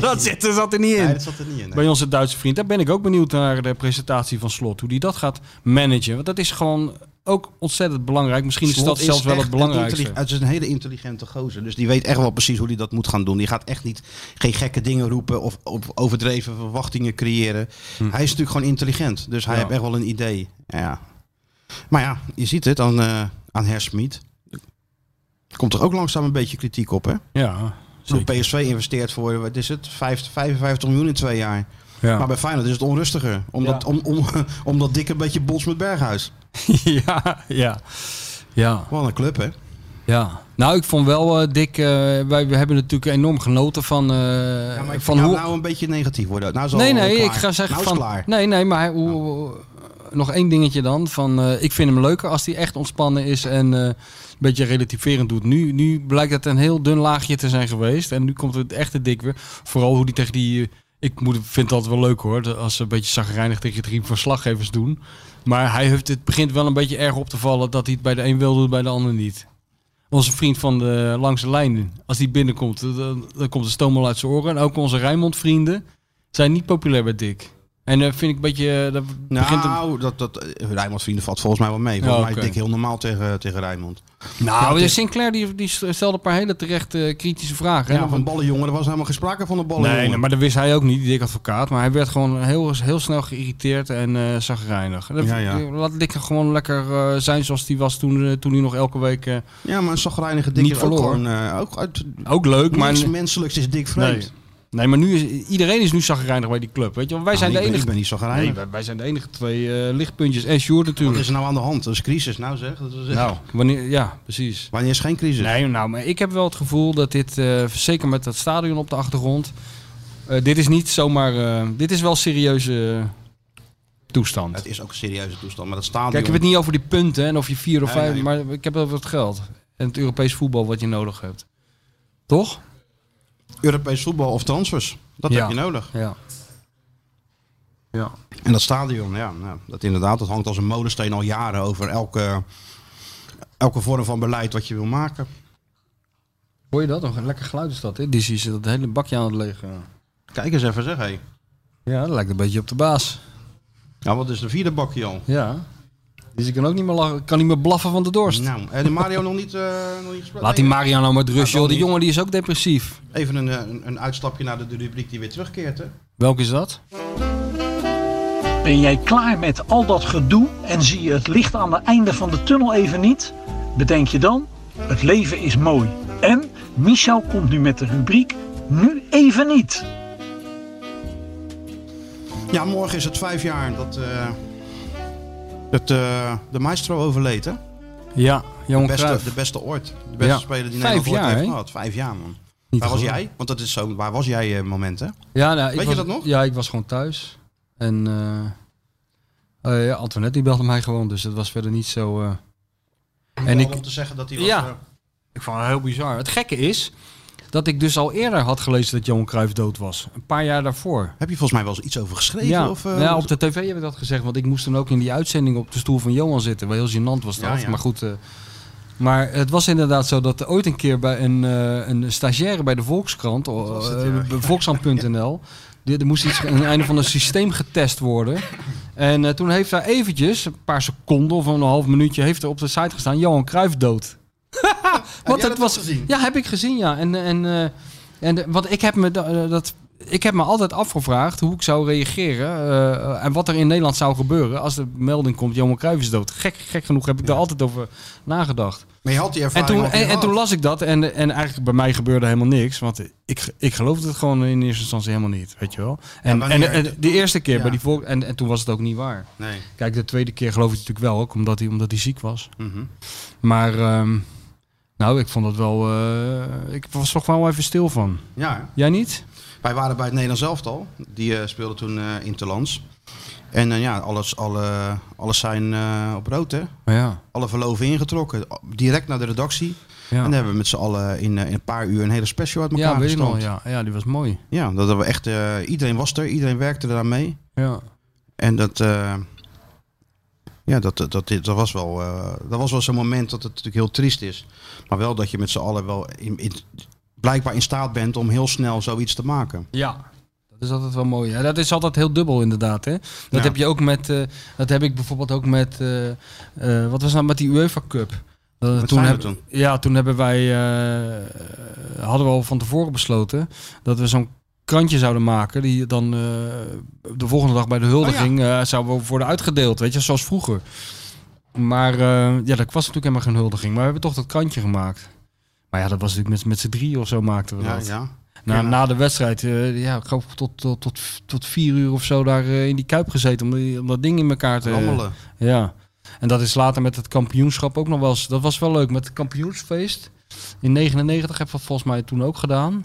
Speaker 5: dat zit er, zat er niet in.
Speaker 4: Nee, dat zat er niet in. nee.
Speaker 5: Bij onze Duitse vriend. Daar ben ik ook benieuwd naar de presentatie van Slot. Hoe die dat gaat managen. Want dat is gewoon ook ontzettend belangrijk. Misschien is
Speaker 4: Slot
Speaker 5: dat zelfs wel
Speaker 4: echt
Speaker 5: het
Speaker 4: een
Speaker 5: belangrijkste.
Speaker 4: intelli- Het is een hele intelligente gozer, dus die weet echt wel precies hoe hij dat moet gaan doen. Die gaat echt niet geen gekke dingen roepen of op overdreven verwachtingen creëren. Hij is natuurlijk gewoon intelligent, dus hij
Speaker 5: Hm. Ja.
Speaker 4: heeft echt wel een idee. Ja. Maar ja, je ziet het aan, eh aan Her Smit. Komt er ook langzaam een beetje kritiek op, hè?
Speaker 5: Ja,
Speaker 4: Toen
Speaker 5: zeker.
Speaker 4: PSV investeert voor, wat is het, 50, 55 miljoen in twee jaar.
Speaker 5: Ja.
Speaker 4: Maar bij Feyenoord is het onrustiger. Omdat,
Speaker 5: Ja.
Speaker 4: om, om, omdat Dick een beetje bots met Berghuis.
Speaker 5: ja, ja. Ja,
Speaker 4: Wat een club, hè?
Speaker 5: ja. Nou, ik vond wel, eh Dick, eh, wij we hebben natuurlijk enorm genoten van, eh, van hoe...
Speaker 4: nou een beetje negatief worden. Nou is
Speaker 5: nee,
Speaker 4: al
Speaker 5: nee,
Speaker 4: klaar.
Speaker 5: ik ga zeggen
Speaker 4: nou is
Speaker 5: van...
Speaker 4: klaar.
Speaker 5: Nee, nee, maar hij- hoe, hoe- nog één dingetje dan. Van, eh, ik vind hem leuker als hij echt ontspannen is en eh, een beetje relativerend doet. Nu, nu blijkt het een heel dun laagje te zijn geweest. En nu komt het echte dik weer. Vooral hoe die tegen die... eh, Ik moet, vind dat wel leuk hoor, dat als ze een beetje zagrijnig tegen drie verslaggevers doen. Maar hij heeft, het begint wel een beetje erg op te vallen dat hij het bij de een wil doet, bij de ander niet. Onze vriend van de langste lijn, als die binnenkomt, dan, dan komt de stoom al uit zijn oren. En ook onze Rijnmond vrienden zijn niet populair bij Dick. En eh, vind ik een beetje... eh, dat begint hem-
Speaker 4: Nou, dat, dat, eh, Rijnmond vrienden valt volgens mij wel mee. Volgens
Speaker 5: Ja,
Speaker 4: mij
Speaker 5: oké.
Speaker 4: is Dick heel normaal tegen, tegen Rijnmond.
Speaker 5: Nou, Sinclair die, die stelde een paar hele terecht eh, kritische vragen. hè.
Speaker 4: Ja,
Speaker 5: Nog
Speaker 4: van
Speaker 5: een-
Speaker 4: ballenjongen, er was helemaal geen sprake van een ballenjongen.
Speaker 5: Nee, nee, maar dat wist hij ook niet, die dik advocaat. Maar hij werd gewoon heel, heel snel geïrriteerd en eh zagrijnig. Dat-
Speaker 4: Ja, ja.
Speaker 5: Laat Dick gewoon lekker eh, zijn zoals hij was toen, eh, toen hij nog elke week... eh,
Speaker 4: Ja, maar een zagrijnige Dick
Speaker 5: Niet
Speaker 4: is ook
Speaker 5: verloren.
Speaker 4: gewoon... eh, ook uit,
Speaker 5: ook leuk, maar...
Speaker 4: niks menselijks is Dick vreemd.
Speaker 5: Nee. Nee, maar nu is iedereen is nu zagrijnig bij die club. Weet je? Want wij, zijn
Speaker 4: Nou, ik,
Speaker 5: de
Speaker 4: ben,
Speaker 5: enige,
Speaker 4: ik ben niet zagrijnig.
Speaker 5: nee, wij, wij zijn de enige twee eh, lichtpuntjes. En Sjoerd
Speaker 4: Wat
Speaker 5: natuurlijk.
Speaker 4: is er nou aan de hand? Dat is crisis nou zeg. Dat is,
Speaker 5: Nou, wanneer, ja, precies.
Speaker 4: Wanneer is geen crisis?
Speaker 5: Nee, nou, maar ik heb wel het gevoel dat dit, eh, zeker met dat stadion op de achtergrond, eh, dit is niet zomaar, eh, dit is wel serieuze toestand.
Speaker 4: Het is ook een serieuze toestand, maar dat stadion...
Speaker 5: Kijk, ik heb het niet over die punten en of je vier of
Speaker 4: Nee,
Speaker 5: vijf,
Speaker 4: nee.
Speaker 5: maar ik heb het over het geld en het Europees voetbal wat je nodig hebt. Toch?
Speaker 4: Europees voetbal of transfers. Dat
Speaker 5: Ja.
Speaker 4: heb je nodig.
Speaker 5: Ja. Ja.
Speaker 4: En dat stadion, ja, nou, dat inderdaad, dat hangt als een molensteen al jaren over elke, elke vorm van beleid wat je wil maken.
Speaker 5: Hoor je dat? Nog een lekker geluid is dat, hè? Dizzy is dat hele bakje aan het legen.
Speaker 4: Kijk eens even, zeg hé.
Speaker 5: Ja, dat lijkt een beetje op de baas.
Speaker 4: Nou, wat is de vierde bakje al?
Speaker 5: Ja. Dizzy kan ook niet meer lachen, kan niet meer blaffen van de dorst.
Speaker 4: Nou, en de Mario nog niet, eh nog niet gesproken?
Speaker 5: Laat die Mario nou maar rust,
Speaker 4: Ja, dan
Speaker 5: joh. Die
Speaker 4: niet.
Speaker 5: jongen die is ook depressief.
Speaker 4: Even een, eh, een, een uitstapje naar de, de rubriek die weer terugkeert, hè?
Speaker 5: Welke is dat?
Speaker 11: Ben jij klaar met al dat gedoe en zie je het licht aan het einde van de tunnel even niet? Bedenk je dan, het leven is mooi. En Michel komt nu met de rubriek Nu even niet.
Speaker 4: Ja, morgen is het vijf jaar dat, eh, dat eh, de maestro overleed, hè?
Speaker 5: Ja, Johan
Speaker 4: de beste,
Speaker 5: Cruijff.
Speaker 4: de beste ooit. De beste
Speaker 5: Ja.
Speaker 4: speler die
Speaker 5: Vijf
Speaker 4: Nederland ooit
Speaker 5: jaar,
Speaker 4: heeft
Speaker 5: hè?
Speaker 4: gehad. Vijf jaar, man.
Speaker 5: Niet
Speaker 4: waar was
Speaker 5: te geloven.
Speaker 4: jij? Want dat is zo'n waar was jij eh, moment, hè?
Speaker 5: Ja, nou, ik
Speaker 4: Weet je
Speaker 5: was,
Speaker 4: dat nog?
Speaker 5: Ja, ik was gewoon thuis. En eh, eh, ja, Antoinette die belde mij gewoon, dus dat was verder niet zo... eh, en ik,
Speaker 4: om te zeggen dat hij was... eh,
Speaker 5: ja, ik vond het heel bizar. Het gekke is dat ik dus al eerder had gelezen dat Johan Cruijff dood was. Een paar jaar daarvoor.
Speaker 4: Heb je volgens mij wel eens iets over geschreven?
Speaker 5: Ja,
Speaker 4: of, eh,
Speaker 5: ja, op de tv heb ik dat gezegd, want ik moest toen ook in die uitzending op de stoel van Johan zitten. Wel heel gênant was dat,
Speaker 4: Ja, ja.
Speaker 5: maar goed. eh, maar het was inderdaad zo dat er ooit een keer bij een, eh, een stagiaire bij de Volkskrant, eh
Speaker 4: was het, ja.
Speaker 5: bij volkskrant.nl, die- er moest iets een einde van een systeem getest worden. En eh, toen heeft daar eventjes, een paar seconden of een half minuutje, heeft er op de site gestaan Johan Cruijff dood.
Speaker 4: jij
Speaker 5: het
Speaker 4: dat ook gezien?
Speaker 5: Ja, heb ik gezien, ja. En, en, eh, en eh, want ik heb me da- eh, dat. Ik heb me altijd afgevraagd hoe ik zou reageren eh, en wat er in Nederland zou gebeuren als de melding komt: Johan Cruijff is dood. Gek, gek genoeg heb ik daar altijd over nagedacht.
Speaker 4: Maar je had die
Speaker 5: En
Speaker 4: ervaring
Speaker 5: toen,
Speaker 4: al
Speaker 5: en, en
Speaker 4: gehad.
Speaker 5: toen las ik dat en, en eigenlijk bij mij gebeurde helemaal niks. Want ik, ik geloofde het gewoon in eerste instantie helemaal niet, weet je wel. En,
Speaker 4: wanneer-
Speaker 5: en, en de eerste keer
Speaker 4: Ja.
Speaker 5: bij die volk... En, en toen was het ook niet waar.
Speaker 4: Nee.
Speaker 5: Kijk, de tweede keer geloof ik het natuurlijk wel, ook omdat hij, omdat hij ziek was.
Speaker 4: Mhm.
Speaker 5: Maar ehm, nou, ik vond dat wel... eh, ik was toch wel even stil van.
Speaker 4: Ja, hè?
Speaker 5: Jij niet?
Speaker 4: Wij waren bij het Nederlands elftal. Die eh speelde toen eh Interlands. En eh, ja, alles, alle, alles zijn eh, op rood, hè?
Speaker 5: ja.
Speaker 4: Alle verloven ingetrokken. Direct naar de redactie. En dan
Speaker 5: Ja,
Speaker 4: hebben we met z'n allen in, eh, in een paar uur een hele special uit elkaar
Speaker 5: ja weet je nog.
Speaker 4: gestampt.
Speaker 5: Ja. ja, die was mooi.
Speaker 4: Ja, dat hebben we echt, eh, iedereen was er, iedereen werkte eraan mee.
Speaker 5: Ja.
Speaker 4: En dat, eh, ja, dat, dat, dat, dat was wel, eh, dat was wel zo'n moment dat het natuurlijk heel triest is. Maar wel dat je met z'n allen wel in, in- blijkbaar in staat bent om heel snel zoiets te maken.
Speaker 5: Ja. Dat is altijd wel mooi. Ja, dat is altijd heel dubbel inderdaad. Hè? Dat
Speaker 4: Ja.
Speaker 5: heb je ook met. eh, dat heb ik bijvoorbeeld ook met. eh, eh, wat was nou met die UEFA Cup? Eh,
Speaker 4: Met Feyenoord
Speaker 5: heb-
Speaker 4: toen.
Speaker 5: Ja, toen hebben wij. eh, eh, hadden we al van tevoren besloten dat we zo'n krantje zouden maken die dan eh, de volgende dag bij de huldiging
Speaker 4: Oh
Speaker 5: eh, zouden we worden uitgedeeld, weet je, zoals vroeger. Maar eh, ja, dat was natuurlijk helemaal geen huldiging, maar we hebben toch dat krantje gemaakt. Maar ja, dat was natuurlijk met, met z'n drie of zo maakten we
Speaker 4: Ja,
Speaker 5: dat.
Speaker 4: ja.
Speaker 5: Na,
Speaker 4: Ja.
Speaker 5: na de wedstrijd, eh, ja, ik geloof tot, tot, tot, tot vier uur of zo daar eh, in die kuip gezeten om, die- om dat ding in elkaar te
Speaker 4: Rammelen.
Speaker 5: Ja. En dat is later met het kampioenschap ook nog wel eens. Dat was wel leuk met het kampioensfeest. In 99 heb ik dat volgens mij toen ook gedaan.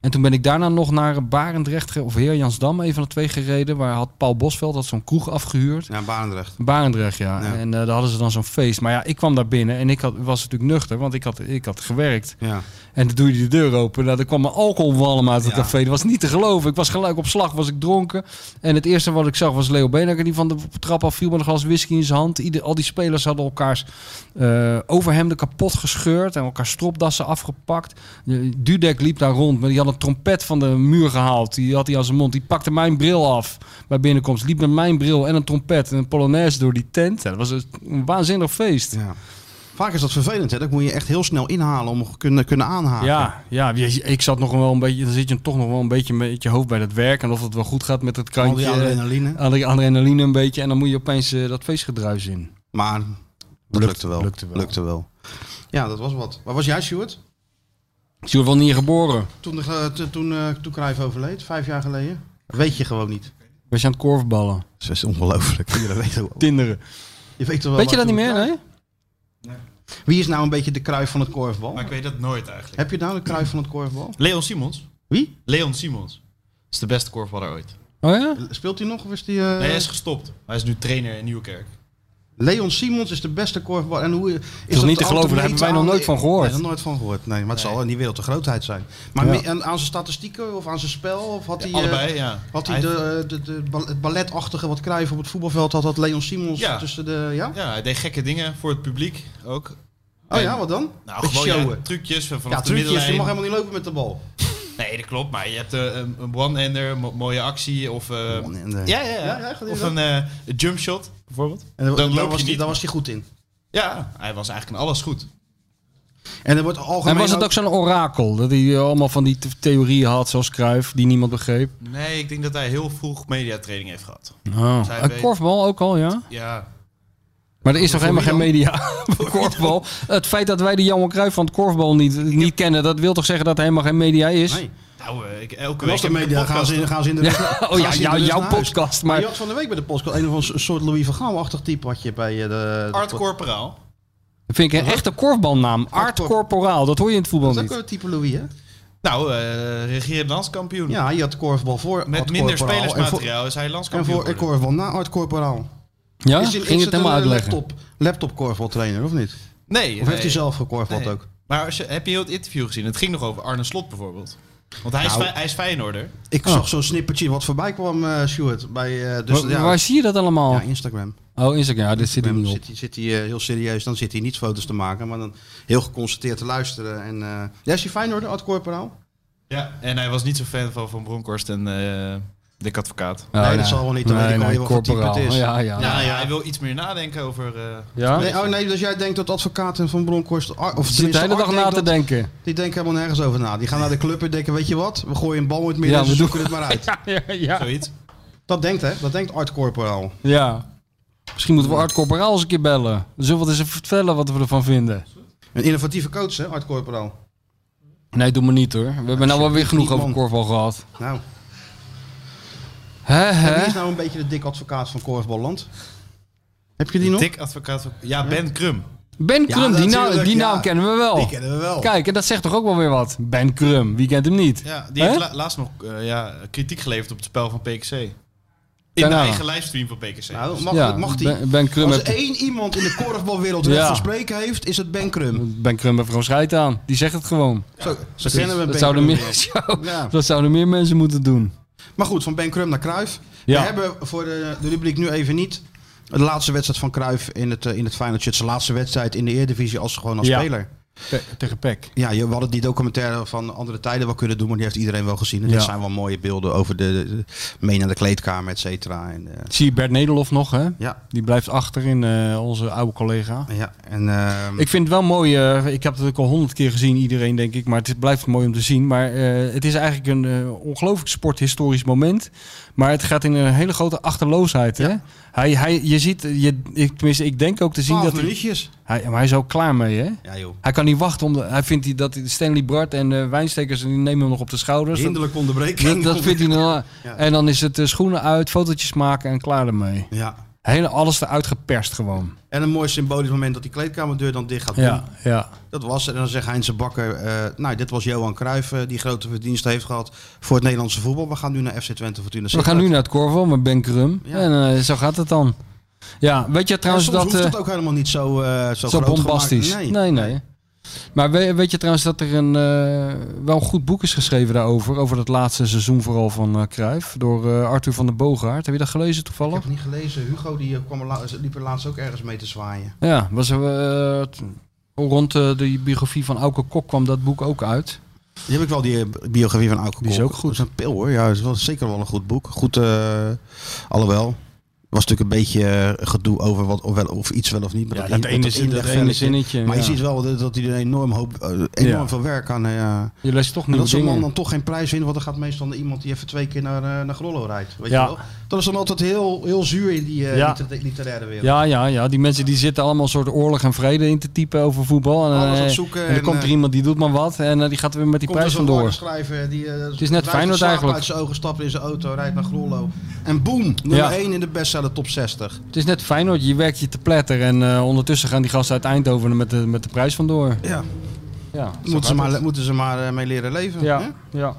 Speaker 5: En toen ben ik daarna nog naar Barendrecht ge- of Heer Jansdam, een van de twee gereden. Waar had Paul Bosveld dat zo'n kroeg afgehuurd.
Speaker 4: Ja, Barendrecht.
Speaker 5: Barendrecht, ja.
Speaker 4: Ja.
Speaker 5: En eh, daar hadden ze dan zo'n feest. Maar ja, ik kwam daar binnen en ik had, was natuurlijk nuchter, want ik had, ik had gewerkt.
Speaker 4: Ja.
Speaker 5: En toen doe je de deur open. Nou, er kwam een alcoholwalm uit het
Speaker 4: Ja.
Speaker 5: café. Dat was niet te geloven. Ik was gelijk op slag, was ik dronken. En het eerste wat ik zag was Leo Beenhakker die van de trap af viel met een glas whisky in zijn hand. Ieder, al die spelers hadden elkaars eh, overhemden kapot gescheurd en elkaar stropdassen afgepakt. Eh, Dudek liep daar rond, maar die had een trompet van de muur gehaald. Die had hij aan zijn mond. Die pakte mijn bril af bij binnenkomst. Liep met mijn bril en een trompet en een polonaise door die tent. Ja, dat was een waanzinnig feest.
Speaker 4: ja. Vaak is dat vervelend, hè? Dat moet je echt heel snel inhalen om kunnen, kunnen aanhalen.
Speaker 5: Ja, ja je- ik zat nog wel een beetje, dan zit je toch nog wel een beetje met je hoofd bij dat werk. En of het wel goed gaat met het
Speaker 4: Al
Speaker 5: krantje.
Speaker 4: die adrenaline.
Speaker 5: eh, al die adrenaline een beetje. En dan moet je opeens eh, dat feestgedruis in.
Speaker 4: Maar dat lukte wel.
Speaker 5: lukte wel.
Speaker 4: Lukte wel. Ja, dat was wat. Waar was jij, Stuart?
Speaker 5: Is je wel niet geboren?
Speaker 4: Toen, de, eh, t- toen, eh, toen Cruijff overleed, vijf jaar geleden? Weet je gewoon niet.
Speaker 5: Was je aan het korfballen?
Speaker 4: Dat is ongelooflijk. Je weet, toch wel-
Speaker 5: Tinderen.
Speaker 4: je weet, toch wel
Speaker 5: Weet je
Speaker 4: waar
Speaker 5: dat niet
Speaker 4: toen
Speaker 5: meer,
Speaker 4: Cruijff-
Speaker 5: nee?
Speaker 4: Wie is nou een beetje de Cruijff van het korfbal?
Speaker 7: Maar ik weet dat nooit eigenlijk.
Speaker 4: Heb je nou de Cruijff van het korfbal?
Speaker 7: Leon Simons.
Speaker 4: Wie?
Speaker 7: Leon Simons. Is de beste korfballer ooit.
Speaker 5: Oh ja?
Speaker 4: Speelt hij nog of is die... eh,
Speaker 7: Nee, hij is gestopt. Hij is nu trainer in Nieuwkerk.
Speaker 4: Leon Simons is de beste korfbal. En hoe is
Speaker 5: niet te geloven, daar hebben wij nog nooit van gehoord.
Speaker 4: Nee, nog nooit van gehoord. Nee, maar het zal in die wereld de grootheid zijn. Maar
Speaker 5: Ja.
Speaker 4: mi- en aan zijn statistieken of aan zijn spel? Of had hij, eh,
Speaker 7: Allebei, ja.
Speaker 4: Had hij de, de, de, bal- het balletachtige wat Cruijff op het voetbalveld had, had Leon Simons
Speaker 7: Ja.
Speaker 4: tussen de... Ja?
Speaker 7: Ja, hij deed gekke dingen voor het publiek ook.
Speaker 4: Oh ja, wat dan?
Speaker 7: Nou,
Speaker 4: Beetje
Speaker 7: gewoon ja,
Speaker 4: showen.
Speaker 7: trucjes van vanaf
Speaker 4: Ja,
Speaker 7: de
Speaker 4: trucjes. Je
Speaker 7: middenlijn.
Speaker 4: mag helemaal niet lopen met de bal.
Speaker 7: Nee, dat klopt. Maar je hebt eh, een, een one-ender, een mo- mooie actie of... eh,
Speaker 4: One-ender.
Speaker 7: Ja, ja,
Speaker 4: Ja,
Speaker 7: ja.
Speaker 4: ja, goed,
Speaker 7: of
Speaker 4: ja.
Speaker 7: een eh, een jump shot bijvoorbeeld.
Speaker 4: En dan,
Speaker 7: Dan
Speaker 4: dan
Speaker 7: loop je
Speaker 4: was die-
Speaker 7: niet.
Speaker 4: daar was hij goed in.
Speaker 7: Ja, hij was eigenlijk in alles goed.
Speaker 4: En, er wordt algemeen
Speaker 5: en was het ook zo'n orakel? Dat hij eh, allemaal van die th- theorieën had, zoals Kruif, die niemand begreep.
Speaker 7: Nee, ik denk dat hij heel vroeg mediatraining heeft gehad.
Speaker 5: Oh.
Speaker 7: Zij weet-
Speaker 5: korfbal ook al, ja?
Speaker 7: Ja.
Speaker 5: Maar er is nog helemaal geen
Speaker 7: wie
Speaker 5: media voor korfbal. Het feit dat wij de Johan Cruijff van het korfbal niet, niet kennen, dat wil toch zeggen dat er helemaal geen media is?
Speaker 4: Nee.
Speaker 7: Nou, eh, ik,
Speaker 4: En
Speaker 7: elke week
Speaker 4: als de
Speaker 7: heb ik een
Speaker 4: media gaan
Speaker 7: podcast,
Speaker 4: ze, in-
Speaker 7: hoor.
Speaker 4: gaan ze in de
Speaker 5: Ja,
Speaker 4: rust-
Speaker 5: oh
Speaker 4: gaan
Speaker 5: ja,
Speaker 4: ze in
Speaker 5: jou-
Speaker 4: de rust
Speaker 5: jouw
Speaker 4: naar huis.
Speaker 5: podcast, maar-
Speaker 4: Je had van de week bij de podcast een of ander soort Louis van Gaal achtig type had je bij eh, de.
Speaker 7: Art
Speaker 4: de-
Speaker 7: Corporaal.
Speaker 5: Dat vind ik een echte korfbalnaam. Art Corporaal, dat hoor je in het voetbal
Speaker 4: Dat is ook
Speaker 5: niet.
Speaker 4: een type Louis, hè?
Speaker 7: Nou, eh regerend landskampioen.
Speaker 4: Ja, je had korfbal voor.
Speaker 7: Met
Speaker 4: Art
Speaker 7: minder
Speaker 4: Corporaal en voor-
Speaker 7: spelersmateriaal is hij
Speaker 4: En
Speaker 7: landskampioen
Speaker 4: voor en
Speaker 7: geworden.
Speaker 4: korfbal na Art Corporaal.
Speaker 5: Ja?
Speaker 4: Is, hij-
Speaker 5: Ging je het
Speaker 4: het
Speaker 5: helemaal
Speaker 4: een, eh,
Speaker 5: uitleggen?
Speaker 4: Laptop, laptop korfbaltrainer, of niet? Of
Speaker 7: Nee. nee.
Speaker 4: heeft hij zelf gekorfbald
Speaker 7: Nee.
Speaker 4: ook?
Speaker 7: Maar als je, heb je heel het interview gezien? Het ging nog over Arne Slot bijvoorbeeld. Want hij,
Speaker 4: Nou.
Speaker 7: is, Fey- hij is Feyenoorder.
Speaker 4: Ik zag zo'n snippertje wat voorbij kwam, eh Stuart. Bij, eh dus,
Speaker 5: Oh. Wa-
Speaker 4: ja,
Speaker 5: Waar zie je dat allemaal?
Speaker 4: ja, Instagram.
Speaker 5: Oh, Instagram, ja, dit zit er
Speaker 4: Dan
Speaker 5: niet op.
Speaker 4: zit, hij- zit hij eh, heel serieus, dan zit hij niet foto's te maken, maar dan heel geconcentreerd te luisteren. En, eh ja, is hij Feyenoorder, Art Corporaal?
Speaker 7: Ja. En hij was niet zo fan van Van Bronckhorst en eh Dick Advocaat.
Speaker 5: Oh,
Speaker 4: nee, dat zal wel niet, dan weet ik al wel wat type
Speaker 5: Corporaal.
Speaker 4: het is.
Speaker 5: Oh, Ja, ja. ja.
Speaker 7: Ja, ja, hij wil iets meer nadenken over... eh,
Speaker 4: Nee, oh nee, dus jij denkt dat advocaten van Bronkhorst... Ar- Of
Speaker 5: Zit de
Speaker 4: tenminste
Speaker 5: hele
Speaker 4: Art
Speaker 5: dag na
Speaker 4: denkt
Speaker 5: te
Speaker 4: dat-
Speaker 5: denken.
Speaker 4: Die denken helemaal nergens over na. Die gaan naar de club en denken, weet je wat? We gooien een bal in het midden
Speaker 5: Ja,
Speaker 4: en ze
Speaker 5: we
Speaker 4: zoeken het maar uit.
Speaker 5: Ja, ja.
Speaker 7: Zoiets.
Speaker 4: Dat denkt hè? Dat denkt Art Corporaal.
Speaker 5: ja. Misschien moeten we Art Corporaal eens een keer bellen. Dan Zullen we het eens even vertellen wat we ervan vinden?
Speaker 4: Een innovatieve coach hè, Art Corporaal.
Speaker 5: Nee, doe maar niet hoor. We hebben nou wel weer genoeg
Speaker 4: niet,
Speaker 5: over
Speaker 4: man.
Speaker 5: korfbal gehad.
Speaker 4: Nou,
Speaker 5: Hè,
Speaker 4: en wie is
Speaker 5: hè?
Speaker 4: nou een beetje de dik advocaat van Korfballand? Heb je die nog?
Speaker 7: Dick Advocaat van... Ja, Ben Krum.
Speaker 5: Ben Krum, die, naam,
Speaker 4: natuurlijk,
Speaker 5: die
Speaker 4: ja.
Speaker 5: naam kennen we wel.
Speaker 4: Die kennen we wel.
Speaker 5: Kijk, en dat zegt toch ook wel weer wat? Ben Krum, wie kent hem niet?
Speaker 7: Ja, die
Speaker 5: Hè?
Speaker 7: heeft la- laatst nog eh, ja, kritiek geleverd op het spel van PKC. In de
Speaker 5: Daarna.
Speaker 7: eigen livestream van PKC.
Speaker 4: Nou, mag,
Speaker 5: Ja,
Speaker 4: mag die?
Speaker 5: Ben- Ben Krum
Speaker 4: Als
Speaker 5: heeft-
Speaker 4: één iemand in de korfbalwereld
Speaker 5: Ja.
Speaker 4: recht van spreken heeft, is het Ben Krum.
Speaker 5: Ben Krum heeft gewoon scheid aan. Die zegt het gewoon.
Speaker 4: Zo, ze e- kennen we
Speaker 5: dat,
Speaker 4: Ben
Speaker 5: zouden
Speaker 4: Krum.
Speaker 5: meer, zo-
Speaker 4: Ja.
Speaker 5: dat zouden meer mensen moeten doen.
Speaker 4: Maar goed, van Ben Krum naar Kruif.
Speaker 5: Ja.
Speaker 4: We hebben voor de, de rubriek nu even niet de laatste wedstrijd van Kruif in het, eh, in het Feyenoord. shirt. Zijn laatste wedstrijd in de Eredivisie als gewoon als
Speaker 5: Ja.
Speaker 4: speler.
Speaker 5: Pe- tegen Peck.
Speaker 4: Ja, je- we hadden die documentaire van andere tijden wel kunnen doen, maar die heeft iedereen wel gezien. En
Speaker 5: Ja.
Speaker 4: dit zijn wel mooie beelden over de, de, de- mee naar de kleedkamer, et cetera. En, eh,
Speaker 5: Zie je Bert Nederlof nog, hè?
Speaker 4: ja,
Speaker 5: Die blijft achter in eh, onze oude collega.
Speaker 4: ja. En, ehm,
Speaker 5: Ik vind het wel mooi. eh, ik heb het ook al honderd keer gezien, iedereen denk ik. Maar het is- blijft mooi om te zien. Maar eh, het is eigenlijk een eh, ongelooflijk sporthistorisch moment. Maar het gaat in een hele grote achterloosheid. Hè? Hij, hij, je ziet, je, ik, tenminste, ik denk ook te zien
Speaker 4: 12
Speaker 5: dat hij,
Speaker 4: minuutjes.
Speaker 5: hij, maar hij is ook klaar mee. Hè?
Speaker 4: Ja joh.
Speaker 5: Hij kan niet wachten. Om de- hij vindt die, dat Stanley Bart en eh, Wijnstekers die nemen hem nog op de schouders. Dat,
Speaker 4: Hinderlijk
Speaker 5: dat,
Speaker 4: onderbreking.
Speaker 5: dat vindt hij dan.
Speaker 4: Ja.
Speaker 5: En dan is het eh, schoenen uit, fotootjes maken en klaar ermee.
Speaker 4: Ja.
Speaker 5: Hele, alles eruit geperst gewoon.
Speaker 4: En een mooi symbolisch moment dat die kleedkamerdeur dan dicht gaat.
Speaker 5: Ja, ja.
Speaker 4: Dat was het. En dan zegt Heinze Bakker, eh, nou dit was Johan Cruijff eh, die grote verdiensten heeft gehad voor het Nederlandse voetbal. We gaan nu naar FC Twente Fortuna
Speaker 5: We gaan nu naar het Corvo met Ben Krum.
Speaker 4: Ja.
Speaker 5: En eh, zo gaat het dan. Ja, weet je
Speaker 4: trouwens
Speaker 5: trouwens dat...
Speaker 4: hoeft
Speaker 5: eh,
Speaker 4: het ook helemaal niet zo, eh zo,
Speaker 5: zo
Speaker 4: groot gemaakt.
Speaker 5: bombastisch. Nee. nee, Maar we- weet, je trouwens dat er een, eh, wel een goed boek is geschreven daarover? Over dat laatste seizoen vooral van eh Cruijff. Door eh, Arthur van der Boogaard. Heb je dat gelezen
Speaker 4: Ik
Speaker 5: toevallig?
Speaker 4: heb het niet gelezen. Hugo die eh, kwam er la- liep er laatst ook ergens mee te zwaaien.
Speaker 5: Ja, was er, eh, t- rond eh, de biografie van Auke Kok kwam dat boek ook uit.
Speaker 4: Die heb ik wel, die eh, biografie van Auke
Speaker 5: Die is
Speaker 4: Kok.
Speaker 5: ook goed.
Speaker 4: Dat is een pil hoor. Ja, dat is wel, zeker wel een goed boek. Goed, eh, alhoewel. was natuurlijk een beetje eh, gedoe over wat, of, wel, of iets wel of niet. Maar
Speaker 5: Ja,
Speaker 4: in-
Speaker 5: dat ene zin- dat
Speaker 4: inlegvelletje.
Speaker 5: ene zinnetje,
Speaker 4: Maar je
Speaker 5: ja.
Speaker 4: ziet wel dat, dat hij er een enorm, hoop, eh, enorm
Speaker 5: Ja.
Speaker 4: veel werk aan... eh, ja.
Speaker 5: Je leest toch
Speaker 4: En
Speaker 5: nieuwe
Speaker 4: dat zo'n man
Speaker 5: dingen.
Speaker 4: dan toch geen prijs wint, want dan gaat meestal naar iemand die even twee keer naar, eh, naar Grollo rijdt. Weet
Speaker 5: Ja.
Speaker 4: je wel? Dat is dan altijd heel, heel zuur in die eh,
Speaker 5: Ja.
Speaker 4: liter- literaire wereld.
Speaker 5: Ja, ja, ja. Die mensen die zitten allemaal een soort oorlog en vrede in te typen over voetbal. En,
Speaker 4: Alles
Speaker 5: eh,
Speaker 4: opzoeken
Speaker 5: En dan
Speaker 4: en,
Speaker 5: komt er
Speaker 4: eh,
Speaker 5: iemand die doet maar wat. En eh, die gaat er weer met die
Speaker 4: Komt er
Speaker 5: prijs
Speaker 4: zo'n
Speaker 5: vandoor.
Speaker 4: schrijver die eh,
Speaker 5: is net
Speaker 4: wrijft
Speaker 5: Feyenoord
Speaker 4: de slaap
Speaker 5: eigenlijk.
Speaker 4: uit zijn ogen, stapt in zijn auto, rijdt naar Grollo. En boem, nummer
Speaker 5: Ja.
Speaker 4: 1 in de bestseller top 60.
Speaker 5: Het is net Feyenoord, je werkt je te platter en eh, ondertussen gaan die gasten uit Eindhoven er met de, met de prijs vandoor.
Speaker 4: Ja,
Speaker 5: Ja.
Speaker 4: moeten ze, maar, moeten ze maar eh, mee leren leven. hè?
Speaker 5: Ja, ja.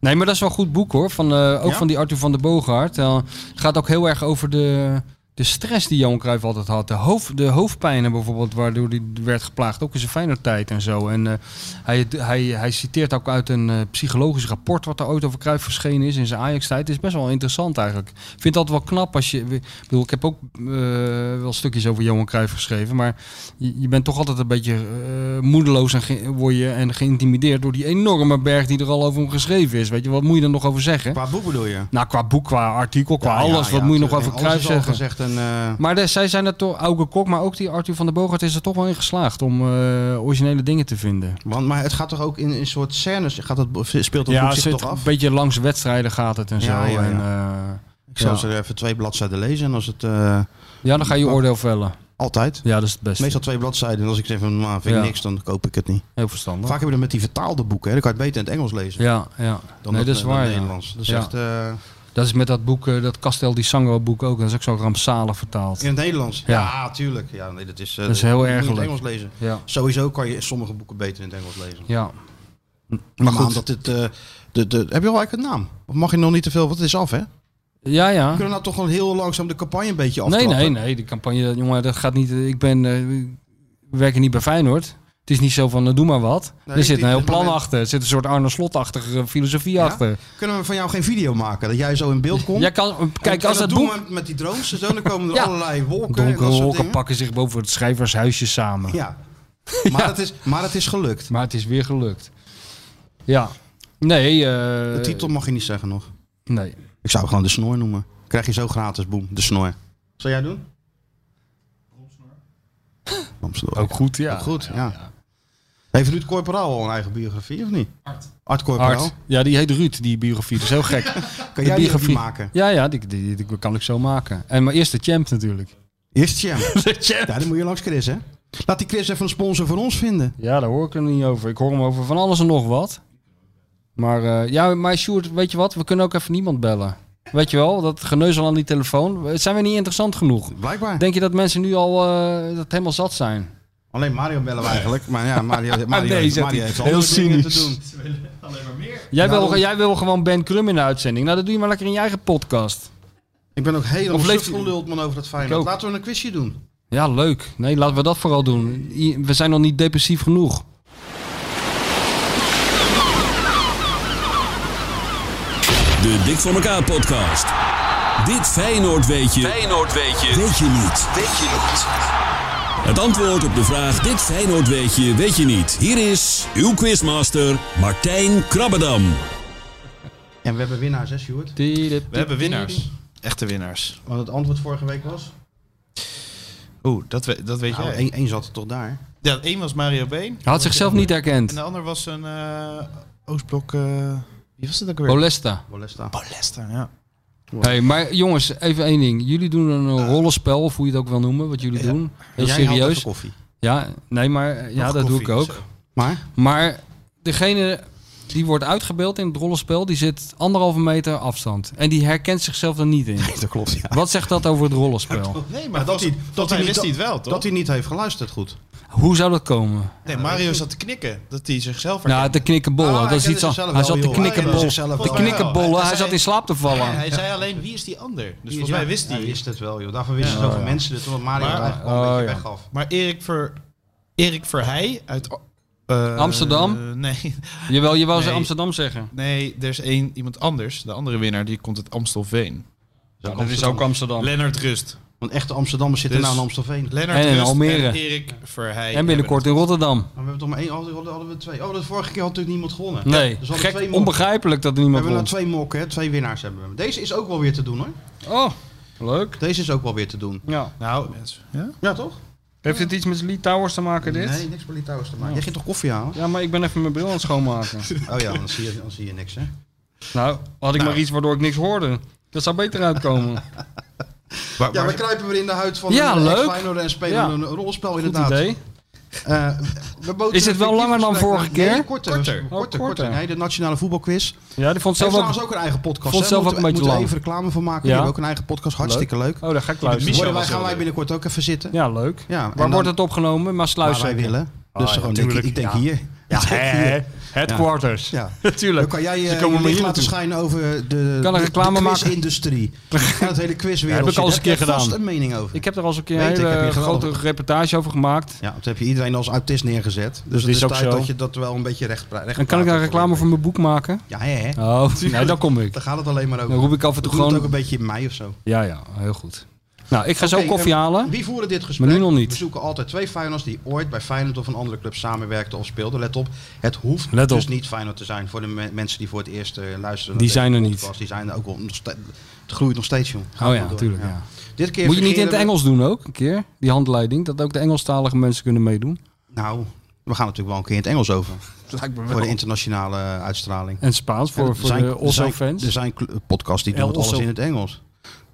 Speaker 5: Nee, maar dat is wel een goed boek hoor, van, eh, ook
Speaker 4: Ja?
Speaker 5: van die Arthur van der Boogaard. Eh, het gaat ook heel erg over de, de stress die Johan Cruijff altijd had. De, hoofd, de hoofdpijnen bijvoorbeeld, waardoor hij werd geplaagd, ook in zijn Feyenoord-tijd en zo. En eh, hij, hij, hij citeert ook uit een eh, psychologisch rapport wat er ooit over Cruijff verschenen is in zijn Ajax-tijd. Het is best wel interessant eigenlijk. Ik vind dat wel knap als je... Ik bedoel, ik heb ook eh, wel stukjes over Johan Cruijff geschreven, maar je, je bent toch altijd een beetje eh, moedeloos en, ge- word je, en geïntimideerd door die enorme berg die er al over hem geschreven is. Weet je, wat moet je er nog over zeggen?
Speaker 4: Qua boek bedoel je?
Speaker 5: Nou, qua boek, qua artikel, qua
Speaker 4: Ja,
Speaker 5: alles.
Speaker 4: ja,
Speaker 5: wat
Speaker 4: ja,
Speaker 5: moet je nog
Speaker 4: tuurlijk.
Speaker 5: over
Speaker 4: Alles
Speaker 5: Cruijff
Speaker 4: is al
Speaker 5: zeggen?
Speaker 4: gezegd en En, eh,
Speaker 5: Maar de- zij zijn er toch, Auge Kok, maar ook die Arthur van der Bogart is er toch wel in geslaagd om eh, originele dingen te vinden.
Speaker 4: want, maar het gaat toch ook in een soort scènes, gaat dat, speelt dat boek
Speaker 5: het
Speaker 4: zich
Speaker 5: zit
Speaker 4: toch af?
Speaker 5: een beetje langs wedstrijden gaat het en zo.
Speaker 4: Ja, ja, ja.
Speaker 5: En, eh,
Speaker 4: Ik zou
Speaker 5: ja.
Speaker 4: ze er even twee bladzijden lezen en als het... eh,
Speaker 5: ja, dan ga je oordeel vellen.
Speaker 4: altijd.
Speaker 5: Ja, dat is het beste.
Speaker 4: Meestal twee bladzijden en als ik zeg van, nou, vind ik
Speaker 5: Ja.
Speaker 4: niks, dan koop ik het niet.
Speaker 5: Heel verstandig.
Speaker 4: Vaak heb je dat met die vertaalde boeken, hè? dan kan je het beter in het Engels lezen
Speaker 5: Ja, ja.
Speaker 4: dan
Speaker 5: nee,
Speaker 4: dat,
Speaker 5: dat is
Speaker 4: eh, dan
Speaker 5: waar. ja.
Speaker 4: Nederlands. Dat is
Speaker 5: Ja.
Speaker 4: echt... eh,
Speaker 5: Dat is met dat boek, eh, dat Castel di Sangro boek ook. Dat is ook zo rampzalig vertaald.
Speaker 4: In het Nederlands?
Speaker 5: Ja.
Speaker 4: Ja, tuurlijk. Ja, nee, dat is, eh,
Speaker 5: Dat is heel
Speaker 4: moet je
Speaker 5: erg
Speaker 4: in het
Speaker 5: leuk.
Speaker 4: Engels lezen.
Speaker 5: Ja.
Speaker 4: Sowieso kan je sommige boeken beter in het Engels lezen.
Speaker 5: Ja.
Speaker 4: Maar
Speaker 5: goed.
Speaker 4: goed. Dat dit, eh, de, de, heb je al eigenlijk een naam? Of mag je nog niet te veel? Want het is af, hè? We
Speaker 5: Ja, ja.
Speaker 4: kunnen nou toch gewoon heel langzaam de campagne een beetje
Speaker 5: Nee,
Speaker 4: aftrappen.
Speaker 5: nee, nee. Die campagne, dat- jongen, dat gaat niet. eh, Ik ben, eh, we werken niet bij Feyenoord. Het is niet zo van, eh, doe maar wat.
Speaker 4: Nee,
Speaker 5: er zit
Speaker 4: dit-
Speaker 5: een heel
Speaker 4: dit
Speaker 5: plan
Speaker 4: moment-
Speaker 5: achter. Er zit een soort Arne Slot-achtige filosofie achter.
Speaker 4: Kunnen we van jou geen video maken? Dat jij zo in beeld komt?
Speaker 5: Jij kan, eh, kijk,
Speaker 4: En
Speaker 5: als
Speaker 4: dat
Speaker 5: dat
Speaker 4: doen
Speaker 5: boek...
Speaker 4: we met die drones en zo, dan komen er
Speaker 5: Ja.
Speaker 4: allerlei wolken. en dat
Speaker 5: Donkere
Speaker 4: soort
Speaker 5: wolken
Speaker 4: dingen.
Speaker 5: pakken zich boven het schrijvershuisje samen.
Speaker 4: Ja. Maar, Het is, maar het is gelukt.
Speaker 5: Maar het is weer gelukt. Ja. Nee, eh,
Speaker 4: De titel mag je niet zeggen nog.
Speaker 5: Nee.
Speaker 4: Ik zou gewoon de snor noemen. Krijg je zo gratis, boem. De snor. Zou jij doen? Romsnor.
Speaker 5: Ook goed, ja.
Speaker 4: Ook goed, ja. Heeft Ruud Corporaal al een eigen biografie of niet? Art. Art Corporaal.
Speaker 5: Art. Ja, die heet Ruud, die biografie. Dat is heel gek.
Speaker 4: Kan jij die
Speaker 5: biografie
Speaker 4: biografie maken?
Speaker 5: Ja, ja, die, die, die kan ik zo maken. En maar eerst de champ natuurlijk.
Speaker 4: Eerst Jam.
Speaker 5: De champ.
Speaker 4: ja, dan moet je langs Chris, hè? Laat die Chris even een sponsor voor ons vinden.
Speaker 5: Ja, daar hoor ik er niet over. Ik hoor hem over van alles en nog wat. Maar eh, ja, maar Sjoerd, weet je wat? We kunnen ook even niemand bellen. Weet je wel, dat geneuzel aan die telefoon. Zijn we niet interessant genoeg?
Speaker 4: Blijkbaar.
Speaker 5: Denk je dat mensen nu al eh, dat helemaal zat zijn?
Speaker 4: Alleen Mario bellen we eigenlijk. Maar ja, Mario, Mario,
Speaker 5: Ah, Nee, zegt
Speaker 4: Mario
Speaker 5: hij.
Speaker 4: heeft
Speaker 5: Heel
Speaker 4: andere dingen te
Speaker 5: cynisch.
Speaker 4: doen.
Speaker 5: Jij,
Speaker 4: Nou,
Speaker 5: wil,
Speaker 4: dat-
Speaker 5: jij wil gewoon Ben Krum in de uitzending. Nou, dat doe je maar lekker in je eigen podcast.
Speaker 4: Ik ben ook helemaal
Speaker 5: Of leeft hij-
Speaker 4: geluld man over dat
Speaker 5: Ik
Speaker 4: Feyenoord.
Speaker 5: ook.
Speaker 4: Laten we een quizje doen.
Speaker 5: Ja, leuk. Nee, laten we dat vooral doen. I- We zijn nog niet depressief genoeg.
Speaker 12: De Dik voor elkaar podcast. Dit Feyenoord weet je. Feyenoord weet je. Weet je niet. Weet je niet. Het antwoord op de vraag Dit Feyenoord weet je, weet je niet. Hier is uw quizmaster Martijn Krabbedam.
Speaker 4: En we hebben winnaars, hè, Stuart?
Speaker 7: We hebben winnaars. Echte winnaars.
Speaker 4: Want het antwoord vorige week was?
Speaker 7: Oeh, dat, we- dat weet
Speaker 4: Nou,
Speaker 7: jij.
Speaker 4: één, één zat er toch daar.
Speaker 7: Ja, één was Mario Been.
Speaker 5: Hij had zichzelf niet
Speaker 7: En
Speaker 5: herkend.
Speaker 7: de ander was een eh, Oostblok... eh, wie was het ook weer?
Speaker 5: Bolesta.
Speaker 4: Bolesta.
Speaker 7: Bolester, ja.
Speaker 5: Hey, maar jongens, even één ding. Jullie doen een rollenspel, of hoe je het ook wil noemen, wat jullie doen. Heel
Speaker 4: Jij haalt
Speaker 5: serieus.
Speaker 4: even koffie.
Speaker 5: Ja, nee, maar ja, dat doe ik
Speaker 7: koffie,
Speaker 5: ook.
Speaker 7: zo.
Speaker 4: Maar?
Speaker 5: Maar degene die wordt uitgebeeld in het rollenspel, die zit anderhalve meter afstand. En die herkent zichzelf er niet in.
Speaker 4: Dat klopt, ja.
Speaker 5: Wat zegt dat over het rollenspel?
Speaker 7: Nee, maar
Speaker 4: dat
Speaker 7: dat,
Speaker 4: hij-
Speaker 7: was,
Speaker 4: dat
Speaker 7: dat
Speaker 4: hij
Speaker 7: hij
Speaker 4: niet-
Speaker 7: wist hij het wel, toch?
Speaker 4: Dat hij niet heeft geluisterd goed.
Speaker 5: Hoe zou dat komen?
Speaker 7: nee, Mario zat te knikken. Dat hij zichzelf
Speaker 5: Nou, te knikkenbollen.
Speaker 4: Ah, hij
Speaker 5: dat is
Speaker 4: kende
Speaker 5: iets anders.
Speaker 4: zichzelf
Speaker 5: Hij
Speaker 4: wel,
Speaker 5: zat te
Speaker 4: joh. Hij kende
Speaker 5: knikkenbollen.
Speaker 4: zichzelf
Speaker 5: Te
Speaker 4: wel.
Speaker 5: knikkenbollen.
Speaker 7: Hij
Speaker 5: Hij zat
Speaker 7: zei-
Speaker 5: in slaap te vallen.
Speaker 7: Hij zei alleen, wie is die ander? Dus volgens
Speaker 4: Ja,
Speaker 7: mij wist hij.
Speaker 4: Hij wist het wel, joh. Daarvoor wist hij zoveel mensen dit, omdat Mario
Speaker 7: Maar-
Speaker 4: het eigenlijk al een
Speaker 5: oh,
Speaker 4: beetje
Speaker 5: ja.
Speaker 4: weggaf.
Speaker 7: Maar Erik, Ver, Erik Verheij uit... eh,
Speaker 5: Amsterdam?
Speaker 7: nee,
Speaker 5: Jawel, je wou ze
Speaker 7: Nee.
Speaker 5: Amsterdam zeggen.
Speaker 7: nee, er is één, iemand anders. De andere winnaar, die komt uit Amstelveen.
Speaker 5: Dat is ook Amsterdam.
Speaker 7: Lennart Rust.
Speaker 4: Want echte Amsterdammers zitten
Speaker 7: Dus-
Speaker 4: nou in Amstelveen. Maar
Speaker 7: Lennart
Speaker 5: En in
Speaker 7: Rust
Speaker 5: Almere.
Speaker 7: en Erik Verheij.
Speaker 5: En binnenkort in Rotterdam.
Speaker 4: we hebben toch maar één, hadden, hadden- hadden we twee. Oh, dat vorige keer had natuurlijk niemand gewonnen.
Speaker 5: Nee,
Speaker 4: Dus we hadden twee
Speaker 5: gek
Speaker 4: mokken.
Speaker 5: onbegrijpelijk dat er
Speaker 4: We
Speaker 5: niemand
Speaker 4: hebben nou
Speaker 5: won.
Speaker 4: twee mokken, hè. twee winnaars hebben we. Deze is ook wel weer te doen hoor.
Speaker 5: Oh, leuk.
Speaker 4: Deze is ook wel weer te doen.
Speaker 5: Ja.
Speaker 7: Nou, mensen, ja?
Speaker 4: Ja, toch?
Speaker 5: Heeft dit iets met Lee Towers te maken, dit?
Speaker 4: Nee, niks met Litouwers te maken.
Speaker 5: Oh.
Speaker 4: Jij ging toch koffie halen?
Speaker 5: Ja, maar ik ben even mijn bril aan het schoonmaken.
Speaker 4: Oh ja, dan zie je, dan zie je niks hè.
Speaker 5: nou, had ik maar iets waardoor ik niks hoorde. Dat zou beter uitkomen.
Speaker 7: Waar-
Speaker 4: Ja,
Speaker 7: waar-
Speaker 4: we kruipen weer in de huid van
Speaker 5: Ja,
Speaker 4: een
Speaker 5: leuk.
Speaker 4: ex-Feyenoord en spelen
Speaker 5: Ja.
Speaker 4: een rolspel
Speaker 5: Goed
Speaker 4: inderdaad.
Speaker 5: idee.
Speaker 4: Eh, we boten
Speaker 5: Is het wel
Speaker 4: een
Speaker 5: langer dan
Speaker 4: fictief
Speaker 5: vorige
Speaker 4: gesprek. Nee,
Speaker 5: keer?
Speaker 4: korter.
Speaker 7: Korter.
Speaker 4: Korter,
Speaker 5: Oh,
Speaker 4: korter.
Speaker 5: korter.
Speaker 4: Nee, de nationale voetbalquiz.
Speaker 5: Ja, die vond
Speaker 4: Ze
Speaker 5: het
Speaker 4: heeft
Speaker 5: zelf
Speaker 4: trouwens
Speaker 5: ook...
Speaker 4: ook een eigen podcast.
Speaker 5: Vond
Speaker 4: hè?
Speaker 5: zelf ook
Speaker 4: Moeten we-
Speaker 5: een beetje
Speaker 4: moeten we
Speaker 5: lang.
Speaker 4: even reclame van maken.
Speaker 5: Ja.
Speaker 4: Die hebben ook een eigen podcast. Hartstikke leuk.
Speaker 5: Oh, daar ga ik luisteren.
Speaker 4: Worden wij,
Speaker 7: was
Speaker 4: gaan
Speaker 7: heel
Speaker 4: wij
Speaker 7: leuk.
Speaker 4: binnenkort ook even zitten.
Speaker 5: Ja, leuk.
Speaker 4: Ja, en
Speaker 5: Waar
Speaker 4: dan-
Speaker 5: wordt het opgenomen? Maasluis
Speaker 4: Waar wij
Speaker 5: zeker.
Speaker 4: willen. Dus
Speaker 5: Ah, ja,
Speaker 4: gewoon, denk ik,
Speaker 5: tuurlijk.
Speaker 4: ik denk
Speaker 5: Ja.
Speaker 4: hier.
Speaker 5: Ja,
Speaker 4: Ik denk hier.
Speaker 5: hè, headquarters.
Speaker 4: Ja. Dan
Speaker 5: natuurlijk.
Speaker 4: kan jij
Speaker 5: Ze
Speaker 4: eh
Speaker 5: komen
Speaker 4: je
Speaker 5: maar
Speaker 4: licht laten
Speaker 5: hier naartoe.
Speaker 4: schijnen over de,
Speaker 5: Kan een
Speaker 4: de-
Speaker 5: reclame
Speaker 4: de
Speaker 5: maken.
Speaker 4: quizindustrie. en het hele quizwereld.
Speaker 5: Heb ik al eens een
Speaker 4: Daar heb
Speaker 5: keer
Speaker 4: jij vast
Speaker 5: gedaan.
Speaker 4: een mening over.
Speaker 5: Ik heb er al eens een keer
Speaker 4: Weet ik,
Speaker 5: een
Speaker 4: heb
Speaker 5: hele
Speaker 4: je geweldig-
Speaker 5: grote reportage over gemaakt.
Speaker 4: Ja, dat heb je iedereen als autist neergezet. Dus het
Speaker 5: is
Speaker 4: is,
Speaker 5: ook
Speaker 4: tijd
Speaker 5: zo.
Speaker 4: dat je dat wel een beetje recht, recht
Speaker 5: En kan ik daar reclame voor mijn boek maken?
Speaker 4: Ja, hè, hè.
Speaker 5: Oh, nee, dan kom ik.
Speaker 4: Daar gaat het alleen maar over.
Speaker 5: Dan roep ik af en
Speaker 4: Dat
Speaker 5: toe
Speaker 4: doet het ook
Speaker 5: gewoon...
Speaker 4: een beetje in mei of zo.
Speaker 5: Ja, ja, heel goed. Nou, ik ga zo
Speaker 4: Oké,
Speaker 5: koffie
Speaker 4: en
Speaker 5: halen.
Speaker 4: Wie voeren dit gesprek?
Speaker 5: nu nog niet.
Speaker 4: We zoeken altijd twee Feyenoords die ooit bij Feyenoord of een andere club samenwerkten of speelden. Let op, het hoeft
Speaker 5: Let
Speaker 4: dus
Speaker 5: op.
Speaker 4: niet Feyenoord te zijn voor de me- mensen die voor het eerst eh, luisteren. naar
Speaker 5: Die
Speaker 4: deze
Speaker 5: zijn er
Speaker 4: podcast.
Speaker 5: niet.
Speaker 4: Die zijn er ook wel. nog ste- Het groeit nog steeds, jong. Gaat
Speaker 5: Oh ja,
Speaker 4: maar door.
Speaker 5: natuurlijk. Ja.
Speaker 4: Dit keer
Speaker 5: Moet je niet in het
Speaker 4: vergeren we-
Speaker 5: Engels doen ook, een keer? Die handleiding, dat ook de Engelstalige mensen kunnen meedoen.
Speaker 4: Nou, we gaan natuurlijk wel een keer in het Engels over.
Speaker 5: Lijkt me
Speaker 4: Voor de internationale eh, uitstraling.
Speaker 5: En Spaans voor,
Speaker 4: Er
Speaker 5: voor
Speaker 4: zijn-
Speaker 5: de
Speaker 4: er zijn- dus-
Speaker 5: Osso-fans.
Speaker 4: Er zijn cl- podcasts die doen
Speaker 5: El
Speaker 4: het alles
Speaker 5: Osso.
Speaker 4: in het Engels.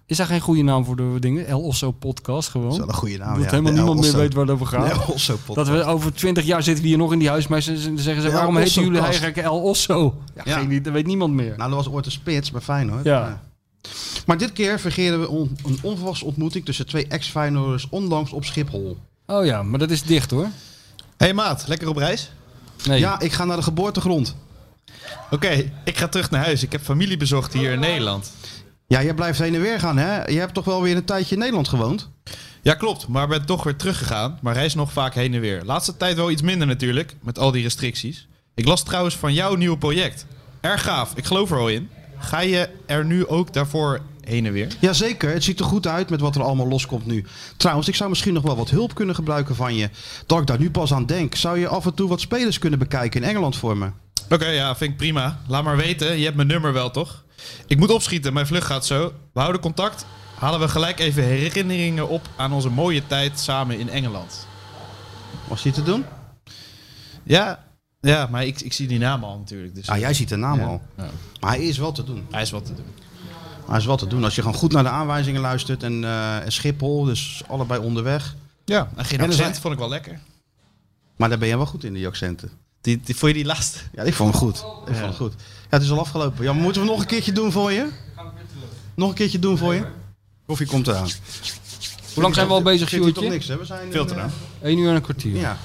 Speaker 5: Is daar geen goede naam voor de dingen? El Osso Podcast gewoon.
Speaker 4: Dat is wel een goede naam.
Speaker 5: Dat
Speaker 4: ja.
Speaker 5: helemaal
Speaker 4: De El
Speaker 5: niemand meer
Speaker 4: Osso.
Speaker 5: weet waar het over gaat.
Speaker 4: De El Osso podcast.
Speaker 5: Dat we over twintig jaar zitten we hier nog in die huismeesters en dan zeggen ze,
Speaker 4: De El
Speaker 5: waarom heten jullie
Speaker 4: Osso-kast.
Speaker 5: eigenlijk El Osso? Ja,
Speaker 4: Ja.
Speaker 5: Geen, idee, dat weet niemand meer.
Speaker 4: Nou, dat was ooit een spits bij Feyenoord.
Speaker 5: Ja.
Speaker 4: Maar dit keer vergeren we on- een onverwachte ontmoeting tussen twee ex-Feyenoorders onlangs op Schiphol.
Speaker 5: Oh ja, maar dat is dicht hoor.
Speaker 7: hey maat, lekker op reis?
Speaker 5: Nee.
Speaker 4: Ja, ik ga naar de geboortegrond.
Speaker 7: Oké, ik ga terug naar huis. Ik heb familie bezocht hier in Nederland.
Speaker 4: Ja, jij blijft heen en weer gaan, hè? Je hebt toch wel weer een tijdje in Nederland gewoond?
Speaker 7: Ja, klopt, maar ben toch weer teruggegaan. Maar reis nog vaak heen en weer. Laatste tijd wel iets minder natuurlijk, met al die restricties. Ik las trouwens van jouw nieuwe project. Erg gaaf, ik geloof er al in. Ga je er nu ook daarvoor heen en weer?
Speaker 4: Jazeker, het ziet er goed uit met wat er allemaal loskomt nu. Trouwens, ik zou misschien nog wel wat hulp kunnen gebruiken van je. Dat ik daar nu pas aan denk. Zou je af en toe wat spelers kunnen bekijken in Engeland voor me?
Speaker 7: Oké, ja, vind ik prima. Laat maar weten, je hebt mijn nummer wel toch? Ik moet opschieten, mijn vlucht gaat zo. We houden contact, halen we gelijk even herinneringen op aan onze mooie tijd samen in Engeland.
Speaker 4: Was die te doen?
Speaker 7: Ja, ja maar ik, ik zie die naam al natuurlijk. Dus
Speaker 4: Ah, jij ziet de naam
Speaker 7: Ja.
Speaker 4: al.
Speaker 7: Ja.
Speaker 4: Maar hij is wel te doen.
Speaker 7: Hij is wat te doen.
Speaker 4: Maar is wat te doen. Als je gewoon goed naar de aanwijzingen luistert en eh, Schiphol, dus allebei onderweg.
Speaker 7: Ja, en geen
Speaker 4: En er
Speaker 7: accent
Speaker 4: zijn-
Speaker 7: vond ik wel lekker.
Speaker 4: Maar daar ben jij wel goed in, die accenten.
Speaker 7: Die, die, vond je die laatste?
Speaker 4: Ja, ik vond hem goed. Ik vond hem goed. Ja, het is al afgelopen. Ja, maar moeten we nog een keertje doen voor je? Nog een keertje doen voor je? Koffie komt eraan.
Speaker 5: Hoe lang zijn we al bezig,
Speaker 4: Zit hier toch
Speaker 5: Sjoerdje?
Speaker 4: niks, hè? We zijn
Speaker 7: Veel
Speaker 4: in,
Speaker 7: te
Speaker 4: eh,
Speaker 7: lang.
Speaker 5: 1 uur en een kwartier.
Speaker 4: Ja.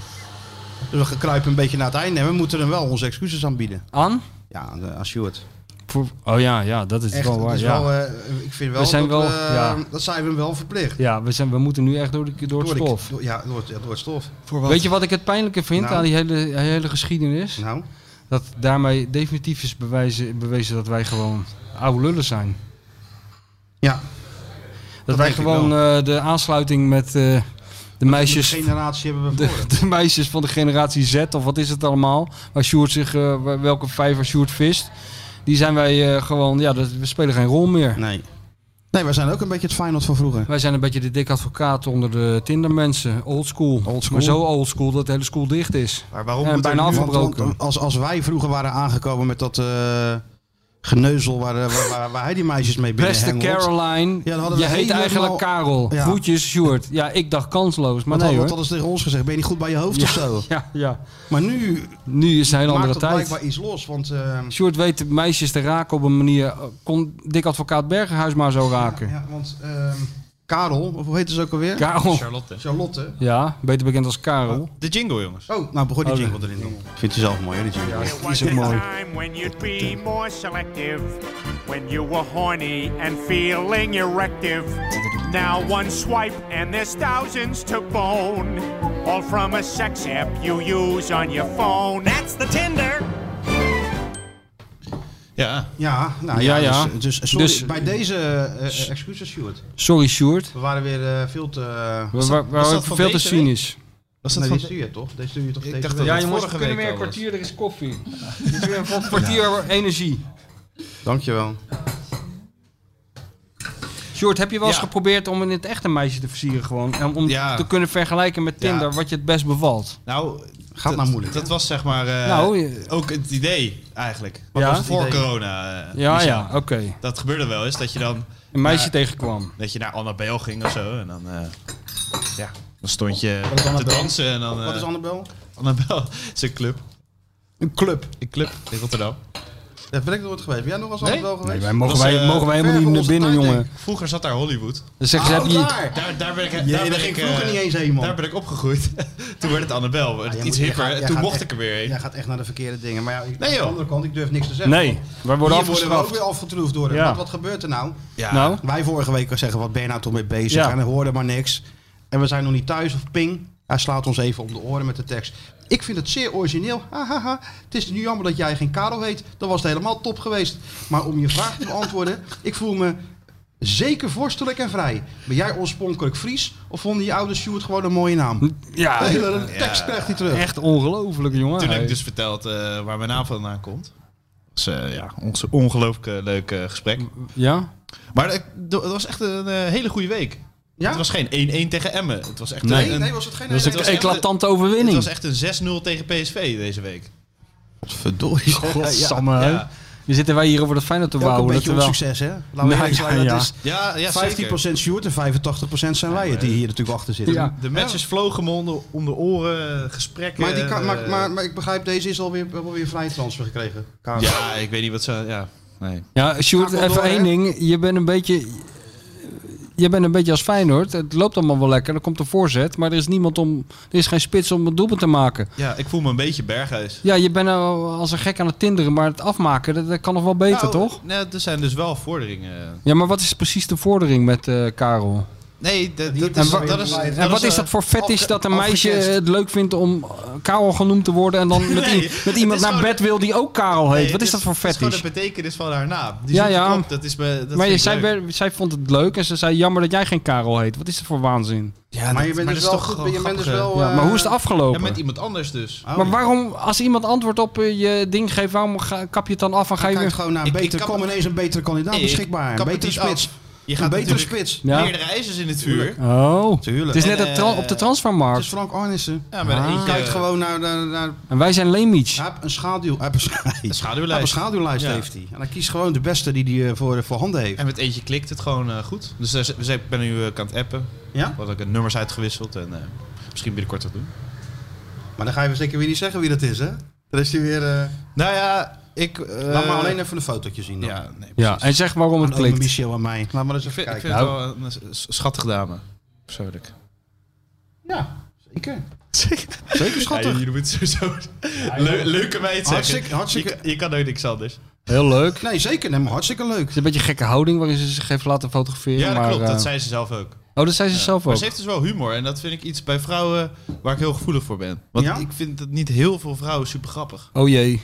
Speaker 4: Dus we kruipen een beetje naar het einde en we moeten hem wel onze excuses aanbieden.
Speaker 5: eh, Aan?
Speaker 4: Ja, aan de- aan Sjoerd.
Speaker 5: Voor- oh ja, ja, dat is
Speaker 4: Echt,
Speaker 5: wel
Speaker 4: dat
Speaker 5: waar.
Speaker 4: is
Speaker 5: Ja.
Speaker 4: wel, eh, ik vind wel,
Speaker 5: We zijn
Speaker 4: dat,
Speaker 5: wel-
Speaker 4: we- eh,
Speaker 5: ja.
Speaker 4: dat zijn we hem wel verplicht.
Speaker 5: ja, we, zijn, we moeten nu echt door, de, door het
Speaker 4: Door de-
Speaker 5: stof.
Speaker 4: door- ja, door, het- ja, door het stof.
Speaker 5: Weet je wat ik het pijnlijke vind
Speaker 4: Nou.
Speaker 5: aan die hele, hele geschiedenis?
Speaker 4: Nou,
Speaker 5: Dat daarmee definitief is bewijzen, bewezen dat wij gewoon oude lullen zijn.
Speaker 4: ja.
Speaker 5: Dat,
Speaker 4: Dat
Speaker 5: wij
Speaker 4: denk ik
Speaker 5: gewoon eh, de aansluiting met eh, de,
Speaker 4: De
Speaker 5: meisjes,
Speaker 4: generatie hebben we voor.
Speaker 5: de, de meisjes van de generatie Z, of wat is het allemaal, waar Sjoerd zich, eh, waar- welke vijver Sjoerd vist, die zijn wij eh, gewoon, ja, dat, we spelen geen rol meer.
Speaker 4: Nee. Nee, we zijn ook een beetje het Feyenoord van vroeger.
Speaker 5: Wij zijn een beetje de dik advocaat onder de Tindermensen, old school.
Speaker 4: school.
Speaker 5: Maar zo old school dat de hele school dicht is.
Speaker 7: Maar waarom
Speaker 5: en
Speaker 7: moet er
Speaker 5: bijna
Speaker 7: nu-
Speaker 4: Want- want
Speaker 5: afgebroken.
Speaker 4: als, als wij vroeger waren aangekomen met dat eh, geneuzel waar, eh, waar, waar, waar hij die meisjes mee binnen
Speaker 5: Beste Caroline,
Speaker 4: Ja, dan hadden we
Speaker 5: je heet
Speaker 4: helemaal-
Speaker 5: eigenlijk Karel.
Speaker 4: Ja.
Speaker 5: Groetjes, Sjoerd. Ja, ik dacht kansloos, maar
Speaker 4: Maar dat
Speaker 5: nee hoor.
Speaker 4: hadden ze tegen ons gezegd, ben je niet goed bij je hoofd of zo?
Speaker 5: Ja, ja.
Speaker 4: Maar nu
Speaker 5: Nu is het een hele
Speaker 4: maakt
Speaker 5: andere
Speaker 4: het
Speaker 5: tijd.
Speaker 4: blijkbaar iets los, want... eh,
Speaker 5: Sjoerd weet de meisjes te raken op een manier. eh, Kon dik advocaat Bergenhuis maar zo raken.
Speaker 4: ja, want ehm, Karel, of hoe heet ze ook alweer?
Speaker 5: Karel.
Speaker 7: Charlotte.
Speaker 4: Charlotte.
Speaker 5: Ja, beter bekend als Karel.
Speaker 7: De jingle, jongens.
Speaker 4: Oh, nou begon die
Speaker 5: Oh,
Speaker 4: jingle erin. dan. Vindt u zelf mooi, hè, die jingle?
Speaker 5: Die is ook mooi.
Speaker 13: time when you'd be more selective, when you were horny and feeling erective. Now one swipe and there's thousands to bone, all from a sex app you use on your phone. That's the Tinder.
Speaker 7: Ja.
Speaker 4: Ja, nou ja,
Speaker 5: Ja, ja.
Speaker 4: Dus, dus sorry,
Speaker 5: Dus-
Speaker 4: bij deze eh, eh, excuses, Stuart.
Speaker 5: Sorry, Sjoerd.
Speaker 4: We waren weer eh, veel te... eh,
Speaker 5: We waren
Speaker 7: was dat van
Speaker 5: veel te
Speaker 7: deze week?
Speaker 5: cynisch.
Speaker 7: Was
Speaker 4: nee, die stuur je toch? Deze stuur je toch deze
Speaker 7: dacht
Speaker 4: week?
Speaker 7: dat- Ja, jongens, we kunnen weer een
Speaker 5: er is koffie. Een kwartier energie.
Speaker 4: Dankjewel.
Speaker 5: Sjoerd, heb je wel eens
Speaker 7: Ja.
Speaker 5: geprobeerd om in het echte meisje te versieren gewoon? En om
Speaker 7: Ja.
Speaker 5: te kunnen vergelijken met Tinder
Speaker 7: Ja.
Speaker 5: wat je het best bevalt?
Speaker 7: Nou,
Speaker 4: Gaat
Speaker 7: dat-
Speaker 4: nou moeilijk,
Speaker 7: Dat was zeg maar eh,
Speaker 5: Nou, je-
Speaker 7: ook het idee eigenlijk. Wat
Speaker 5: Ja?
Speaker 7: was het voor
Speaker 4: Idee.
Speaker 7: corona? eh,
Speaker 5: Ja,
Speaker 7: Michel?
Speaker 5: ja, oké.
Speaker 7: Dat gebeurde wel eens, dat je dan
Speaker 5: Een meisje
Speaker 7: Ja.
Speaker 5: tegenkwam.
Speaker 7: dat je naar Annabel ging of zo. En dan, eh, ja, dan stond je
Speaker 4: is
Speaker 7: te
Speaker 4: Annabel?
Speaker 7: dansen. En dan, eh,
Speaker 4: Wat is Annabel?
Speaker 7: Annabel? is een club.
Speaker 4: Een club.
Speaker 7: Een club in Rotterdam.
Speaker 4: Daar ben ik nooit geweest. Ben jij nog eens
Speaker 7: Nee?
Speaker 4: Annabel geweest?
Speaker 5: Nee, wij mogen,
Speaker 7: Dat is,
Speaker 5: wij,
Speaker 7: eh,
Speaker 5: mogen wij
Speaker 4: ver
Speaker 5: helemaal niet
Speaker 4: van
Speaker 5: naar
Speaker 4: onze
Speaker 5: binnen,
Speaker 4: tijd,
Speaker 5: jongen.
Speaker 4: denk
Speaker 7: Vroeger zat daar Hollywood.
Speaker 5: Dan zeggen
Speaker 7: Ah,
Speaker 5: ze,
Speaker 4: Oh,
Speaker 5: heb je...
Speaker 4: daar!
Speaker 7: Daar, daar ben ik,
Speaker 4: Jee,
Speaker 7: daar
Speaker 4: daar
Speaker 7: ben
Speaker 4: ging
Speaker 7: ik,
Speaker 4: vroeger
Speaker 7: eh,
Speaker 4: niet eens heen, man. Ah,
Speaker 7: Daar ben ik opgegroeid. Toen werd het Annabel.
Speaker 4: Ja, jij
Speaker 7: iets
Speaker 4: moet-
Speaker 7: hipper.
Speaker 4: jij gaat- jij
Speaker 7: Toen
Speaker 4: gaat
Speaker 7: mocht
Speaker 4: echt-
Speaker 7: ik er weer heen.
Speaker 4: Jij gaat echt naar de verkeerde dingen. Maar ja, ik-
Speaker 7: Nee,
Speaker 4: aan de
Speaker 7: joh.
Speaker 4: andere kant, ik durf niks te zeggen.
Speaker 5: Nee, wij worden
Speaker 4: Hier worden we ook
Speaker 5: afgestraft.
Speaker 4: weer afgetroefd door hem.
Speaker 5: Ja.
Speaker 4: Want Wat gebeurt er nou?
Speaker 7: Ja.
Speaker 5: Nou,
Speaker 4: Wij vorige week al zeggen, wat ben je nou toch mee bezig?
Speaker 5: Ja.
Speaker 4: En hij hoorde maar niks. En we zijn nog niet thuis of ping. Hij slaat ons even om de oren met de tekst. Ik vind het zeer origineel. Hahaha. Het is nu jammer dat jij geen Karel heet. Dan was het helemaal top geweest. Maar om je vraag te beantwoorden, ik voel me Zeker vorstelijk en vrij. Ben jij oorspronkelijk Fries of vonden je ouders Stuart gewoon een mooie naam?
Speaker 5: Ja.
Speaker 4: De hele tekst krijgt hij terug.
Speaker 5: Echt ongelooflijk, jongen.
Speaker 7: Toen heb ik
Speaker 5: Hij-
Speaker 7: dus verteld eh, waar mijn naam vandaan komt. Dus eh, ja, ons ongelooflijk eh, leuk eh, gesprek.
Speaker 5: Ja?
Speaker 7: Maar het, het was echt een eh, hele goede week.
Speaker 4: Ja?
Speaker 7: Het was geen 1-1 tegen Emmen. Het was echt
Speaker 5: Nee.
Speaker 7: een,
Speaker 5: Nee, nee,
Speaker 4: was het geen
Speaker 7: was
Speaker 5: 1-1
Speaker 7: echt
Speaker 5: tegen
Speaker 7: een-
Speaker 5: Eclatante overwinning.
Speaker 7: Het was echt een 6-0 tegen PSV deze week.
Speaker 4: Verdorie.
Speaker 5: Godsamme.
Speaker 7: Ja.
Speaker 5: hè. Dan zitten wij hier over dat Feyenoord te
Speaker 4: Ook een
Speaker 5: wouwen.
Speaker 4: beetje
Speaker 5: terwijl-
Speaker 4: onsucces, hè? Laten we
Speaker 5: Nou,
Speaker 4: eerlijk zijn, dat
Speaker 5: ja,
Speaker 4: is
Speaker 7: Ja, ja,
Speaker 4: 15% Stuart en 85% zijn wij het die hier natuurlijk achter zitten.
Speaker 7: De matches vlogen me onder, onder oren, eh, gesprekken.
Speaker 4: Maar, die kan, maar,
Speaker 7: eh,
Speaker 4: maar, maar ik begrijp, deze is alweer, alweer vrij transfer gekregen. Kaas.
Speaker 7: Ja, ik weet niet wat ze... Ja, nee.
Speaker 5: Ja, Sjoerd,
Speaker 4: Schakel
Speaker 5: even
Speaker 4: door,
Speaker 5: één
Speaker 4: hè?
Speaker 5: ding. Je bent een beetje... Je bent een beetje als Feyenoord. Het loopt allemaal wel lekker. Er komt een voorzet. Maar er is niemand om... Er is geen spits om het doelpunt te maken.
Speaker 7: ja, ik voel me een beetje berghuis.
Speaker 5: Ja, je bent nou als een gek aan het tinderen. Maar het afmaken, dat, dat kan nog wel beter,
Speaker 7: Nou,
Speaker 5: toch?
Speaker 7: Nee, er zijn dus wel vorderingen.
Speaker 5: Ja, maar wat is precies de vordering met eh, Karel?
Speaker 7: Nee, dat, dat,
Speaker 5: En,
Speaker 7: is,
Speaker 5: wa-
Speaker 7: dat is... eh,
Speaker 5: en wat is dat voor vet is dat een meisje het leuk vindt om eh, Karel genoemd te worden en dan met,
Speaker 7: Nee,
Speaker 5: i- met iemand
Speaker 7: het is
Speaker 5: naar
Speaker 7: gewoon-
Speaker 5: bed wil die ook Karel heet? wat
Speaker 7: Nee, het
Speaker 5: is dat voor
Speaker 7: Het is
Speaker 5: fetish?
Speaker 7: gewoon de betekenis van haar naam. Dus Die
Speaker 5: Ja,
Speaker 7: zoekt
Speaker 5: ja.
Speaker 7: het op. Dat is me, dat
Speaker 5: maar
Speaker 7: vind
Speaker 5: je,
Speaker 7: ik
Speaker 5: zij,
Speaker 7: leuk.
Speaker 5: werd- zij vond het leuk en ze zei jammer dat jij geen Karel heet. Wat is dat voor waanzin?
Speaker 4: maar je bent
Speaker 7: maar
Speaker 4: dus
Speaker 7: dat
Speaker 4: wel
Speaker 7: is toch
Speaker 4: goed, je bent dus
Speaker 7: grappig,
Speaker 4: wel...
Speaker 5: ja,
Speaker 4: eh,
Speaker 5: maar hoe is het afgelopen?
Speaker 7: Oh, Ja, met iemand anders dus.
Speaker 5: Maar waarom, als iemand antwoord op eh, je ding geeft, waarom ga- kap je het dan af en ga
Speaker 4: Dan kan
Speaker 5: je
Speaker 4: je
Speaker 5: weer...
Speaker 4: het gewoon naar een
Speaker 7: Ik- ik
Speaker 4: betere,
Speaker 7: kap
Speaker 4: kom
Speaker 7: het-
Speaker 4: ineens een betere kandidaat
Speaker 7: Nee, ik
Speaker 4: beschikbaar. Een
Speaker 7: kap het
Speaker 4: betere
Speaker 7: niet af.
Speaker 4: spits.
Speaker 7: Je
Speaker 4: Een
Speaker 7: gaat
Speaker 4: betere
Speaker 7: natuurlijk
Speaker 4: spits.
Speaker 5: Ja.
Speaker 7: meerdere ijzers in het vuur.
Speaker 5: Oh,
Speaker 4: Tuurlijk.
Speaker 5: het is net
Speaker 7: En,
Speaker 5: het tra-
Speaker 7: eh,
Speaker 5: op de
Speaker 4: Het
Speaker 5: transfermarkt.
Speaker 4: is Frank Arnissen.
Speaker 7: Ja, maar
Speaker 5: Ah.
Speaker 7: dan eet
Speaker 4: Je
Speaker 7: je-
Speaker 4: kijkt gewoon naar... naar, naar
Speaker 5: En wij zijn Lemich.
Speaker 4: hij heeft een, schaduw, hij heeft een, hij heeft
Speaker 7: schaduwlijst.
Speaker 4: een schaduwlijst
Speaker 7: Ja.
Speaker 4: heeft hij. En hij kiest gewoon de beste die, die hij eh, voor, voor handen heeft.
Speaker 7: En met eentje klikt het gewoon eh, goed. Dus daar z- dus ik ben nu eh, aan het appen.
Speaker 4: Ja?
Speaker 7: Wat ik nummers uitgewisseld en eh, misschien binnenkort dat doen.
Speaker 4: Maar dan ga je zeker weer niet zeggen wie dat is, hè? Dan is hij weer... eh,
Speaker 7: Nou ja, ik... eh,
Speaker 4: Laat maar alleen even een fotootje zien dan.
Speaker 7: Ja, nee,
Speaker 5: Ja, Nou. en zeg waarom het
Speaker 4: Aan ome
Speaker 5: klikt.
Speaker 4: Michel en mij. Laat maar eens
Speaker 7: Ik
Speaker 4: even
Speaker 7: vind, ik
Speaker 4: kijken.
Speaker 7: vind het wel een s- s- schattige dame. Persoonlijk.
Speaker 4: Ja, zeker. Zeker
Speaker 7: Ja,
Speaker 4: schattig.
Speaker 7: je- je moet sowieso leu- leuke meid zeggen.
Speaker 4: Hartstikke- hartstikke-
Speaker 7: Je, kan- je kan nooit niks anders.
Speaker 5: Heel leuk. Het
Speaker 4: Nee, zeker. Nee, maar hartstikke leuk.
Speaker 5: is een beetje een gekke houding waarin ze zich heeft laten fotograferen.
Speaker 7: Ja, dat
Speaker 5: maar,
Speaker 7: klopt.
Speaker 5: eh,
Speaker 7: Dat zei ze zelf ook.
Speaker 5: Oh, dat zei ze zelf ook.
Speaker 7: Maar ze heeft dus wel humor. En dat vind ik iets bij vrouwen waar ik heel gevoelig voor ben. Want
Speaker 4: Ja?
Speaker 7: ik vind dat niet heel veel vrouwen super grappig.
Speaker 5: Oh jee.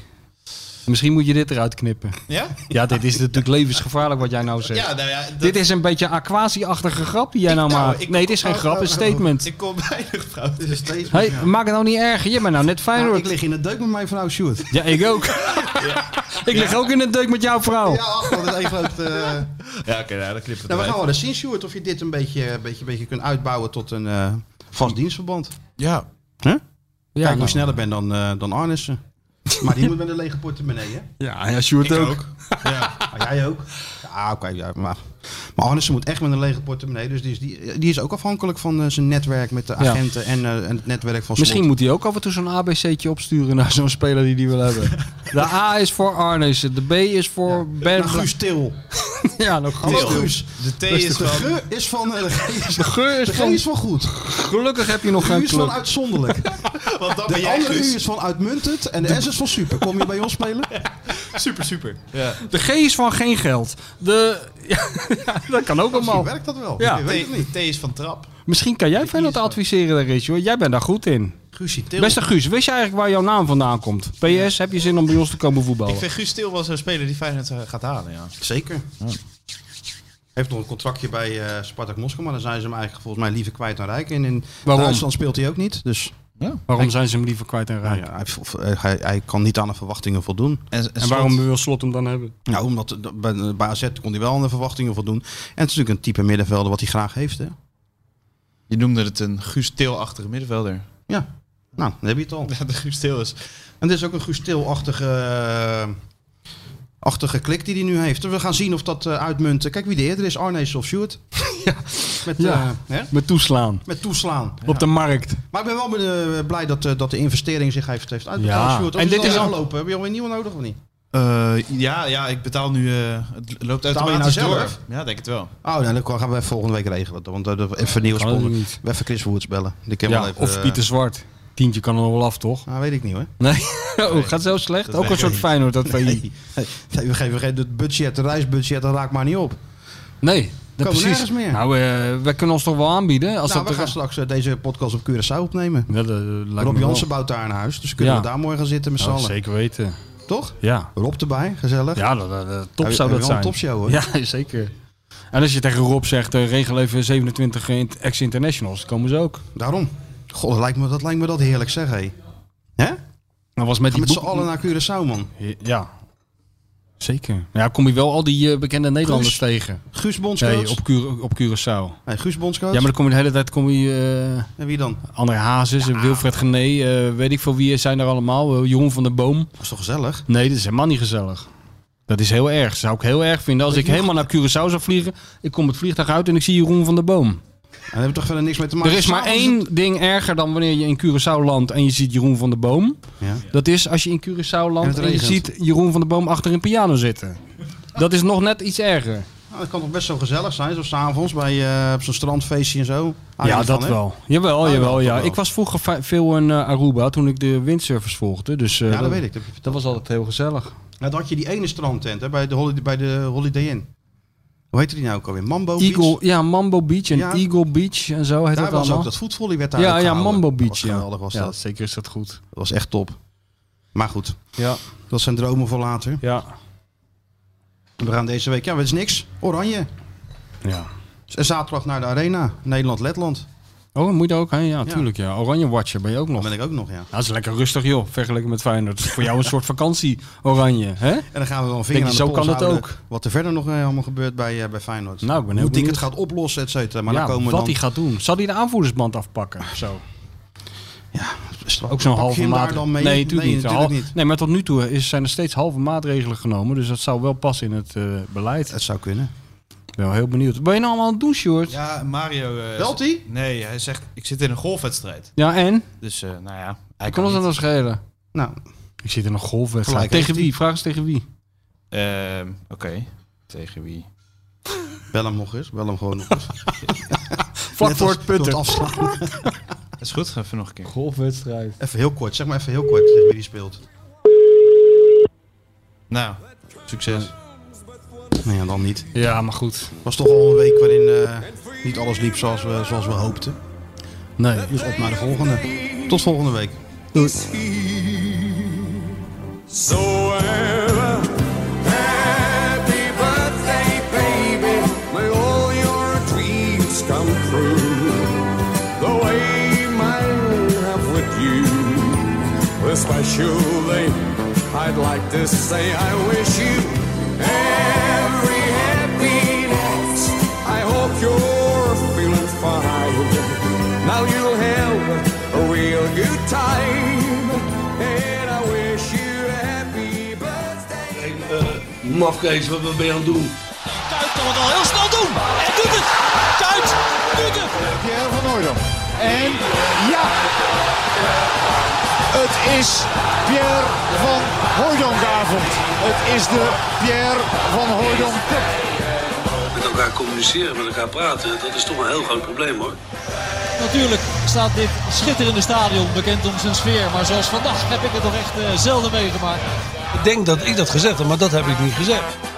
Speaker 5: Misschien moet je dit eruit knippen.
Speaker 7: Ja?
Speaker 5: Ja, dit is natuurlijk levensgevaarlijk wat jij nou zegt.
Speaker 7: Ja, nou ja. dat-
Speaker 5: Dit is een beetje een aquasi-achtige grap die jij nou,
Speaker 7: nou,
Speaker 5: maakt.
Speaker 7: ik-
Speaker 5: nee, dit is geen
Speaker 7: oh,
Speaker 5: grap,
Speaker 7: oh,
Speaker 5: een statement.
Speaker 7: Ik kom weinig vrouwen.
Speaker 4: Dit is steeds
Speaker 5: hey,
Speaker 4: ja.
Speaker 5: maak het nou niet erger. Je bent nou
Speaker 4: Nou,
Speaker 5: net
Speaker 4: ik
Speaker 5: Feyenoord.
Speaker 4: lig in de deuk met mijn vrouw Sjoerd.
Speaker 5: Ja, ik ook. ik lig ook in een deuk met jouw vrouw.
Speaker 4: Ja, ach, dat is één groot... eh,
Speaker 7: Ja, oké, nou, dat knippen we
Speaker 4: Nou, we
Speaker 7: eruit.
Speaker 4: gaan wel eens zien, Sjoerd, of je dit een beetje, een beetje, een beetje kunt uitbouwen tot een eh, vast dienstverband.
Speaker 7: Ja.
Speaker 5: Ja,
Speaker 4: Kijk hoe
Speaker 5: nou.
Speaker 4: sneller ben dan, eh dan Arnissen. Maar die moet met een lege portemonnee, hè?
Speaker 5: Ja, ja Sjoerd ook.
Speaker 4: Ah, jij ook? Ja, oké. ja, maar, maar Arnissen moet echt met een lege portemonnee. Dus die is, die, die is ook afhankelijk van eh, zijn netwerk met de
Speaker 5: Ja.
Speaker 4: agenten en, eh, en het netwerk van
Speaker 5: Misschien
Speaker 4: Slot.
Speaker 5: moet hij ook af en toe zo'n ABC'tje opsturen naar zo'n speler die die wil hebben. De A is voor Arnissen, de B is voor Ben.
Speaker 4: Nou, Guus Til.
Speaker 5: Ja, nog
Speaker 4: Hallo,
Speaker 5: Guus.
Speaker 4: Guus.
Speaker 7: De T
Speaker 4: De
Speaker 7: is van...
Speaker 4: geur is van... eh, De geur is-
Speaker 5: De geur is
Speaker 4: de geur
Speaker 5: van...
Speaker 4: is van goed.
Speaker 5: Gelukkig heb je nog
Speaker 4: De U
Speaker 5: geen
Speaker 4: is van
Speaker 5: club.
Speaker 4: uitzonderlijk.
Speaker 7: Want dat ben
Speaker 4: De
Speaker 7: jij
Speaker 4: andere
Speaker 7: Guus.
Speaker 4: U is van uitmuntend. En de S is van super. Kom je bij ons spelen?
Speaker 7: Super, super. Ja.
Speaker 5: De G is van geen geld. De... Ja, dat kan ook
Speaker 4: Misschien
Speaker 5: allemaal.
Speaker 4: werkt dat wel.
Speaker 5: Ja.
Speaker 4: Ik
Speaker 7: T,
Speaker 4: weet het niet.
Speaker 7: T is van trap.
Speaker 5: Misschien kan jij Feyenoord adviseren daar is, hoor. Jij bent daar goed in.
Speaker 4: Guusie Til.
Speaker 5: Beste Guus, wist je eigenlijk waar jouw naam vandaan komt? PS, heb je zin om bij ons te komen voetballen?
Speaker 7: Ik vind Guus Til wel zo'n speler die Feyenoord eh, gaat halen, ja.
Speaker 4: Zeker. Heeft nog een contractje bij eh, Spartak Moskou, maar dan zijn ze hem eigenlijk volgens mij liever kwijt dan rijk. En in
Speaker 5: Waarom?
Speaker 4: Duitsland speelt hij ook niet. Dus
Speaker 5: Waarom zijn ze hem liever kwijt en
Speaker 4: nou
Speaker 5: rijk?
Speaker 4: ja, hij, vo- eh, hij, hij kan niet aan de verwachtingen voldoen.
Speaker 7: En,
Speaker 5: En waarom wil Slot hem dan hebben?
Speaker 4: Nou, omdat eh, bij, bij AZ kon hij wel aan de verwachtingen voldoen. En het is natuurlijk een type middenvelder wat hij graag heeft. Hè?
Speaker 7: Je noemde het een Guus Til-achtige middenvelder.
Speaker 4: Ja, nou, dan heb je het al.
Speaker 7: Ja, de Guus Til is...
Speaker 4: En dit is ook een Gustil-achtige eh, achtige klik die hij nu heeft. We gaan zien of dat eh, uitmunt. Kijk wie de eerder is, Arnees of Sjoerd. Met, eh,
Speaker 5: Ja.
Speaker 4: hè?
Speaker 5: Met toeslaan.
Speaker 4: Met toeslaan.
Speaker 5: Op de markt.
Speaker 4: Maar ik ben wel eh, blij dat, eh, dat de investering zich heeft, heeft uitbetaald.
Speaker 5: Ja.
Speaker 4: Sjoerd,
Speaker 5: En
Speaker 4: en
Speaker 5: dit
Speaker 4: dit is
Speaker 5: is al-
Speaker 4: afgelopen. Heb je alweer een nieuwe nodig of niet?
Speaker 7: Eh, ja, ja, ik betaal nu... eh, het loopt
Speaker 4: nou
Speaker 7: automatisch door.
Speaker 4: zelf?
Speaker 7: Ja, denk het wel.
Speaker 4: Oh, nee, dan gaan we even volgende week regelen. Want eh, even nieuw
Speaker 5: Kan
Speaker 4: sponsor.
Speaker 5: ook niet.
Speaker 4: We even Chris Woods bellen. Die kan wel
Speaker 5: Ja,
Speaker 4: even,
Speaker 5: of
Speaker 4: eh,
Speaker 5: Pieter Zwart. Tientje kan er nog wel af, toch?
Speaker 4: nou, weet ik niet hoor.
Speaker 5: Nee, oh, gaat zo slecht.
Speaker 7: dat
Speaker 5: Ook
Speaker 7: weet
Speaker 5: een
Speaker 7: ik
Speaker 5: soort
Speaker 7: niet.
Speaker 5: Feyenoord, dat van
Speaker 4: Nee, we geven geen het budget, het reisbudget, dat raakt maar niet op.
Speaker 5: Nee,
Speaker 4: Komen
Speaker 5: dat
Speaker 4: we
Speaker 5: precies.
Speaker 4: nergens meer.
Speaker 5: Nou, eh, wij kunnen ons toch wel aanbieden. Als
Speaker 4: nou, we
Speaker 5: dat
Speaker 4: gaan straks eh, deze podcast op Curaçao opnemen.
Speaker 5: Ja, dat, eh, lijkt me
Speaker 4: Rob
Speaker 5: wel.
Speaker 4: Jansen bouwt daar een huis, dus kunnen
Speaker 5: Ja.
Speaker 4: we daar mooi gaan zitten met z'n
Speaker 5: Oh,
Speaker 4: allen.
Speaker 5: zeker weten.
Speaker 4: Toch?
Speaker 5: Ja.
Speaker 4: Rob erbij, gezellig.
Speaker 5: Ja, dat, dat- dat- top
Speaker 4: Ja,
Speaker 5: zou dat
Speaker 4: wel
Speaker 5: zijn.
Speaker 4: een topshow, hoor.
Speaker 5: Ja, zeker. En als je tegen Rob zegt, eh, regel even 27 in- ex-internationals, komen ze ook.
Speaker 4: Daarom. God, dat lijkt me dat, lijkt me dat heerlijk zeg, hé. Hè?
Speaker 5: Dat was met die
Speaker 4: Met z'n
Speaker 5: boek-
Speaker 4: allen naar Curaçao, man.
Speaker 5: Ja. Zeker. Ja, kom je wel al die eh, bekende Nederlanders
Speaker 4: Guus-
Speaker 5: tegen.
Speaker 4: Guus Bondscoach.
Speaker 5: Nee, op, Cura- op Curaçao.
Speaker 4: Nee, Guus Bondscoach.
Speaker 5: Ja, maar dan kom je de hele tijd... Kom je, eh,
Speaker 4: En wie dan?
Speaker 5: André Hazes, en Wilfred Gené, eh, weet ik veel wie zijn er allemaal. Eh, Jeroen van der Boom.
Speaker 4: Dat is toch gezellig?
Speaker 5: Nee, dat is helemaal niet gezellig. Dat is heel erg. zou ik heel erg vinden. Als ik helemaal naar Curaçao zou vliegen, ik kom het vliegtuig uit en ik zie Jeroen van der Boom.
Speaker 4: En daar hebben we toch verder niks mee te maken.
Speaker 5: Er is maar
Speaker 4: S'avonds
Speaker 5: één ding erger dan wanneer je in Curaçao landt en je ziet Jeroen van der Boom.
Speaker 4: Ja.
Speaker 5: Dat is als je in Curaçao landt en, je
Speaker 4: regent.
Speaker 5: ziet Jeroen van der Boom achter een piano zitten. Dat is nog net iets erger.
Speaker 4: Nou, dat kan toch best wel gezellig zijn, zo s'avonds bij eh, op zo'n strandfeestje en zo. Hou je
Speaker 5: ja,
Speaker 4: niet
Speaker 5: dat
Speaker 4: van, hè?
Speaker 5: wel. Jawel,
Speaker 4: Ah,
Speaker 5: jawel.
Speaker 4: wel,
Speaker 5: Ja.
Speaker 4: wel.
Speaker 5: Ik was vroeger va- veel in eh, Aruba toen ik de windsurfers volgde. Dus, eh,
Speaker 4: Ja, dat weet ik. Dat, heb je verteld.
Speaker 5: Dat was altijd heel gezellig.
Speaker 4: Nou, dan had je die ene strandtent hè, bij, de Holiday, bij de Holiday Inn. Hoe heette die nou ook alweer? Mambo
Speaker 5: Eagle,
Speaker 4: Beach?
Speaker 5: ja, Mambo Beach en
Speaker 4: Ja.
Speaker 5: Eagle Beach en zo heet
Speaker 4: Daar
Speaker 5: dat
Speaker 4: was
Speaker 5: allemaal.
Speaker 4: ook dat voetvolley werd daar ook
Speaker 5: ja, ja,
Speaker 4: gehouden.
Speaker 5: Mambo
Speaker 4: Dat
Speaker 5: Beach.
Speaker 4: was
Speaker 5: ja.
Speaker 4: geweldig, was
Speaker 5: ja,
Speaker 4: dat.
Speaker 5: zeker is dat goed.
Speaker 4: Dat was echt top. Maar goed,
Speaker 5: Ja,
Speaker 4: dat zijn dromen voor later.
Speaker 5: ja,
Speaker 4: We gaan deze week, ja, dat is niks. Oranje.
Speaker 5: ja.
Speaker 4: Z- Zaterdag naar de Arena. Nederland-Letland.
Speaker 5: Oh, moet je daar ook heen? Ja, tuurlijk. Ja. Oranje Watcher ben je ook nog.
Speaker 4: Daar ben ik ook nog, ja.
Speaker 5: Ja, dat is lekker rustig, joh. Vergeleken met Feyenoord. Dat is voor jou een soort vakantie, Oranje. Hè?
Speaker 4: En dan gaan we wel een vinger
Speaker 5: Denk
Speaker 4: aan de
Speaker 5: je, zo
Speaker 4: pols
Speaker 5: kan dat
Speaker 4: houden
Speaker 5: ook.
Speaker 4: Wat er verder nog eh, allemaal gebeurt bij, eh, bij Feyenoord.
Speaker 5: Nou, ik ben heel
Speaker 4: Hoe dik het
Speaker 5: benieuwd.
Speaker 4: gaat oplossen, et cetera. Maar
Speaker 5: ja,
Speaker 4: dan komen we
Speaker 5: wat
Speaker 4: dan...
Speaker 5: hij gaat doen. Zal hij de aanvoerdersband afpakken? of Zo.
Speaker 4: Strak-
Speaker 5: Ook zo'n
Speaker 4: pak je
Speaker 5: halve
Speaker 4: hem daar
Speaker 5: maatregel.
Speaker 4: dan mee?
Speaker 5: Nee, natuurlijk
Speaker 4: nee,
Speaker 5: niet.
Speaker 4: natuurlijk
Speaker 5: Hal-
Speaker 4: niet.
Speaker 5: Nee, maar tot nu toe is, zijn er steeds halve maatregelen genomen. Dus dat zou wel passen in het eh, beleid.
Speaker 4: Het zou kunnen.
Speaker 5: Ik ben wel heel benieuwd. Ben je nou allemaal aan het doen, Sjoerd? Ja.
Speaker 7: Ja, Mario... eh,
Speaker 4: Belt hij?
Speaker 7: Nee, hij zegt, ik zit in een golfwedstrijd.
Speaker 5: en?
Speaker 7: Dus, eh, nou ja, hij
Speaker 5: Kan
Speaker 7: kan
Speaker 5: ons dat
Speaker 7: niet.
Speaker 5: dan schelen?
Speaker 4: Nou,
Speaker 5: Ik zit in een golfwedstrijd.
Speaker 4: Gelijk
Speaker 5: Tegen
Speaker 4: heeft
Speaker 5: wie? Vraag eens tegen wie.
Speaker 7: Ehm, Oké, tegen wie?
Speaker 4: bel hem nog eens. Bel hem gewoon nog eens.
Speaker 5: Vlak
Speaker 4: Net
Speaker 5: voor
Speaker 4: als-
Speaker 5: het
Speaker 4: door
Speaker 5: putten.
Speaker 4: afslaan.
Speaker 7: Dat is goed, even nog een keer.
Speaker 5: Golfwedstrijd.
Speaker 4: Even heel kort. Zeg maar even heel kort tegen wie die speelt.
Speaker 7: Nou, succes.
Speaker 4: Nou ja, dan niet.
Speaker 5: Ja, maar goed.
Speaker 4: was toch al een week waarin eh, niet alles liep zoals we, zoals we hoopten.
Speaker 5: Nee.
Speaker 4: Dus op naar de volgende. Tot volgende week.
Speaker 6: So ever happy birthday, baby. May all your dreams come true. The way mine have with you. Especially, I'd like to say I wish you every happiness. I hope you're feeling fine. Now you'll have a real good time. And I wish you a happy birthday.
Speaker 1: eh, Mafkees, wat wat ben je aan het doen?
Speaker 2: Kuit kan het al heel snel doen. En doet het. Kuit. Doet het.
Speaker 3: Pierre van Hooydonk. En ja, het is Pierre van Hooydonkavond. Het is de Pierre van Hooydonk Cup.
Speaker 1: Met elkaar communiceren, met elkaar praten, dat is toch een heel groot probleem hoor.
Speaker 2: Natuurlijk staat dit schitterende stadion bekend om zijn sfeer. Maar zoals vandaag heb ik het toch echt eh, zelden meegemaakt.
Speaker 14: Ik denk dat ik dat gezegd heb, maar dat heb ik niet gezegd.